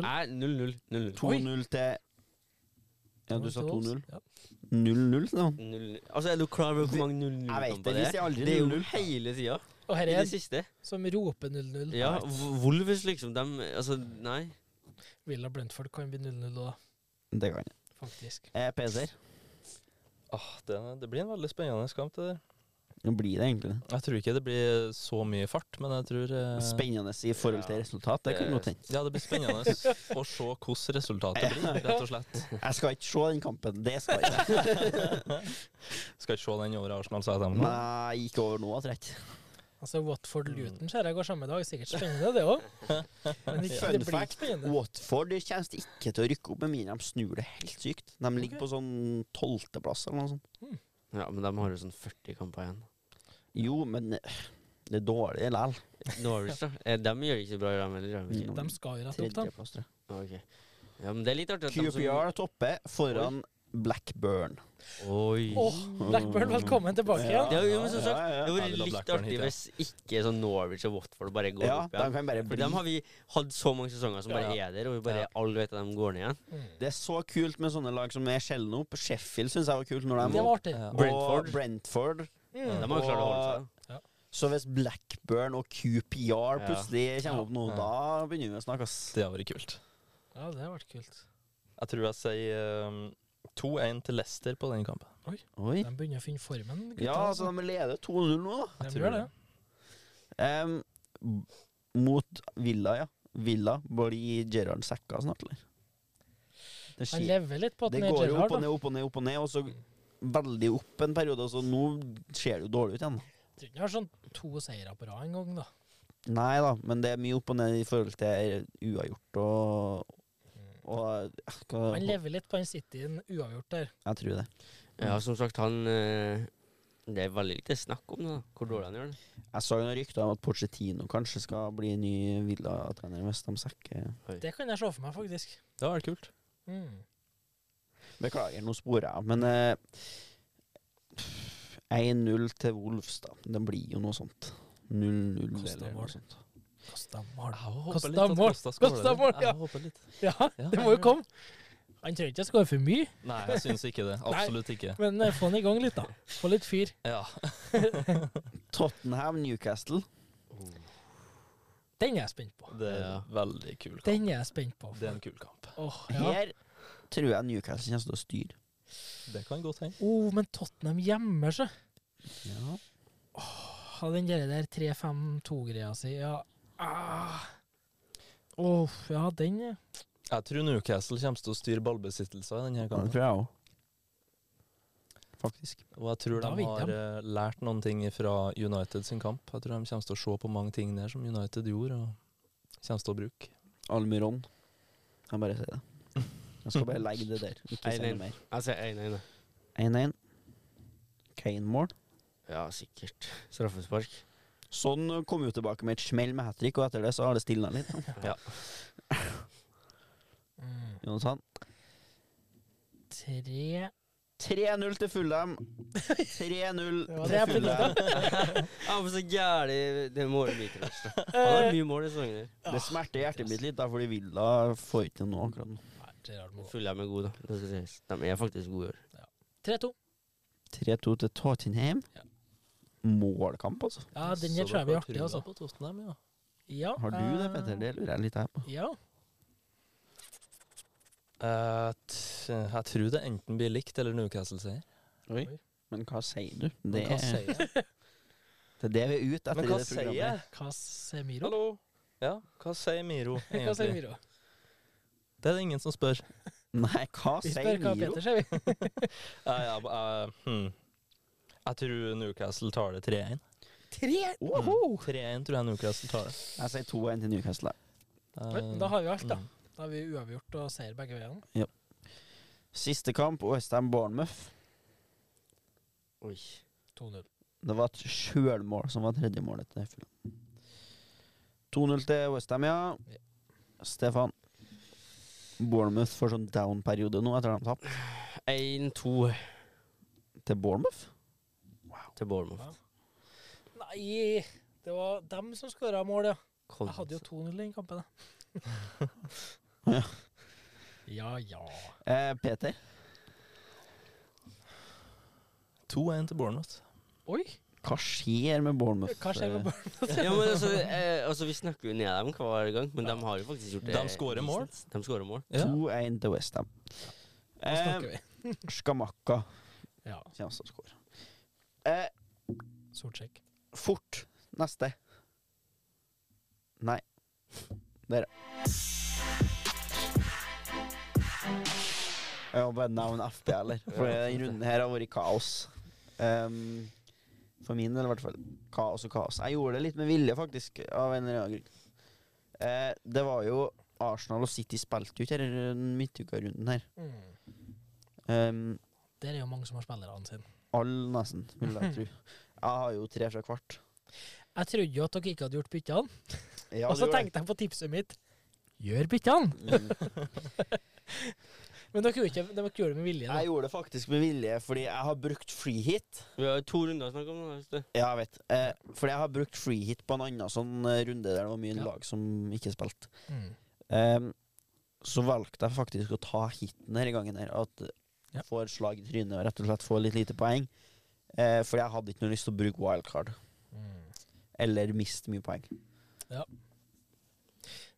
[SPEAKER 2] 2-0.
[SPEAKER 3] Nei, 0-0. 0-0.
[SPEAKER 1] 2-0 til Ja, du sa 2-0.
[SPEAKER 2] Wolves. Ja.
[SPEAKER 1] 0-0, sa han.
[SPEAKER 3] 0-0. Altså, er du klar over hvor mange
[SPEAKER 1] Jeg vet det.
[SPEAKER 3] 0-0-kamper det
[SPEAKER 1] Vi
[SPEAKER 3] er?
[SPEAKER 1] sier aldri
[SPEAKER 3] Det er jo
[SPEAKER 1] 0-0.
[SPEAKER 3] hele tida.
[SPEAKER 2] Og her
[SPEAKER 3] I
[SPEAKER 2] er
[SPEAKER 3] det
[SPEAKER 2] en
[SPEAKER 3] siste.
[SPEAKER 2] som roper 0-0.
[SPEAKER 3] Ja, Wolves, liksom. Dem Altså, nei.
[SPEAKER 2] Villa Brentford kan bli 0-0 da,
[SPEAKER 1] Det kan jeg.
[SPEAKER 2] faktisk.
[SPEAKER 1] Eh, PC-er.
[SPEAKER 4] Ah, det, det blir en veldig spennende kamp. det der.
[SPEAKER 1] Nå blir det egentlig det.
[SPEAKER 4] Jeg tror ikke det blir så mye fart, men jeg tror eh,
[SPEAKER 1] Spennende i forhold til
[SPEAKER 3] Ja.
[SPEAKER 1] resultat. Det kan
[SPEAKER 3] Det-
[SPEAKER 1] godt hende.
[SPEAKER 4] Ja, det blir spennende å se hvordan resultatet blir, rett og slett.
[SPEAKER 1] Jeg skal ikke se den kampen. Det skal jeg ikke.
[SPEAKER 4] Skal ikke se den over Arsenal, sa jeg til dem.
[SPEAKER 1] Nei, jeg gikk over nå, trett.
[SPEAKER 2] Altså Watford-Luton ser jeg går samme dag. Sikkert spennende, det òg. Men ikke,
[SPEAKER 1] Fun
[SPEAKER 2] det blir
[SPEAKER 1] fact,
[SPEAKER 2] ikke spennende.
[SPEAKER 1] Watford de kommer ikke til å rykke opp med mindre de snur det helt sykt. De ligger
[SPEAKER 2] Ok.
[SPEAKER 1] på sånn tolvteplass eller noe sånt.
[SPEAKER 3] Ja, men de har jo sånn 40 kamper igjen.
[SPEAKER 1] Jo, men eh, det er dårlig likevel.
[SPEAKER 3] Norwich, da. Eh, Dem gjør det ikke så bra, dem heller. gjør de ikke?
[SPEAKER 2] De skal jo rette opp, dem.
[SPEAKER 1] Tredjeplass, tror jeg.
[SPEAKER 3] Ok. Ja, men det er litt artig at de som
[SPEAKER 1] QPR topper foran Blackburn.
[SPEAKER 3] Oi.
[SPEAKER 2] Åh, Blackburn, velkommen tilbake igjen.
[SPEAKER 3] Det er jo- men som sagt,
[SPEAKER 1] ja,
[SPEAKER 3] Det
[SPEAKER 1] ja.
[SPEAKER 4] Ja,
[SPEAKER 3] hadde
[SPEAKER 4] vi
[SPEAKER 3] vært
[SPEAKER 4] la
[SPEAKER 3] litt
[SPEAKER 4] Blackburn
[SPEAKER 3] artig
[SPEAKER 4] hit, ja.
[SPEAKER 3] hvis ikke sånn Norwich og Watford bare går
[SPEAKER 1] ja,
[SPEAKER 3] opp
[SPEAKER 1] de
[SPEAKER 3] igjen.
[SPEAKER 1] kan bare
[SPEAKER 3] For
[SPEAKER 1] bli
[SPEAKER 3] dem har vi hatt så mange sesonger som bare er der, og vi bare
[SPEAKER 4] Ja.
[SPEAKER 3] alle vet at de går ned igjen.
[SPEAKER 2] Mm.
[SPEAKER 1] Det er så kult med sånne lag som er sjelden opp. Sheffield syns jeg var kult når de var opp.
[SPEAKER 2] Det var artig.
[SPEAKER 4] Ja.
[SPEAKER 1] Og
[SPEAKER 3] Brentford.
[SPEAKER 1] Brentford.
[SPEAKER 3] De
[SPEAKER 2] Mm.
[SPEAKER 3] har jo klart å holde seg.
[SPEAKER 1] Så hvis Blackburn og QPR
[SPEAKER 3] Ja.
[SPEAKER 1] plutselig kommer opp nå,
[SPEAKER 4] Ja.
[SPEAKER 1] da begynner vi å snakke, ass.
[SPEAKER 4] Det hadde vært kult.
[SPEAKER 2] Ja, det har vært kult.
[SPEAKER 4] Jeg tror jeg sier ehm, 2-1 til Leicester på den kampen.
[SPEAKER 1] Oi.
[SPEAKER 2] De begynner å finne formen, gutta.
[SPEAKER 1] Ja, altså, de leder 2-0 nå, da.
[SPEAKER 2] de
[SPEAKER 4] tror
[SPEAKER 2] gjør det.
[SPEAKER 4] det.
[SPEAKER 1] Em, b- mot Villa, ja. Villa blir Gerhard sekka snart, eller? Det,
[SPEAKER 2] Han
[SPEAKER 1] skjer.
[SPEAKER 2] lever litt på at
[SPEAKER 1] det
[SPEAKER 2] han er
[SPEAKER 1] går jo opp
[SPEAKER 2] Gerrard,
[SPEAKER 1] og
[SPEAKER 2] da.
[SPEAKER 1] ned, opp og ned, opp og ned, og så veldig opp en periode, og så nå ser det jo dårlig ut igjen.
[SPEAKER 2] Tror ikke han har sånn to seire på rad en gang, da.
[SPEAKER 1] Nei da, men det er mye opp og ned i forhold til uavgjort og og eh, hva,
[SPEAKER 2] Han lever litt på den Cityen uavgjort der.
[SPEAKER 1] Jeg tror det.
[SPEAKER 3] Ja, som sagt, han eh, Det er veldig lite snakk om det, da, hvor dårlig han gjør det.
[SPEAKER 1] Jeg så jo noen rykter om at Pochettino kanskje skal bli ny Villa-trener hvis de sekker
[SPEAKER 2] Det kan jeg se for meg, faktisk.
[SPEAKER 4] Det hadde vært kult.
[SPEAKER 2] Mm.
[SPEAKER 1] Beklager, nå sporer jeg, men eh, 1-0 til Wolves, da. Det blir jo noe sånt. 0-0
[SPEAKER 4] Kosta
[SPEAKER 1] eller
[SPEAKER 4] mål.
[SPEAKER 1] noe sånt.
[SPEAKER 2] Kosta mål.
[SPEAKER 4] håper
[SPEAKER 2] Kosta mål.
[SPEAKER 4] skåler
[SPEAKER 2] Kosta
[SPEAKER 4] den.
[SPEAKER 2] mål, ja.
[SPEAKER 4] Jeg håper litt.
[SPEAKER 2] Ja,
[SPEAKER 4] Ja,
[SPEAKER 2] det må
[SPEAKER 4] ja.
[SPEAKER 2] jo komme. Han trenger ikke å skåre for mye,
[SPEAKER 4] Nei, jeg syns ikke det. Absolutt ikke.
[SPEAKER 2] men eh, få han i gang litt, da. Få litt fyr.
[SPEAKER 4] Ja.
[SPEAKER 1] Tottenham, Newcastle.
[SPEAKER 2] Den er jeg spent på.
[SPEAKER 4] Det er
[SPEAKER 3] Ja.
[SPEAKER 4] veldig kul kamp.
[SPEAKER 2] Den er jeg spent på.
[SPEAKER 4] Det er en kul kamp.
[SPEAKER 2] Åh, ja.
[SPEAKER 1] Her tror jeg Newcastle kommer til å styre.
[SPEAKER 4] Det kan godt hende.
[SPEAKER 2] oh, men Tottenham gjemmer seg.
[SPEAKER 1] Ja.
[SPEAKER 2] Ha den der, der 3-5-2-greia si. Ja. Ah. Åh, ja, den eh. er
[SPEAKER 4] Jeg tror Newcastle kommer til å styre ballbesittelser i denne
[SPEAKER 1] Det
[SPEAKER 4] kampen.
[SPEAKER 1] tror jeg òg. Faktisk.
[SPEAKER 4] Og jeg tror
[SPEAKER 2] Da
[SPEAKER 4] de
[SPEAKER 2] vinner
[SPEAKER 4] har
[SPEAKER 2] de.
[SPEAKER 4] eh, lært noen ting fra United sin kamp. Jeg tror de kommer til å se på mange ting der som United gjorde, og kommer til å bruke.
[SPEAKER 1] Almiron. Jeg bare sier det. Jeg skal bare legge det der. Ikke si noe
[SPEAKER 3] 1-1.
[SPEAKER 1] mer.
[SPEAKER 3] Jeg sier 1-1. da.
[SPEAKER 1] 1-1. Kane-mål.
[SPEAKER 3] Ja, sikkert. Straffespark.
[SPEAKER 1] Sånn kom jo tilbake med et smell med hat trick, og etter det så har det stilna litt.
[SPEAKER 2] mm,
[SPEAKER 1] Jonathan.
[SPEAKER 2] 3
[SPEAKER 1] 3-0 til Fulham. 3-0
[SPEAKER 2] var det
[SPEAKER 1] til
[SPEAKER 2] jeg
[SPEAKER 1] Fulham.
[SPEAKER 3] Ja, men så gæli Det er målbiter. Han har mye mål i sesongen. her.
[SPEAKER 1] Det smerter hjertet mitt litt, da, fordi Villa får ikke til nå akkurat nå.
[SPEAKER 2] Nei, Gerrard må gå.
[SPEAKER 3] Fulle er med gode, da. Det skal sies. De er faktisk gode. i år.
[SPEAKER 2] 3-2.
[SPEAKER 1] 3-2 til Tottenham.
[SPEAKER 2] Ja.
[SPEAKER 1] Målkamp, altså.
[SPEAKER 2] Ja, den her tror jeg blir artig, altså.
[SPEAKER 4] På Tottenham, ja.
[SPEAKER 2] Ja,
[SPEAKER 1] Har du det,
[SPEAKER 2] eh,
[SPEAKER 1] Petter? Det lurer jeg litt her på.
[SPEAKER 2] Ja.
[SPEAKER 4] Eh, t jeg tror det enten blir likt eller Newcastle-seier.
[SPEAKER 1] Oi. Men hva sier du? Det
[SPEAKER 4] Men hva
[SPEAKER 1] er
[SPEAKER 4] sier jeg?
[SPEAKER 1] det, er det vi er ute etter
[SPEAKER 4] Men
[SPEAKER 1] i
[SPEAKER 4] hva
[SPEAKER 1] det
[SPEAKER 4] sier
[SPEAKER 1] programmet.
[SPEAKER 4] jeg?
[SPEAKER 2] Casemiro?
[SPEAKER 4] Hallo? Ja, hva sier Miro egentlig?
[SPEAKER 2] Casemiro.
[SPEAKER 4] Det er det ingen som spør.
[SPEAKER 1] Nei, hva
[SPEAKER 2] Vi
[SPEAKER 1] sier
[SPEAKER 2] spør hva
[SPEAKER 1] Miro?
[SPEAKER 2] Petter sier, vi.
[SPEAKER 4] Eh, ja, eh, hmm. Jeg tror Newcastle tar det 3-1.
[SPEAKER 2] Tre!
[SPEAKER 4] Mm. 3-1 tror jeg Newcastle tar det.
[SPEAKER 1] Jeg sier 2-1 til Newcastle. Eh,
[SPEAKER 2] Oi, men Da har vi alt, da.
[SPEAKER 4] Mm.
[SPEAKER 2] Da har vi uavgjort og seier begge veiene.
[SPEAKER 1] Siste kamp, Westham Bournemouth.
[SPEAKER 3] Oi.
[SPEAKER 2] 2-0.
[SPEAKER 1] Det var et sjølmål som var tredje målet til Fulham. 2-0 til Westham, ja.
[SPEAKER 2] Ja.
[SPEAKER 1] Stefan. Bournemouth får sånn down-periode nå etter at de tapte.
[SPEAKER 3] 1-2
[SPEAKER 1] Til Bournemouth?
[SPEAKER 3] til Bournemouth.
[SPEAKER 2] Nei, det var dem som skåra mål, ja.
[SPEAKER 3] Kom.
[SPEAKER 2] Jeg hadde jo 2-0 i den kampen, da. ja ja.
[SPEAKER 1] Eh, Peter.
[SPEAKER 4] 2-1 til Bournemouth.
[SPEAKER 2] Oi,
[SPEAKER 1] Hva skjer med Bournemouth?
[SPEAKER 2] hva skjer med
[SPEAKER 1] Eh,
[SPEAKER 2] barn?
[SPEAKER 3] Ja, men altså, eh, altså, Vi snakker jo ned dem hver gang, men de har jo faktisk gjort det.
[SPEAKER 4] De skårer mål.
[SPEAKER 3] decent. De skårer mål.
[SPEAKER 4] Ja.
[SPEAKER 1] 2-1 Eh, til Westham.
[SPEAKER 2] Nå snakker
[SPEAKER 1] Eh,
[SPEAKER 2] vi.
[SPEAKER 1] Skamakka
[SPEAKER 2] Ja,
[SPEAKER 1] kommer til å skåre. Eh,
[SPEAKER 2] Sortsjekk.
[SPEAKER 1] fort. Neste. Nei. Der, ja. Jeg må bare nevne FB, eller? For denne runden her har vært kaos. Ehm, for min del, i hvert fall. Kaos og kaos. Jeg gjorde det litt med vilje, faktisk. Av en eller annen grunn. Eh, det var jo Arsenal og City spilte jo ikke denne midtuka-runden her.
[SPEAKER 2] Mm.
[SPEAKER 1] Ehm,
[SPEAKER 2] Der er jo mange som har spillerne sine.
[SPEAKER 1] Alle, nesten, vil jeg tro. Jeg har jo tre fra kvart.
[SPEAKER 2] Jeg trodde jo at dere ikke hadde gjort byttene,
[SPEAKER 1] Ja, Mm.
[SPEAKER 2] og så tenkte jeg på tipset mitt. Gjør byttene!
[SPEAKER 1] jeg
[SPEAKER 2] Men Men dere gjorde ikke, dere gjorde det med
[SPEAKER 1] Jeg
[SPEAKER 2] vilje. Da.
[SPEAKER 1] gjorde det faktisk med vilje, fordi jeg har brukt free hit.
[SPEAKER 3] Vi har jo to runder å snakke om nå. hvis du-
[SPEAKER 1] Ja, jeg vet. Eh, fordi jeg har brukt free hit på en annen sånn eh, runde der det var mye
[SPEAKER 2] Ja.
[SPEAKER 1] lag som ikke spilte.
[SPEAKER 2] Mm.
[SPEAKER 1] Ehm, så valgte jeg faktisk å ta hiten denne gangen her. At
[SPEAKER 2] Ja.
[SPEAKER 1] jeg får slag i trynet og rett og slett får litt lite poeng. Eh, for jeg hadde ikke noe lyst til å bruke wildcard.
[SPEAKER 2] mm.
[SPEAKER 1] Eller miste mye poeng.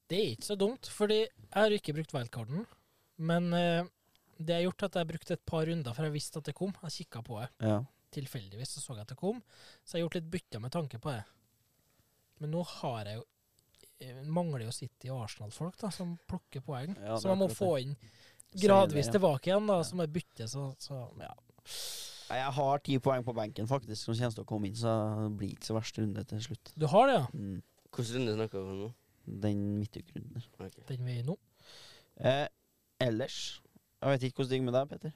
[SPEAKER 2] Det er ikke så dumt, fordi jeg har ikke brukt wildcarden. Men eh, det har gjort at jeg brukte et par runder, for jeg visste at det kom. Jeg kikka på det
[SPEAKER 1] Ja.
[SPEAKER 2] tilfeldigvis, så så jeg at det kom. Så jeg har gjort litt bytter med tanke på det. Men nå har jeg jo jeg mangler jo City og Arsenal-folk da, som plukker poeng.
[SPEAKER 1] Ja, det
[SPEAKER 2] så man må
[SPEAKER 1] er akkurat
[SPEAKER 2] få inn
[SPEAKER 1] Senere,
[SPEAKER 2] gradvis
[SPEAKER 1] ja.
[SPEAKER 2] tilbake igjen, da, som et bytte. Så, så ja.
[SPEAKER 1] Nei, Jeg har ti poeng på benken faktisk, som kommer til å komme inn, så det blir ikke så verst runde til slutt.
[SPEAKER 2] Du har det, ja?
[SPEAKER 1] Mm.
[SPEAKER 3] Hvilken runde snakker vi om nå?
[SPEAKER 1] Den midtukerunden der.
[SPEAKER 3] Ok.
[SPEAKER 2] Den vi er i nå?
[SPEAKER 1] Eh, ellers Jeg vet ikke hvordan det gikk med deg, Peter.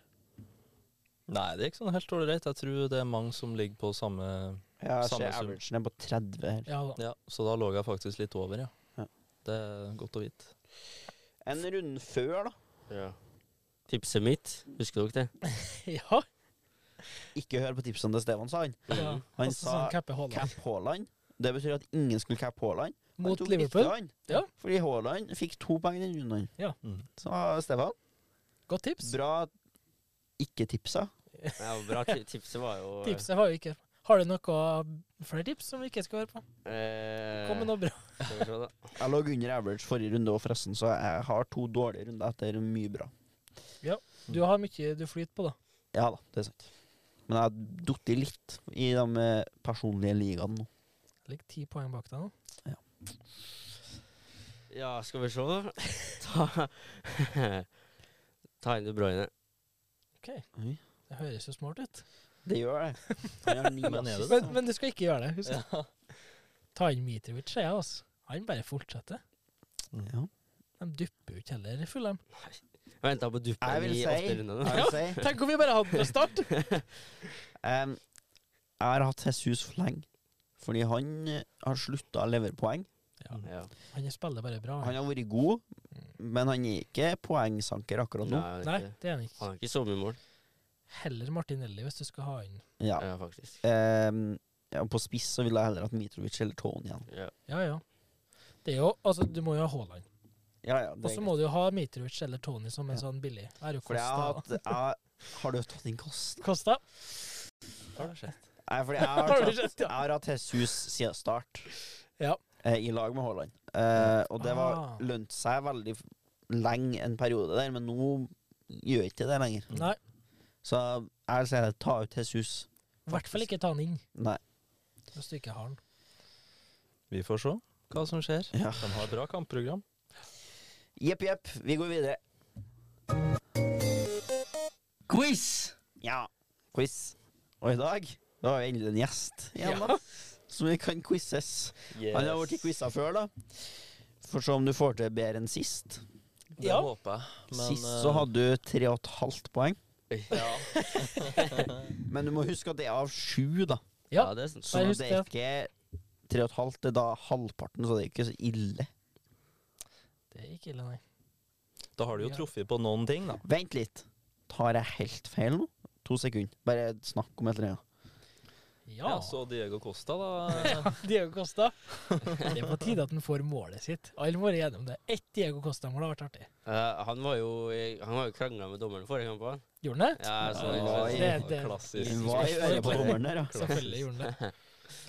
[SPEAKER 4] Nei, det gikk sånn helt ålreit. Jeg tror det er mange som ligger på samme
[SPEAKER 1] Jeg
[SPEAKER 4] Samme
[SPEAKER 1] ser
[SPEAKER 4] sum.
[SPEAKER 1] averagen er på 30 her.
[SPEAKER 2] Ja da.
[SPEAKER 4] Ja, så da lå jeg faktisk litt over, ja.
[SPEAKER 1] Ja.
[SPEAKER 4] Det er godt å vite.
[SPEAKER 1] En runde før, da.
[SPEAKER 3] Ja. Tipset mitt, husker dere det?
[SPEAKER 2] Ja.
[SPEAKER 1] Ikke hør på tipsene til Stefan, sa han.
[SPEAKER 2] ja.
[SPEAKER 1] Han
[SPEAKER 2] Altså,
[SPEAKER 1] sa
[SPEAKER 2] sånn cappe Haaland.
[SPEAKER 1] Cap Haaland. Det betyr at ingen skulle cappe Haaland. Han
[SPEAKER 2] Mot
[SPEAKER 1] tok
[SPEAKER 2] Liverpool.
[SPEAKER 1] riktig, han.
[SPEAKER 2] Ja.
[SPEAKER 1] Fordi Haaland fikk to poeng i den runden.
[SPEAKER 4] Mm.
[SPEAKER 1] Så Stefan,
[SPEAKER 2] Godt tips.
[SPEAKER 1] bra ikke-tipsa.
[SPEAKER 3] Ja, bra ti- tipset var jo eh,
[SPEAKER 2] Tipset var jo ikke Har du noe flere tips som vi ikke skal høre på?
[SPEAKER 3] eh,
[SPEAKER 2] Kom med noe bra.
[SPEAKER 3] Skal vi se, da.
[SPEAKER 1] Jeg lå under average forrige runde, og forresten så jeg har to dårlige runder etter mye bra.
[SPEAKER 2] Du har mye du flyter på, da.
[SPEAKER 1] Ja da, det er sant. Men jeg har datt i litt i de eh, personlige ligaene nå.
[SPEAKER 2] Ligger ti poeng bak deg nå.
[SPEAKER 3] Ja, skal vi se, da. Ta, Ta inn De Bruyne.
[SPEAKER 2] Det høres jo smart ut.
[SPEAKER 1] Det gjør det. Han har ni
[SPEAKER 4] Men er det
[SPEAKER 1] assist,
[SPEAKER 4] det?
[SPEAKER 2] Men, men du skal ikke gjøre det. Husk. Ta inn Mitrovic, sier jeg. Altså. Han bare fortsetter.
[SPEAKER 1] da. Ja.
[SPEAKER 2] De dupper jo ikke heller i full dem.
[SPEAKER 3] Jeg venta på
[SPEAKER 1] Jeg
[SPEAKER 3] duppen
[SPEAKER 1] vil
[SPEAKER 3] i
[SPEAKER 1] si,
[SPEAKER 3] åtte
[SPEAKER 1] jeg
[SPEAKER 3] runder. nå.
[SPEAKER 1] vil si
[SPEAKER 2] Tenk om vi bare hadde den fra start!
[SPEAKER 1] em, Jeg har hatt Jesus for lenge. Fordi han eh, har slutta å levere poeng.
[SPEAKER 3] Ja.
[SPEAKER 2] Han spiller bare bra.
[SPEAKER 1] Han har vært god, men han er ikke poengsanker akkurat nå.
[SPEAKER 3] Nei,
[SPEAKER 2] Nei,
[SPEAKER 3] han er ikke-
[SPEAKER 2] det er han ikke.
[SPEAKER 3] han har ikke så mye mål.
[SPEAKER 2] Heller Martinelli, hvis du skal ha inn
[SPEAKER 1] Ja.
[SPEAKER 3] Ja, faktisk.
[SPEAKER 1] Em, ja, på spiss så ville jeg heller hatt Mitrovic eller Tone igjen.
[SPEAKER 3] Ja.
[SPEAKER 2] Ja, ja. Det er jo, altså, du må jo ha Haaland.
[SPEAKER 1] Ja, ja,
[SPEAKER 2] Og så må du jo ha Mitrovic eller Tony som en
[SPEAKER 1] Ja.
[SPEAKER 2] sånn billig. Er jo
[SPEAKER 1] Fordi jeg har
[SPEAKER 2] Kosta.
[SPEAKER 1] hatt jeg, Har du tatt inn Kosta?
[SPEAKER 2] Kosta.
[SPEAKER 4] Har det skjedd?
[SPEAKER 1] Nei, fordi jeg har,
[SPEAKER 2] Har du
[SPEAKER 1] tatt,
[SPEAKER 2] sett,
[SPEAKER 1] jeg
[SPEAKER 2] ja?
[SPEAKER 1] har hatt Jesus siden start,
[SPEAKER 2] Ja.
[SPEAKER 1] eh, i lag med Haaland. Eh, og det var,
[SPEAKER 2] Ah.
[SPEAKER 1] lønte seg veldig f- lenge en periode der, men nå gjør jeg ikke det lenger.
[SPEAKER 2] Nei,
[SPEAKER 1] Så jeg vil si at ta ut Jesus.
[SPEAKER 2] i hvert fall ikke ta han inn
[SPEAKER 1] Nei.
[SPEAKER 2] hvis du ikke har han.
[SPEAKER 4] Vi får se hva som skjer.
[SPEAKER 1] Ja.
[SPEAKER 4] De har bra kampprogram.
[SPEAKER 1] Jepp, jepp. Vi går videre.
[SPEAKER 3] Quiz!
[SPEAKER 1] Ja. Quiz. Og i dag da har vi endelig en gjest igjen, da. Som vi kan quizes. Han har vært i quiza før, da. For se om du får til bedre enn sist.
[SPEAKER 4] Det
[SPEAKER 2] Ja.
[SPEAKER 4] håper jeg. Men,
[SPEAKER 1] sist så
[SPEAKER 4] eh,
[SPEAKER 1] hadde du tre og et halvt poeng.
[SPEAKER 3] Ja,
[SPEAKER 1] Men du må huske at det er av sju, da.
[SPEAKER 2] Ja.
[SPEAKER 3] ja, det er sant.
[SPEAKER 1] Så
[SPEAKER 2] Jeg
[SPEAKER 1] det er ikke tre og et halvt, det er da halvparten, så det er ikke så ille.
[SPEAKER 2] Det er ikke ille, nei.
[SPEAKER 4] Da har du jo
[SPEAKER 2] Ja.
[SPEAKER 4] truffet på noen ting, da.
[SPEAKER 1] Vent litt. Tar jeg helt feil nå? To sekunder. Bare snakk om et eller annet.
[SPEAKER 2] Ja,
[SPEAKER 4] så Diego Costa, da. eh,
[SPEAKER 2] Diego Costa. Det er på tide at han får målet sitt. Alle må gjennom det. Ett Diego Costa-mål har vært artig.
[SPEAKER 3] Eh, han var jo, i- han var jo krangla med dommeren forrige kamp. han.
[SPEAKER 2] Gjorde han det?
[SPEAKER 3] Ja, så,
[SPEAKER 1] Oi.
[SPEAKER 3] så,
[SPEAKER 2] Det er det.
[SPEAKER 4] Klassisk.
[SPEAKER 1] Den var i øret på dommeren der, ja.
[SPEAKER 2] Selvfølgelig gjorde han det.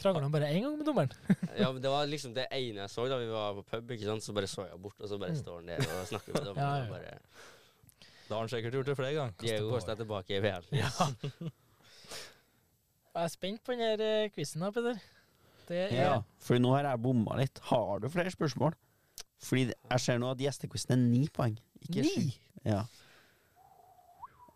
[SPEAKER 2] Krangla han bare én gang med dommeren?
[SPEAKER 3] ja, men Det var liksom det ene jeg så da vi var på pub. ikke sant? Så bare så jeg bort, og så bare
[SPEAKER 2] Mm.
[SPEAKER 3] står han der og snakker med dommeren.
[SPEAKER 2] Ja, ja.
[SPEAKER 3] og bare,
[SPEAKER 4] Da har han sikkert gjort det flere ganger.
[SPEAKER 3] Diego Costa er tilbake i VM.
[SPEAKER 2] Ja. Jeg er spent på denne quizen, da, Peder. Det er
[SPEAKER 1] Ja, for nå har jeg bomma litt. Har du flere spørsmål? Fordi jeg ser nå at gjestequizen er ni poeng, ikke sju.
[SPEAKER 2] ni.
[SPEAKER 1] Ja.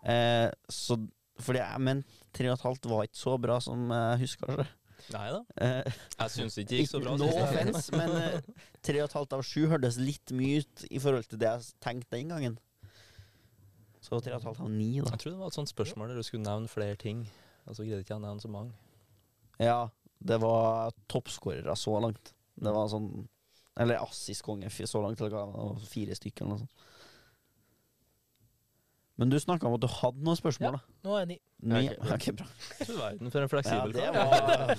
[SPEAKER 1] Eh, så fordi jeg mente tre og et halvt var ikke så bra som jeg husker det.
[SPEAKER 4] Nei da.
[SPEAKER 1] Eh,
[SPEAKER 4] Jeg syns ikke det gikk så bra.
[SPEAKER 1] no
[SPEAKER 4] sist jeg.
[SPEAKER 1] offense, men eh, tre og et halvt av sju hørtes litt mye ut i forhold til det jeg tenkte den gangen. Så tre og et halvt av ni, da.
[SPEAKER 4] Jeg tror det var et sånt spørsmål der du skulle nevne flere ting. Og så greide ikke jeg å nevne så mange.
[SPEAKER 1] Ja, det var toppskårere så langt. Det var sånn Eller Assis konge f- så langt. Eller hva det var, fire stykker eller noe sånt. Men du snakka om at du hadde noen spørsmål, da.
[SPEAKER 2] Nå er jeg ni.
[SPEAKER 1] Ni.
[SPEAKER 3] Ja, ok.
[SPEAKER 1] Ok, bra.
[SPEAKER 4] Du verden for en
[SPEAKER 1] Ja,
[SPEAKER 4] fleksibel
[SPEAKER 1] det
[SPEAKER 4] kar.
[SPEAKER 1] var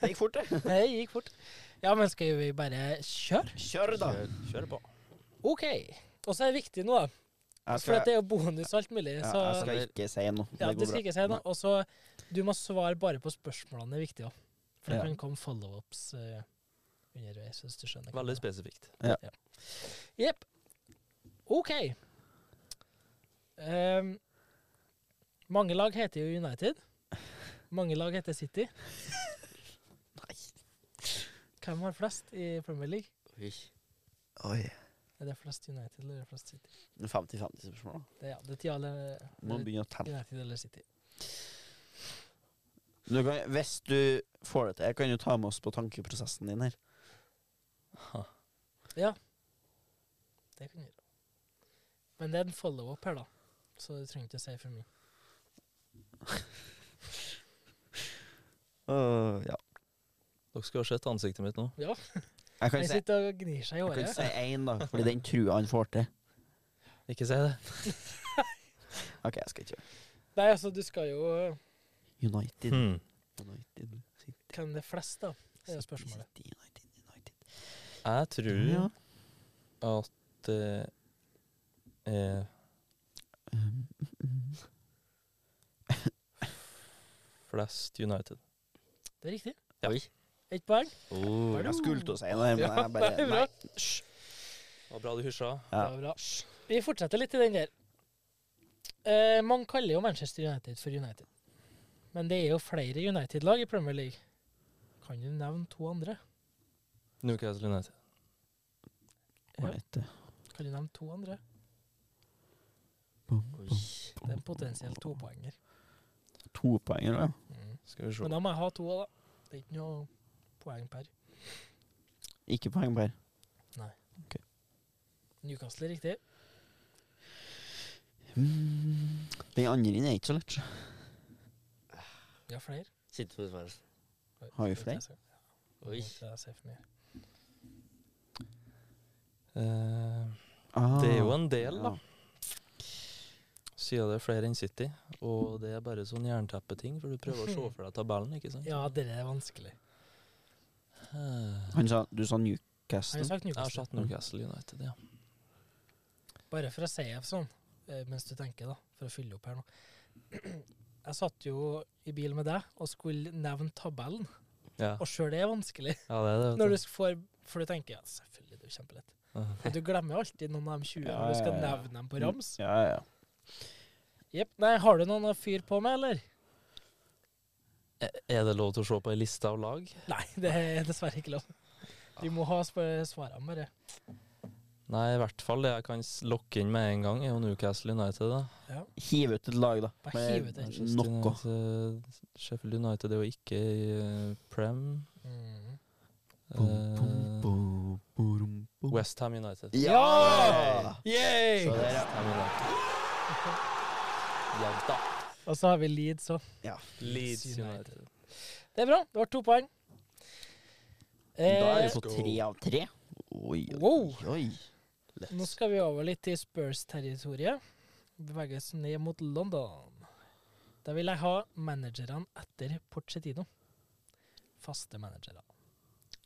[SPEAKER 1] Det gikk fort, det.
[SPEAKER 2] Det gikk fort. Ja, men skal vi bare kjøre?
[SPEAKER 1] Kjør, da.
[SPEAKER 3] Kjør.
[SPEAKER 4] Kjør på.
[SPEAKER 2] OK. Og så er det viktig nå, da.
[SPEAKER 1] Jeg
[SPEAKER 2] For
[SPEAKER 1] skal,
[SPEAKER 2] at det er jo bonus og alt mulig.
[SPEAKER 1] ja,
[SPEAKER 2] Så
[SPEAKER 1] jeg skal ikke si noe.
[SPEAKER 2] ja,
[SPEAKER 1] Det
[SPEAKER 2] det
[SPEAKER 1] går
[SPEAKER 2] skal
[SPEAKER 1] bra.
[SPEAKER 2] ikke si
[SPEAKER 1] Nei.
[SPEAKER 2] noe. Og så du må svare bare på spørsmålene, det er viktig òg. For det
[SPEAKER 1] Ja.
[SPEAKER 2] kan komme follow-ups eh, underveis, hvis du skjønner. hva
[SPEAKER 4] Veldig
[SPEAKER 2] jeg
[SPEAKER 4] spesifikt.
[SPEAKER 2] mener. Jepp. OK. Ehm, mange lag heter jo United. Mange lag heter City.
[SPEAKER 1] Nei.
[SPEAKER 2] Hvem har flest i Premier League?
[SPEAKER 3] Oi.
[SPEAKER 1] Oi.
[SPEAKER 2] Er det flest United eller er det flest City?
[SPEAKER 1] 50-50-spørsmål.
[SPEAKER 2] Det, er- ja, det er ti eller
[SPEAKER 1] Må begynne å telle.
[SPEAKER 2] United eller City.
[SPEAKER 1] Du kan, hvis du får det til Jeg kan jo ta med oss på tankeprosessen din her.
[SPEAKER 2] Det kan du gjøre. Men det er en follow-up her, da. Så du trenger ikke å si for mye.
[SPEAKER 1] ja.
[SPEAKER 4] Dere skulle ha sett ansiktet mitt nå.
[SPEAKER 2] Ja,
[SPEAKER 1] Jeg kan
[SPEAKER 2] Han
[SPEAKER 1] si
[SPEAKER 2] sitter og gnir seg i
[SPEAKER 1] jeg kan
[SPEAKER 2] håret.
[SPEAKER 1] si én, da, fordi den tror jeg han får til.
[SPEAKER 4] Ikke si det.
[SPEAKER 1] OK, jeg skal ikke gjøre det.
[SPEAKER 2] Nei, altså, du skal jo
[SPEAKER 1] United,
[SPEAKER 4] Hmm.
[SPEAKER 1] United
[SPEAKER 2] Hvem det er flest, da? Det er jo spørsmålet.
[SPEAKER 1] City, United, United.
[SPEAKER 4] Jeg tror
[SPEAKER 1] Ja.
[SPEAKER 4] at eh, det er flest United.
[SPEAKER 2] Det er riktig.
[SPEAKER 4] Ja.
[SPEAKER 3] Oi.
[SPEAKER 2] Ett poeng.
[SPEAKER 3] Oh.
[SPEAKER 1] Jeg skulle til å si noe, men
[SPEAKER 2] Ja,
[SPEAKER 1] jeg bare
[SPEAKER 2] det er bra.
[SPEAKER 1] Nei.
[SPEAKER 4] Det var bra du hysja.
[SPEAKER 2] Det
[SPEAKER 1] Ja.
[SPEAKER 2] var bra. Vi fortsetter litt i den der. Eh, man kaller jo Manchester United for United. Men det er jo flere United-lag i Premier League. Kan du nevne to andre?
[SPEAKER 4] Newcastle United.
[SPEAKER 1] Hva heter det?
[SPEAKER 2] Kan du nevne to andre?
[SPEAKER 3] Oi.
[SPEAKER 2] Det er en potensiell topoenger.
[SPEAKER 1] Topoenger, da.
[SPEAKER 2] Mm.
[SPEAKER 4] Skal vi se.
[SPEAKER 2] Men da må jeg ha to, da. Det er ikke noe poeng per.
[SPEAKER 1] Ikke poeng på her.
[SPEAKER 2] Newcastle er riktig.
[SPEAKER 1] Mm. Den andre er ikke så lett.
[SPEAKER 2] Vi har flere.
[SPEAKER 3] Sitter med svaret.
[SPEAKER 1] Har vi flere?
[SPEAKER 3] Oi.
[SPEAKER 4] Eh,
[SPEAKER 1] Ah.
[SPEAKER 4] det er jo en del, da.
[SPEAKER 1] Ja.
[SPEAKER 4] Siden det er flere enn City. Og det er bare sånn jernteppeting, for du prøver å se for deg tabellen, ikke sant?
[SPEAKER 2] Ja, det er vanskelig.
[SPEAKER 4] Eh,
[SPEAKER 1] Han sa, du sa
[SPEAKER 2] Har jeg
[SPEAKER 1] Newcastle.
[SPEAKER 2] sagt
[SPEAKER 4] Jeg har
[SPEAKER 2] Newcastle?
[SPEAKER 4] satt Newcastle United, ja.
[SPEAKER 2] Bare for å si det sånn, eh, mens du tenker, da, for å fylle opp her nå. Jeg satt jo i bil med deg og skulle nevne tabellen,
[SPEAKER 4] Ja,
[SPEAKER 2] og sjøl det er vanskelig.
[SPEAKER 4] ja det er det.
[SPEAKER 2] Når
[SPEAKER 4] Vet
[SPEAKER 2] du får, for du tenker ja, selvfølgelig, det er jo kjempelett.
[SPEAKER 4] du.
[SPEAKER 2] Men du glemmer alltid noen av de 20
[SPEAKER 1] Ja,
[SPEAKER 2] når du skal
[SPEAKER 1] ja, ja.
[SPEAKER 2] nevne dem på rams.
[SPEAKER 1] Ja, ja.
[SPEAKER 2] Jepp. Nei, har du noen å fyre på med, eller?
[SPEAKER 4] Eh, Er det lov til å se på ei liste av lag?
[SPEAKER 2] Nei, det er dessverre ikke lov. Vi må ha sp- svarene, bare.
[SPEAKER 4] Nei, i hvert fall det jeg kan s- lokke inn med en gang, er jo Newcastle United. da.
[SPEAKER 2] Ja.
[SPEAKER 1] Hiv ut et lag, da.
[SPEAKER 2] Bare
[SPEAKER 1] Med
[SPEAKER 2] hiv ut et.
[SPEAKER 4] Manchester
[SPEAKER 1] Noe.
[SPEAKER 4] United, Sheffield United er jo ikke i eh, Prem.
[SPEAKER 2] Mm.
[SPEAKER 4] Eh,
[SPEAKER 1] bom, bom, bom.
[SPEAKER 4] West Ham United.
[SPEAKER 1] Ja!
[SPEAKER 2] Yay!
[SPEAKER 1] Så der, ja.
[SPEAKER 4] West Ham United. Jevnt, da.
[SPEAKER 2] Og så har vi Leeds òg.
[SPEAKER 4] Leeds
[SPEAKER 2] Leeds
[SPEAKER 4] United.
[SPEAKER 2] Det er bra. Det var to poeng.
[SPEAKER 1] Da er
[SPEAKER 2] Eh,
[SPEAKER 1] du på tre av tre. Oi, oi,
[SPEAKER 2] Wow.
[SPEAKER 1] oi.
[SPEAKER 2] nå skal vi over litt i Spurs-territoriet. Bevege oss ned mot London. Da vil jeg ha managerne etter Porcetino. Faste managere.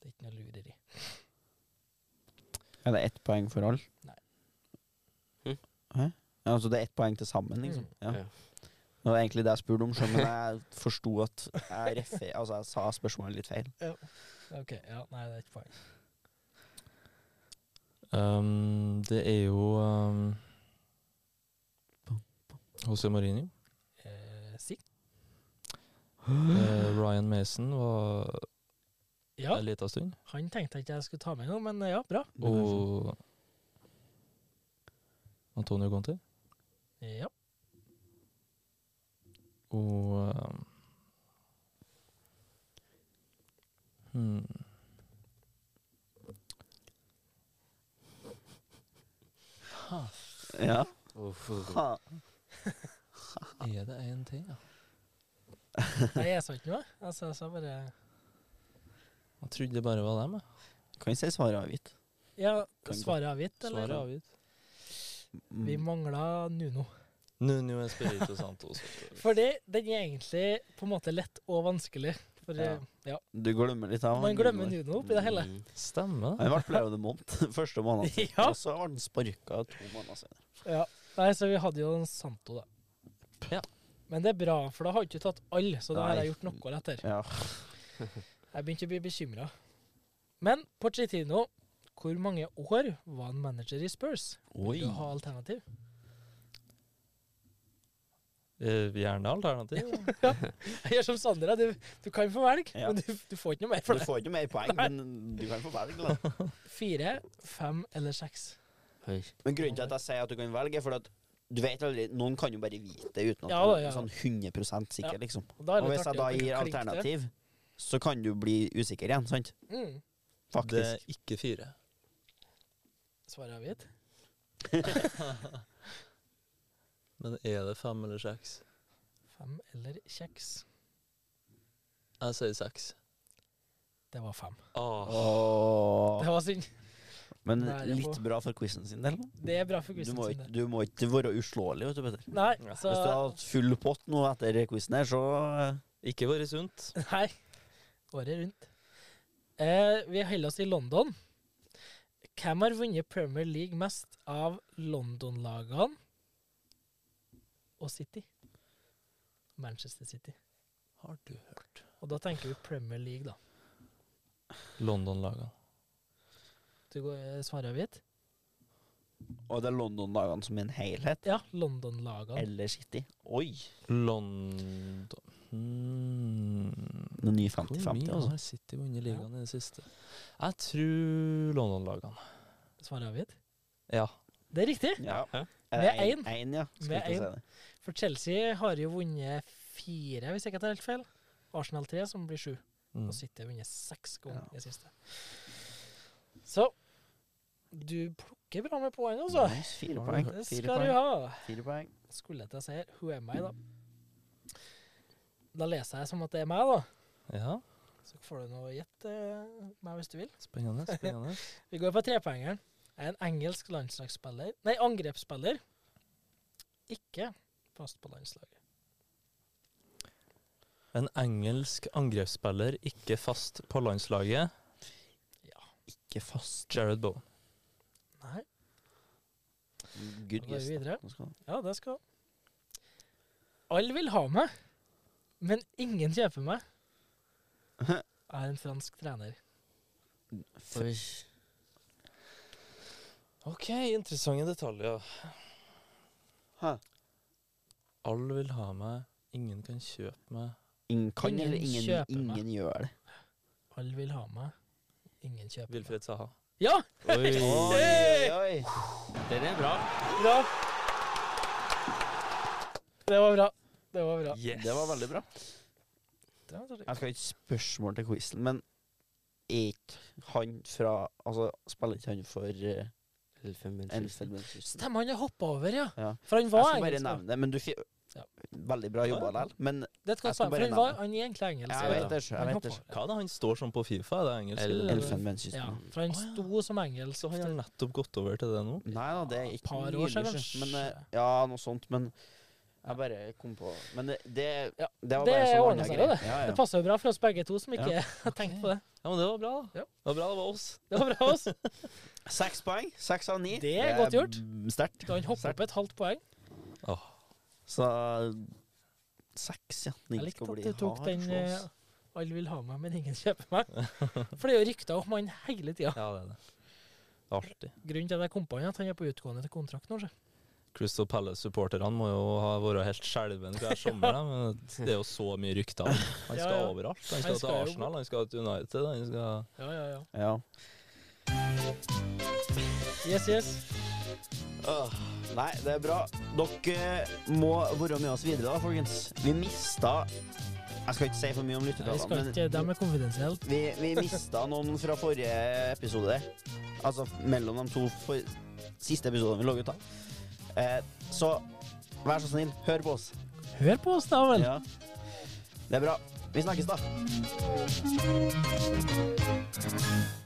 [SPEAKER 2] Det er ikke noe lureri.
[SPEAKER 1] Er det ett poeng for alle?
[SPEAKER 2] Nei.
[SPEAKER 3] Hm?
[SPEAKER 1] Hæ? Ja, Altså det er ett poeng til sammen, liksom?
[SPEAKER 2] Mm.
[SPEAKER 1] Ja.
[SPEAKER 3] Ja.
[SPEAKER 1] Det var egentlig det jeg spurte om, selv, men jeg forsto at jeg, refer, altså jeg sa spørsmålet litt feil.
[SPEAKER 2] Ok, ja, Nei, det er ikke poeng.
[SPEAKER 4] Um, det er jo um, José Mourinho.
[SPEAKER 2] Eh, si.
[SPEAKER 4] Eh, Ryan Mason var
[SPEAKER 2] Ja,
[SPEAKER 4] en liten stund.
[SPEAKER 2] han tenkte jeg ikke jeg skulle ta med engang, men eh, ja, bra.
[SPEAKER 4] Og Antonio Conte.
[SPEAKER 2] Ja.
[SPEAKER 4] Og um, hmm.
[SPEAKER 1] altså, Ja.
[SPEAKER 3] Uff.
[SPEAKER 1] Ha.
[SPEAKER 4] Er det én ting, ja?
[SPEAKER 2] Nei, jeg sa ikke noe. Jeg sa, jeg sa bare
[SPEAKER 4] Jeg trodde det bare var dem. jeg.
[SPEAKER 1] Kan jeg si svaret avgitt?
[SPEAKER 2] Ja,
[SPEAKER 1] Kan gå.
[SPEAKER 2] svaret er avgitt, eller?
[SPEAKER 4] Svaret er avgitt.
[SPEAKER 2] Vi mangla Nuno.
[SPEAKER 4] Nuno Espirito Santos. vet du.
[SPEAKER 2] Fordi den er egentlig på en måte lett og vanskelig. For
[SPEAKER 1] Ja.
[SPEAKER 2] eh, ja.
[SPEAKER 1] Mm, Du glemmer litt av
[SPEAKER 2] man glemmer
[SPEAKER 1] Nuno.
[SPEAKER 2] Nuno oppi det hele.
[SPEAKER 3] Mm.
[SPEAKER 4] Stemmer det.
[SPEAKER 1] Han ble player of the month første måneden.
[SPEAKER 2] Ja.
[SPEAKER 1] Og så ble han sparka to måneder senere.
[SPEAKER 2] Ja. Nei, så vi hadde jo en Santo, da.
[SPEAKER 4] Ja.
[SPEAKER 2] Men det er bra, for da har jeg ikke tatt alle, så da har
[SPEAKER 1] Nei.
[SPEAKER 2] jeg gjort noe etter.
[SPEAKER 1] Ja.
[SPEAKER 2] Jeg begynte å bli bekymra. Men Pochettino, hvor mange år var han manager i Spurs?
[SPEAKER 1] Oi.
[SPEAKER 2] Vil du ha alternativ?
[SPEAKER 4] Eh, Gjerne alternativ.
[SPEAKER 2] Jeg gjør som Sander, ja. du, du kan få velge,
[SPEAKER 1] Ja.
[SPEAKER 2] men du, du får ikke noe mer
[SPEAKER 1] Du
[SPEAKER 2] for det.
[SPEAKER 1] får ikke mer poeng, men du kan få velge. da.
[SPEAKER 2] Fire, fem eller seks?
[SPEAKER 3] Oi.
[SPEAKER 1] Men grunnen til at jeg sier at du kan velge, er fordi at du vet aldri Noen kan jo bare vite det uten at
[SPEAKER 2] Ja,
[SPEAKER 1] du
[SPEAKER 2] da,
[SPEAKER 1] er
[SPEAKER 2] ja.
[SPEAKER 1] sånn 100 sikker,
[SPEAKER 2] Ja.
[SPEAKER 1] liksom.
[SPEAKER 2] Og, da er
[SPEAKER 1] Og
[SPEAKER 2] det
[SPEAKER 1] hvis
[SPEAKER 2] litt
[SPEAKER 1] jeg da
[SPEAKER 2] artig å
[SPEAKER 1] gir
[SPEAKER 2] klikke det.
[SPEAKER 1] alternativ, så kan du bli usikker igjen, sant?
[SPEAKER 2] Mm.
[SPEAKER 4] Det er
[SPEAKER 1] Faktisk.
[SPEAKER 4] ikke fire.
[SPEAKER 2] Svaret er avgitt.
[SPEAKER 4] Men er det fem eller seks?
[SPEAKER 2] Fem eller kjeks?
[SPEAKER 4] Jeg sier seks.
[SPEAKER 2] Det var fem.
[SPEAKER 4] Ah.
[SPEAKER 1] Åh.
[SPEAKER 2] Det var synd.
[SPEAKER 1] Men
[SPEAKER 2] Nei, jeg
[SPEAKER 1] litt
[SPEAKER 2] får-
[SPEAKER 1] bra for quizen sin del.
[SPEAKER 2] Det er bra for
[SPEAKER 1] Du
[SPEAKER 2] Gusten
[SPEAKER 1] må,
[SPEAKER 2] sin.
[SPEAKER 1] ikke,
[SPEAKER 2] det.
[SPEAKER 1] du må ikke være uslåelig, vet du, Petter.
[SPEAKER 2] Nei,
[SPEAKER 4] Ja,
[SPEAKER 2] så
[SPEAKER 1] Hvis du hadde hatt full pott nå etter quizen her, så eh,
[SPEAKER 4] Ikke vært sunt.
[SPEAKER 2] Nei. Året rundt. Eh, vi holder oss i London. Hvem har vunnet Premier League mest av London-lagene og City? Manchester City.
[SPEAKER 4] Har du hørt?
[SPEAKER 2] Og da tenker vi Premier League, da.
[SPEAKER 4] London-lagene.
[SPEAKER 2] Du går, svarer vi et?
[SPEAKER 1] Og det er London-dagene som en helhet.
[SPEAKER 2] Ja, London-lagene.
[SPEAKER 1] Eller City. Oi!
[SPEAKER 4] London hmm.
[SPEAKER 1] Noen ny
[SPEAKER 4] Hvor
[SPEAKER 1] 50-50,
[SPEAKER 4] mye
[SPEAKER 1] altså.
[SPEAKER 4] har City vunnet ligaen i det siste? Jeg tror London-lagene.
[SPEAKER 2] Svarer vi et?
[SPEAKER 4] Ja.
[SPEAKER 2] Det er riktig.
[SPEAKER 1] Ja.
[SPEAKER 3] Hæ?
[SPEAKER 1] Er
[SPEAKER 2] Med
[SPEAKER 1] det en-
[SPEAKER 2] en.
[SPEAKER 1] en, ja. Skal
[SPEAKER 2] Med
[SPEAKER 1] ikke si
[SPEAKER 2] en.
[SPEAKER 1] det.
[SPEAKER 2] For Chelsea har jo vunnet fire, hvis jeg ikke tar helt feil. Arsenal tre, som blir sju.
[SPEAKER 4] Mm.
[SPEAKER 2] Og City har vunnet seks
[SPEAKER 1] Ja.
[SPEAKER 2] ganger i det siste. Så du plukker bra med poeng, altså.
[SPEAKER 1] Nice, Fire poeng.
[SPEAKER 2] Det
[SPEAKER 1] Fire
[SPEAKER 2] skal du
[SPEAKER 1] poeng.
[SPEAKER 2] ha.
[SPEAKER 1] Fire poeng.
[SPEAKER 2] Skulle til å si her, who am I, da? Da leser jeg som at det er meg, da.
[SPEAKER 4] Ja.
[SPEAKER 2] Så får du noe gjett eh, meg hvis du vil.
[SPEAKER 4] Spennende. spennende.
[SPEAKER 2] Vi går på trepoengeren. Jeg er en engelsk landslagsspiller Nei, angrepsspiller. Ikke fast på landslaget.
[SPEAKER 4] En engelsk angrepsspiller ikke fast på landslaget.
[SPEAKER 1] Ikke fast.
[SPEAKER 4] Jared Bowen.
[SPEAKER 2] Nei, da
[SPEAKER 1] Good
[SPEAKER 2] går
[SPEAKER 1] guess.
[SPEAKER 2] vi videre.
[SPEAKER 1] Nå skal han-
[SPEAKER 2] Ja, det skal Alle vil ha meg, men ingen kjøper meg. Jeg er en fransk trener.
[SPEAKER 3] Oi.
[SPEAKER 4] OK, interessante detaljer.
[SPEAKER 1] Hæ?
[SPEAKER 4] Alle vil ha meg, ingen kan kjøpe meg.
[SPEAKER 1] Ingen kan
[SPEAKER 2] Ingen
[SPEAKER 1] eller ingen,
[SPEAKER 2] kjøper
[SPEAKER 1] ingen gjør det.
[SPEAKER 2] Alle vil ha meg, ingen kjøper meg.
[SPEAKER 4] Wilfred Saha.
[SPEAKER 2] Ja!
[SPEAKER 4] Oi.
[SPEAKER 1] Oi, oi.
[SPEAKER 3] Den er bra.
[SPEAKER 2] Bra! Det var bra. Det var bra.
[SPEAKER 4] Yes.
[SPEAKER 1] Det var veldig bra.
[SPEAKER 2] Det var dårlig.
[SPEAKER 1] Jeg skal ha et spørsmål til quizen, men er ikke han fra Altså, spiller ikke han for uh,
[SPEAKER 3] Elfenbenskysten.
[SPEAKER 1] Elfenbenskysten?
[SPEAKER 2] Stemmer, han har hoppa over, ja.
[SPEAKER 1] Ja.
[SPEAKER 2] For han
[SPEAKER 1] Jeg
[SPEAKER 2] var
[SPEAKER 1] skal bare
[SPEAKER 2] engelsk.
[SPEAKER 1] nevne det, men du fi-
[SPEAKER 2] Ja.
[SPEAKER 1] Veldig bra jobba likevel. Men
[SPEAKER 2] Det skal
[SPEAKER 1] Jeg skal
[SPEAKER 2] jeg, for
[SPEAKER 1] bare
[SPEAKER 2] han, var,
[SPEAKER 1] nevne.
[SPEAKER 2] han er egentlig engelsk.
[SPEAKER 1] jeg vet det. Jeg
[SPEAKER 2] Han
[SPEAKER 1] vet det.
[SPEAKER 2] hoppa over.
[SPEAKER 4] Hva er det han står som på Fifa? Er det engelsk?
[SPEAKER 3] El-
[SPEAKER 4] eller?
[SPEAKER 2] Ja,
[SPEAKER 1] Elfenbenskysten.
[SPEAKER 2] for han
[SPEAKER 4] Å, ja.
[SPEAKER 2] sto som engelsk.
[SPEAKER 4] Så han har nettopp gått over til det nå?
[SPEAKER 1] Nei da, det er
[SPEAKER 2] Et
[SPEAKER 1] ikke
[SPEAKER 2] par år siden,
[SPEAKER 1] nylig, sjø. Men, eh,
[SPEAKER 2] kanskje.
[SPEAKER 1] ja, noe sånt, men jeg bare kom på Men det, det,
[SPEAKER 2] Ja,
[SPEAKER 1] det var
[SPEAKER 2] det
[SPEAKER 1] bare sånn
[SPEAKER 2] ordner
[SPEAKER 1] annen
[SPEAKER 2] seg
[SPEAKER 1] greie.
[SPEAKER 2] jo,
[SPEAKER 1] Ja,
[SPEAKER 2] Det
[SPEAKER 1] ja.
[SPEAKER 2] passer jo bra for oss begge to som ikke
[SPEAKER 1] Ja.
[SPEAKER 2] har tenkt på det.
[SPEAKER 4] Ja, men det var bra, da.
[SPEAKER 2] Ja.
[SPEAKER 4] Det var bra det var oss.
[SPEAKER 2] Det var bra, altså. oss.
[SPEAKER 1] Seks poeng. Seks av ni.
[SPEAKER 2] Det er godt gjort.
[SPEAKER 1] mm, Sterkt.
[SPEAKER 2] Da han hoppa opp et halvt poeng.
[SPEAKER 1] Så seks, ja. Den
[SPEAKER 2] Jeg likte
[SPEAKER 1] skal
[SPEAKER 2] at
[SPEAKER 1] bli
[SPEAKER 2] du tok
[SPEAKER 1] hard
[SPEAKER 2] den eh,
[SPEAKER 1] slåss.
[SPEAKER 2] 'alle vil ha meg, men ingen kjøper meg'. For det er jo rykter om han hele tida.
[SPEAKER 4] Ja, det er det. Det er Artig.
[SPEAKER 2] Grunnen til at jeg kom på han, er at han er på utgående til kontrakt nå. så.
[SPEAKER 4] Crystal Palace-supporterne må jo ha vært helt skjelven hver sommer. da, Men det er jo så mye rykter. om han. Han
[SPEAKER 2] Ja,
[SPEAKER 4] skal
[SPEAKER 2] ja.
[SPEAKER 4] overalt. Han
[SPEAKER 2] Han
[SPEAKER 4] skal til
[SPEAKER 2] skal jo-
[SPEAKER 4] Arsenal, han skal til United, han skal
[SPEAKER 2] Ja, ja, ja.
[SPEAKER 1] Ja.
[SPEAKER 2] Yes, yes.
[SPEAKER 1] Åh, Nei, det er bra. Dere eh, må være med oss videre, da, folkens. Vi mista Jeg skal ikke si for mye om
[SPEAKER 2] Nei, vi skal
[SPEAKER 1] lyttertallene,
[SPEAKER 2] ikke,
[SPEAKER 1] men
[SPEAKER 2] Dem er konfidensielt.
[SPEAKER 1] Vi, vi mista noen fra forrige episode. Altså mellom de to for, siste episodene vi lå ut av. Eh, så vær så snill, hør på oss.
[SPEAKER 2] Hør på oss, da vel.
[SPEAKER 1] Ja. Det er bra. Vi snakkes, da.